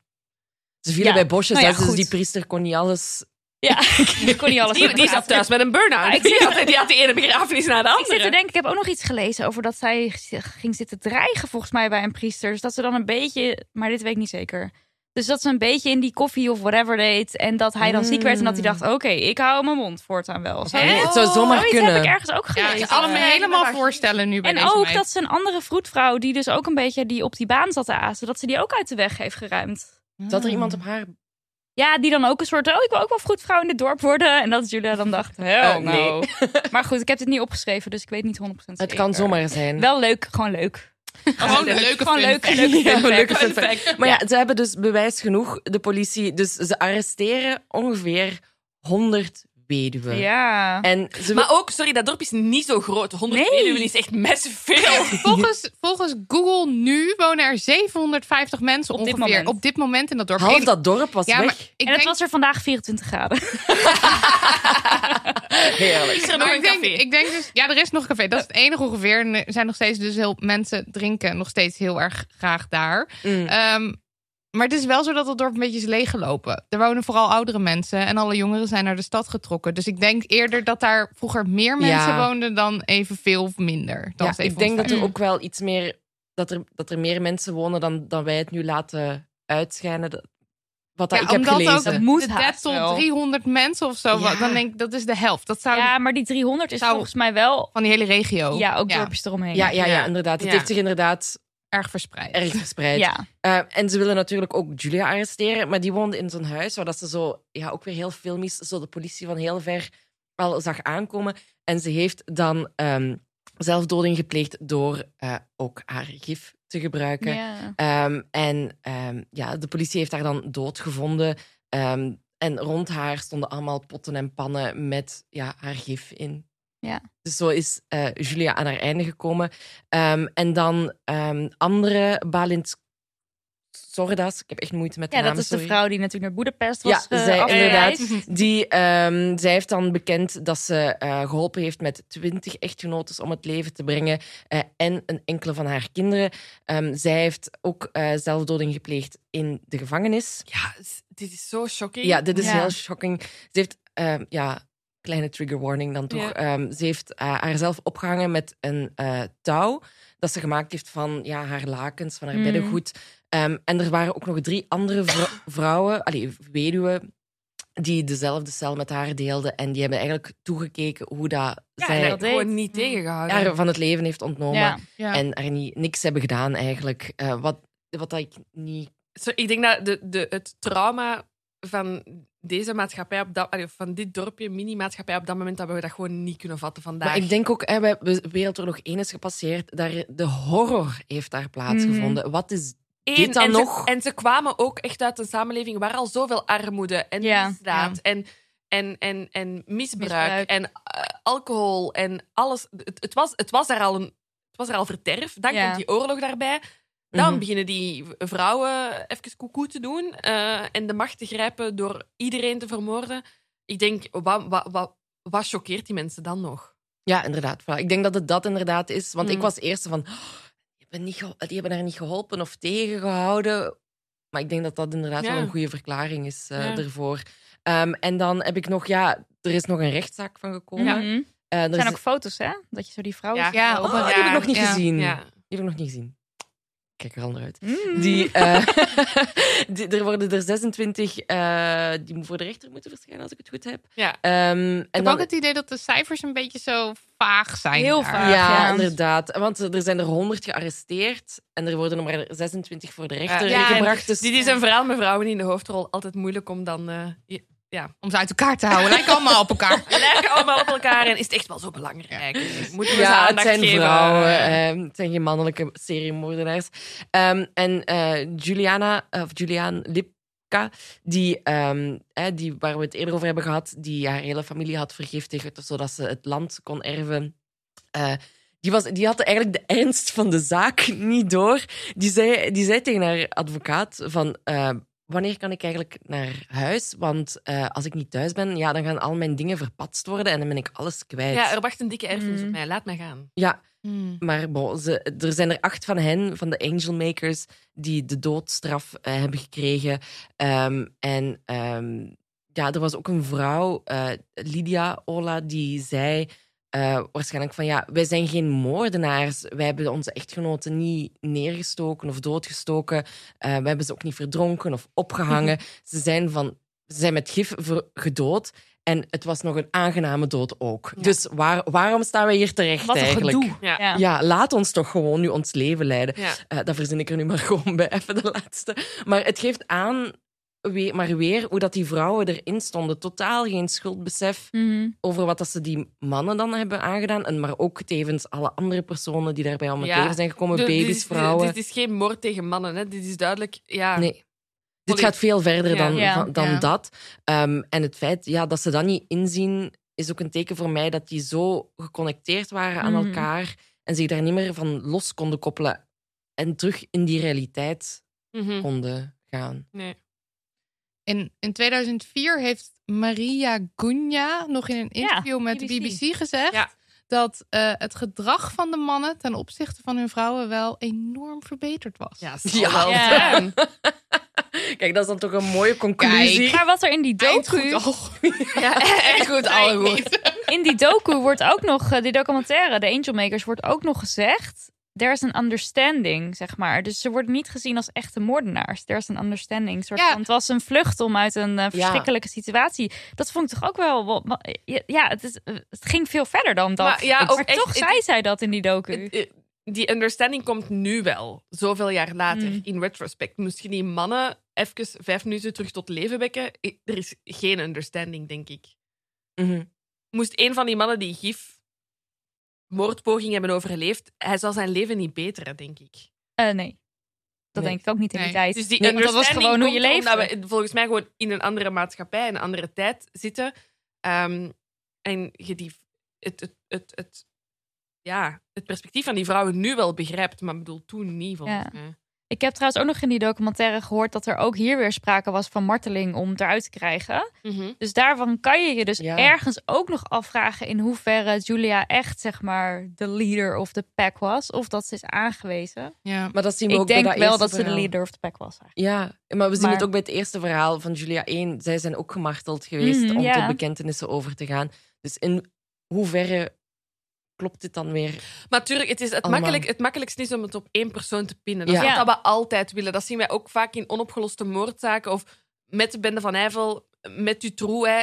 Ze vielen
Ja.
bij bosjes,
Nou ja,
hè, dus
goed.
die priester kon niet alles...
Ja, die kon niet alles
Die, die zat thuis met een burn-out.
Ah, ik
die,
zie-
had, die had de ene begrafenis na de
Ik zit te
andere.
denken, ik heb ook nog iets gelezen over dat zij g- ging zitten dreigen volgens mij bij een priester. Dus dat ze dan een beetje, maar dit weet ik niet zeker. Dus dat ze een beetje in die koffie of whatever deed. En dat hij dan ziek werd en dat hij dacht, oké, ik hou mijn mond voortaan wel. Zo,
Nee,
zoiets
het zou zomaar
Oh, heb ik
kunnen.
ergens ook
Ja,
gelezen.
ik kan hem helemaal voorstellen nu bij
en
deze
ook
meid.
dat ze een andere vroedvrouw, die dus ook een beetje die op die baan zat te azen, dat ze die ook uit de weg heeft geruimd.
Zat er iemand op haar...
Ja, die dan ook een soort, oh, ik wil ook wel vroedvrouw in dit dorp worden. En dat Julia dan dacht, hell
Oh,
Eh,
no.
nou.
nee.
Maar goed, ik heb dit niet opgeschreven, dus ik weet niet 100% zeker.
Het kan zomaar zijn.
Wel leuk, gewoon leuk.
Gewoon een leuke
Gewoon
fun
leuk,
fact.
leuk,
Ja,
fun fact.
leuke fun fact. Maar ja, ze hebben dus bewijs genoeg, de politie. Dus ze arresteren ongeveer 100 weduwen.
Ja.
En ze
Maar ook, sorry, dat dorp is niet zo groot. 100
Nee.
weduwen is echt massive veel.
Volgens, volgens Google nu wonen er 750 mensen
Op dit
ongeveer
moment.
op dit moment in dat dorp.
half
En-
dat dorp was
ja, maar
weg.
en
ik
het
denk,
was er vandaag 24 graden.
Heerlijk.
Is er nog
maar
een
ik denk,
café?
ik denk dus, ja, er is nog een café. Dat is het enige ongeveer. En er zijn nog steeds dus heel mensen drinken nog steeds heel erg graag daar.
Mm.
Ehm, maar het is wel zo dat het dorp een beetje is leeggelopen. Er wonen vooral oudere mensen en alle jongeren zijn naar de stad getrokken. Dus ik denk eerder dat daar vroeger meer mensen
Ja.
woonden dan evenveel of minder. Dan
Ja, ik denk dat
750.
er ook wel iets meer... Dat er, dat er meer mensen wonen dan, dan wij het nu laten uitschijnen. Dat- Wat dat
Ja,
ik heb
omdat
gelezen.
ook
Dat moet
de
haast
dead tot
wel.
300 mensen of zo.
Ja.
Dan denk ik, dat is de helft. Dat zou
Ja, maar die 300 is
Zou- Oh.
volgens mij wel...
van die hele regio
Ja, ook dorpjes eromheen.
Ja, ja, ja,
Ja.
inderdaad. Het
Ja.
heeft zich inderdaad
erg verspreid.
erg verspreid.
Ja.
Eh, en ze willen natuurlijk ook Julia arresteren, maar die woonde in zo'n huis waar dat ze zo, ja, ook weer heel filmisch, zo de politie van heel ver al zag aankomen. En ze heeft dan ehm, zelfdoding gepleegd door eh, ook haar gif te gebruiken.
Ja.
Ehm, en ehm, ja, de politie heeft haar dan dood gevonden. Ehm, en rond haar stonden allemaal potten en pannen met ja, haar gif in.
Ja.
Dus zo is eh, Julia aan haar einde gekomen. Ehm, en dan ehm, andere Balint Sordas. Ik heb echt moeite met de
Ja,
naam,
dat is de
sorry.
vrouw die natuurlijk naar Boedapest
Ja,
was eh,
zij
afgereisd.
inderdaad.
Die, ehm, zij heeft dan bekend dat ze eh, geholpen heeft met twintig echtgenotes om het leven te brengen eh, en een enkele van haar kinderen. Ehm, zij heeft ook eh, zelfdoding gepleegd in de gevangenis.
Ja, s- dit is zo shocking.
Ja, dit is
Ja.
heel shocking. Ze heeft ehm, ja, kleine trigger warning dan toch.
Ja.
Ehm, ze heeft eh, haarzelf opgehangen met een eh, touw dat ze gemaakt heeft van ja, haar lakens, van haar
Mm.
beddengoed. Ehm, en er waren ook nog drie andere vrou- vrouwen, allee, weduwen, die dezelfde cel met haar deelden. En die hebben eigenlijk toegekeken hoe dat
Ja,
zij
En
dat
dat gewoon
deed.
niet tegengehouden.
haar van het leven heeft ontnomen.
Ja.
Ja.
En er niet, niks hebben gedaan eigenlijk. Eh, wat, wat dat ik niet...
Zo, ik denk dat de, de, het trauma van deze maatschappij, op dat, allee, van dit dorpje, mini-maatschappij, op dat moment hebben we dat gewoon niet kunnen vatten vandaag.
Maar ik denk ook, hè, we hebben Wereldoorlog 1 is gepasseerd. Daar, de horror heeft daar plaatsgevonden. Wat is...
Eén,
dit dan
en
nog?
Ze, en ze kwamen ook echt uit een samenleving waar al zoveel armoede en
Ja.
misdaad en, en, en, en misbruik,
Misbruik.
en eh, alcohol en alles. Het, het, was, het, was daar al een, het was er al verderf. Dan
Ja.
komt die oorlog daarbij. Dan
Mhm.
beginnen die vrouwen even koekoe te doen eh, en de macht te grijpen door iedereen te vermoorden. Ik denk, wat, wat, wat, wat choqueert die mensen dan nog?
Ja, inderdaad. voilà. Ik denk dat het dat inderdaad is. Want ik
Mm.
was eerst van... "Oh, die, hebben niet geho- die hebben haar niet geholpen of tegengehouden. Maar ik denk dat dat inderdaad
Ja.
wel een goede verklaring is eh
Ja.
ervoor. Ehm, en dan heb ik nog... Ja, er is nog een rechtszaak van gekomen.
Mhm.
Eh, er
Er zijn
is-
ook foto's, hè? Dat je zo die vrouwen
Ja.
ziet.
Ja, op een
Oh, die heb ik
raam,
nog niet
ja.
gezien.
Ja.
Die heb ik nog niet gezien. Ik Kijk er al naar uit.
Mm.
Die, eh, die- er worden er 26 eh, die voor de rechter moeten verschijnen, als ik het goed heb.
Ja.
Ehm,
Ik
en
heb
dan,
ook het idee dat de cijfers een beetje zo vaag zijn.
Heel
daar.
ja,
vaag. Ja.
inderdaad. Want er zijn er 100 gearresteerd en er worden er maar 26 voor de rechter
Ja, en
gebracht. Dus
Eh, Dit is een verhaal met vrouwen in de hoofdrol. Altijd moeilijk om dan eh, je-
Om ze uit elkaar te houden. Lijken allemaal op elkaar.
We lijken allemaal op elkaar en is het echt wel zo belangrijk. Dus Moeten we ze
ja, het
aandacht
zijn
geven?
vrouwen. ehm, het zijn geen mannelijke seriemoordenaars. Ehm, en eh, Juliana, of Julian Lipka, die, ehm, hè, die, waar we het eerder over hebben gehad, die haar hele familie had vergiftigd, zodat ze het land kon erven. Eh, die, was, die had eigenlijk de ernst van de zaak niet door. Die zei, die zei tegen haar advocaat van... eh, Wanneer kan ik eigenlijk naar huis? Want eh, als ik niet thuis ben, ja, dan gaan al mijn dingen verpatst worden en dan ben ik alles kwijt.
ja, er wacht een dikke erfenis
Mm.
op mij. Laat mij gaan.
ja
Hmm.
maar bon, ze, er zijn er acht van hen, van de Angel Makers, die de doodstraf eh, hebben gekregen. Ehm, en ehm, ja, er was ook een vrouw, eh, Lydia Ola, die zei eh, waarschijnlijk van ja, wij zijn geen moordenaars. Wij hebben onze echtgenoten niet neergestoken of doodgestoken. Eh, we hebben ze ook niet verdronken of opgehangen. ze, zijn van, ze zijn met gif ver- gedood. En het was nog een aangename dood ook.
Ja.
Dus waar, waarom staan wij hier terecht
Wat een
eigenlijk?
gedoe.
Ja.
Ja.
Ja, laat ons toch gewoon nu ons leven leiden.
Ja.
Eh, dat verzin ik er nu maar gewoon bij, even de laatste. Maar het geeft aan, we- maar weer, hoe dat die vrouwen erin stonden. Totaal geen schuldbesef
Mhm.
over wat dat ze die mannen dan hebben aangedaan. En maar ook tevens alle andere personen die daarbij om het
Ja.
leven zijn gekomen.
Dus dit
baby's,
is-
vrouwen.
Dit is geen moord tegen mannen. Hè. Dit is duidelijk... Ja,
Nee. Dit
Poly-
gaat veel verder
Ja.
dan,
Ja.
van- dan
Ja.
dat. Ehm, en het feit ja, dat ze dat niet inzien, is ook een teken voor mij dat die zo geconnecteerd waren aan
Mhm.
elkaar en zich daar niet meer van los konden koppelen en terug in die realiteit
Mhm.
konden gaan.
nee.
In, in 2004 heeft Maria Gunja nog in een interview met de
BBC.
BBC gezegd...
Ja.
dat eh, het gedrag van de mannen ten opzichte van hun vrouwen wel enorm verbeterd was.
Ja,
Ja.
zal wel
Ja.
zijn.
Kijk, dat is dan toch een mooie conclusie.
Maar wat er in die docu...
Ja, echt goed, alle goed.
In die docu wordt ook nog... eh, Die documentaire, de Angel Makers, wordt ook nog gezegd... There's an understanding, zeg maar. Dus ze worden niet gezien als echte moordenaars. There's an understanding. Soort
Ja.
van, het was een vlucht om uit een eh, verschrikkelijke situatie. Dat vond ik toch ook wel... wel- wel- Ja, het, is, eh, het ging veel verder dan dat.
Maar ja, ook
maar
echt-
toch
het-
zei zij dat in die docu.
Het- eh, Die understanding komt nu wel, zoveel jaar later,
Mm.
in retrospect. Moest je die mannen even vijf minuten terug tot leven wekken? I- Er is geen understanding, denk ik.
Mhm.
moest een van die mannen die gif moordpoging hebben overleefd, hij zal zijn leven niet beteren, denk ik.
Eh, nee. Dat
Nee.
denk ik ook niet in die
Nee.
tijd.
Dus die
Nee, want dat was
understanding
gewoon hoe je
komt
leeft.
Omdat we volgens mij gewoon in een andere maatschappij, een andere tijd zitten. Ehm, en je die, het, het, het, het, ja, het perspectief van die vrouwen nu wel begrijpt, maar ik bedoel toen niet, volgens
Ja.
mij.
Ik heb trouwens ook nog in die documentaire gehoord dat er ook hier weer sprake was van marteling om het eruit te krijgen.
Mhm.
Dus daarvan kan je je dus
Ja.
ergens ook nog afvragen in hoeverre Julia echt zeg maar de leader of the pack was. Of dat ze is aangewezen.
Ja.
Maar dat zien we
Ik
ook
denk
bij dat
wel
eerste
dat ze de
verhaal.
leader of the pack was. eigenlijk.
Ja, maar we zien
Maar-
het ook bij het eerste verhaal van Julia 1. Zij zijn ook gemarteld geweest
Mhm,
om
ja.
tot bekentenissen over te gaan. Dus in hoeverre klopt dit dan weer?
Maar tuurlijk, het, is het,
Allemaal.
makkelijk, het makkelijkste is om het op één persoon te pinnen. Dat
Ja.
is wat
Ja.
we altijd willen. Dat zien wij ook vaak in onopgeloste moordzaken of met de bende van Eiffel, met Dutroux. Hè.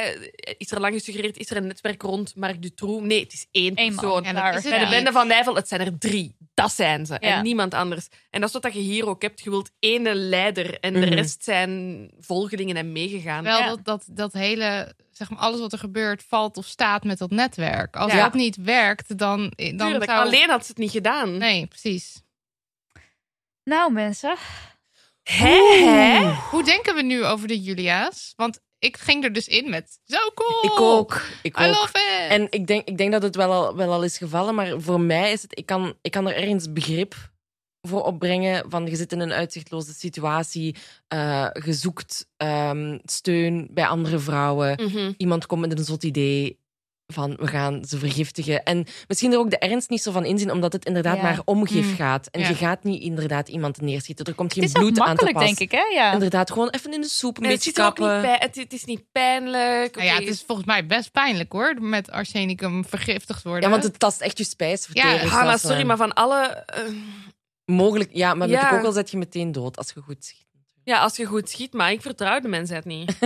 Is er lang gesuggereerd, is er een netwerk rond Marc Dutroux? Nee, het is één
Eén man.
persoon.
Ja,
En dat is het
Bij de
Ja.
niet.
bende van Nijvel, het zijn er drie. Dat zijn ze.
Ja.
En niemand anders. En dat is wat je hier ook hebt. Je wilt ene leider en
Mhm.
de rest zijn volgelingen en meegegaan.
Wel
Ja.
dat, dat, dat hele, zeg maar, alles wat er gebeurt valt of staat met dat netwerk. Als
Ja.
dat niet werkt, dan, eh, dan
Tuurlijk,
zou...
alleen had ze het niet gedaan.
Nee, precies.
Nou, mensen.
Hè, hè?
Hoe denken we nu over de Julia's? Want ik ging er dus in met zo cool.
Ik
Oh,
ook. Ik
I
ook.
love it.
En ik denk, ik denk dat het wel al, wel al is gevallen, maar voor mij is het, ik kan, ik kan er ergens begrip voor opbrengen van je zit in een uitzichtloze situatie, eh je zoekt ehm, steun bij andere vrouwen,
Mhm.
iemand komt met een zot idee van we gaan ze vergiftigen. En misschien er ook de ernst niet zo van inzien, omdat het inderdaad
Ja.
maar omgif
Mm.
gaat. En
Ja.
je gaat niet inderdaad iemand neerschieten. Er komt
Het
geen
is ook
bloed aan te
makkelijk,
pas.
denk ik, hè? Ja.
Inderdaad, gewoon even in de soep, een
Nee, het,
Mhm. beetje
ziet er ook niet
kappen.
bij- het, het is niet pijnlijk.
Nou ja,
Oké.
het is volgens mij best pijnlijk hoor, met arsenicum vergiftigd worden.
Ja, want het tast echt je spijsvertering.
Ja,
Dus
Hanna,
dat is,
sorry,
eh,
maar van alle... eh,
Mogelijk, ja, maar met
Ja.
de kogel zet je meteen dood als je goed schiet.
ja, als je goed schiet, maar ik vertrouw de mensheid niet.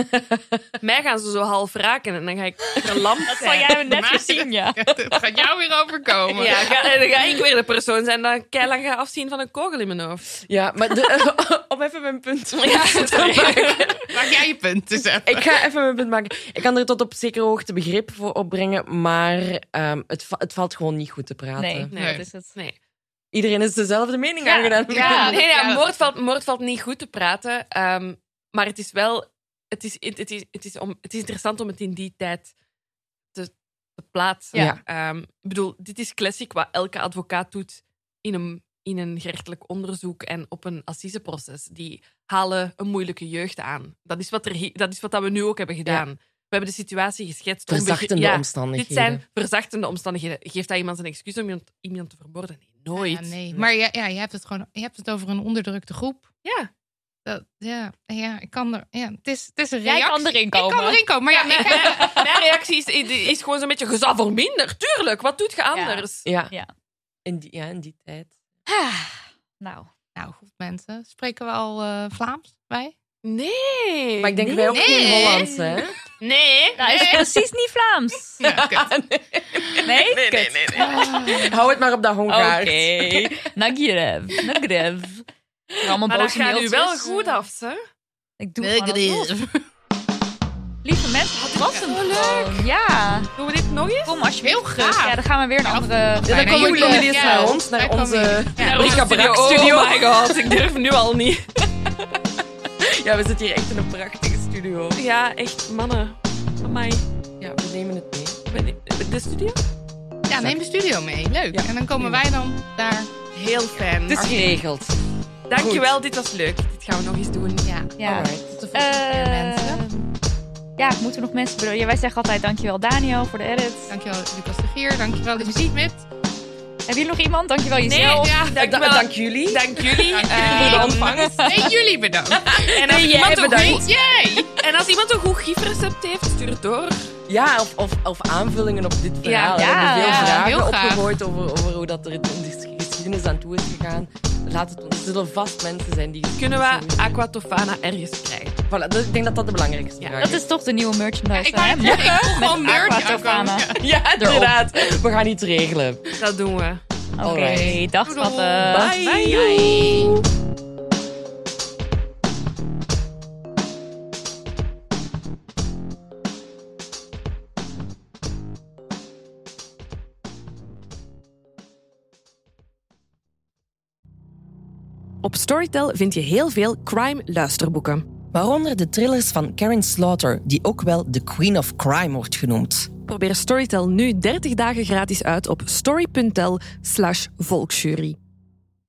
Mij gaan ze zo half raken en dan ga ik verlamd
Dat zal
zijn.
jij net
Maar-
weer zien, ja.
het gaat jou weer overkomen.
Ja, ga- en dan ga ik weer de persoon zijn dat keilang ga afzien van een kogel in mijn hoofd.
Ja, maar de, om even mijn punt
Ja, sorry.
te maken.
Maak jij je punt dus even.
Ik ga even mijn punt maken. Ik kan er tot op zekere hoogte begrip voor opbrengen, maar ehm, het, va- het valt gewoon niet goed te praten.
Nee,
Nee.
dat is Dus het.
Nee,
Iedereen is dezelfde mening
Ja,
aangedaan.
Ja,
nee ja,
ja.
moord, valt, moord valt niet goed te praten, ehm, maar het is wel... Het is, het, het is, het, is om, het is interessant om het in die tijd te, te plaatsen.
Ja.
Ehm, ik bedoel, dit is classic wat elke advocaat doet in een, in een gerechtelijk onderzoek en op een assiseproces. Die halen een moeilijke jeugd aan. Dat is wat, er, hi- dat, is wat dat we nu ook hebben gedaan. We hebben de situatie geschetst. onbegri-
Verzachtende
ja, Dit
omstandigheden.
zijn verzachtende omstandigheden. Geeft dat iemand een excuus om iemand, iemand te vermoorden? Nee, nooit.
Ah Ja, nee. Maar ja, ja, je hebt het gewoon je hebt het over een onderdrukte groep.
Ja.
Dat, ja, ja, ik kan er. Ja, het, is, het is een
Jij
reactie.
kan erin komen.
Ik kan erin komen, maar ja, ik heb-
Mijn reactie is, is gewoon zo'n beetje gezag voor minder. Tuurlijk, wat doet je anders?
Ja,
Ja.
In, die, ja, in die tijd.
Nou,
Nou, goed mensen. Spreken we al eh, Vlaams? Wij?
Nee.
Maar ik denk wij ook
Nee.
niet in Hollands, hè?
Nee.
nou is het precies niet Vlaams. Nee?
Nee, nee,
Kut.
nee. nee.
Ah.
Hou het maar op dat Hongaars.
Oké. Nagrev. Nagrev. Allemaal
Maar dat
boze
gaat u
mailtjes.
wel goed af, ze.
Ik doe gewoon alsof. Lieve mensen, dat was hem.
Zo leuk.
Ja.
Doen we dit nog eens?
Kom alsjeblieft.
Heel graag.
Ja, dan gaan we weer een andere...
Ja, dan
Bijna
komen
jullie.
jullie eens
Ja,
naar ons,
wij
naar
komen
onze
hier.
Naar
Ja.
onze
Rika Brak
Oh,
studio.
my god, ik durf nu al niet.
Ja, we zitten hier echt in een prachtige studio.
Ja, echt, mannen. Amai.
Ja, we nemen het mee.
Ben- De studio?
Ja, neem de studio mee. Leuk.
Ja.
En dan komen wij dan daar.
Heel fijn.
Het is geregeld.
Dankjewel, dit was leuk. Dit gaan we nog eens doen.
Ja.
Ja.
Alright.
Tot de volgende keer,
Eh,
mensen.
ja, moeten we nog mensen bedoelen? Ja, wij zeggen altijd dankjewel Daniel voor de edit.
Dankjewel, Lucas de Gier. Dankjewel, de muziekmit.
Heb je nog iemand? Dankjewel jezelf.
ja, dankjewel.
Da- dank jullie.
Dank jullie.
Dank jullie
Eh,
voor de ontvangst.
Nee, jullie bedankt.
En als,
Nee, jij
iemand een
bedankt.
goed-
Yay!
en als iemand een goed gifrecept heeft, stuur het door.
Ja, of, of, of aanvullingen op dit verhaal.
ja,
we hebben veel
ja,
vragen
heel graag.
opgegooid over, over hoe dat er in de geschiedenis aan toe is gegaan. Laat het, er zullen vast mensen zijn die...
Kunnen we Aquatofana ergens krijgen?
Voilà, dat- ik denk dat dat de belangrijkste
Ja,
vraag
Dat
is.
is toch de nieuwe merchandise.
ik wou
hè?
net zeggen, ik voel gewoon
Met
merch
Aquatofana.
aankomen.
Ja, inderdaad. We gaan iets regelen.
Dat doen we.
Oké,
Alright.
dag
Doei.
schatten.
Bye.
Bye.
Op Storytel vind je heel veel crime-luisterboeken.
Waaronder de thrillers van Karen Slaughter, die ook wel de Queen of Crime wordt genoemd.
Probeer Storytel nu 30 dagen gratis uit op story.tel slash volksjury.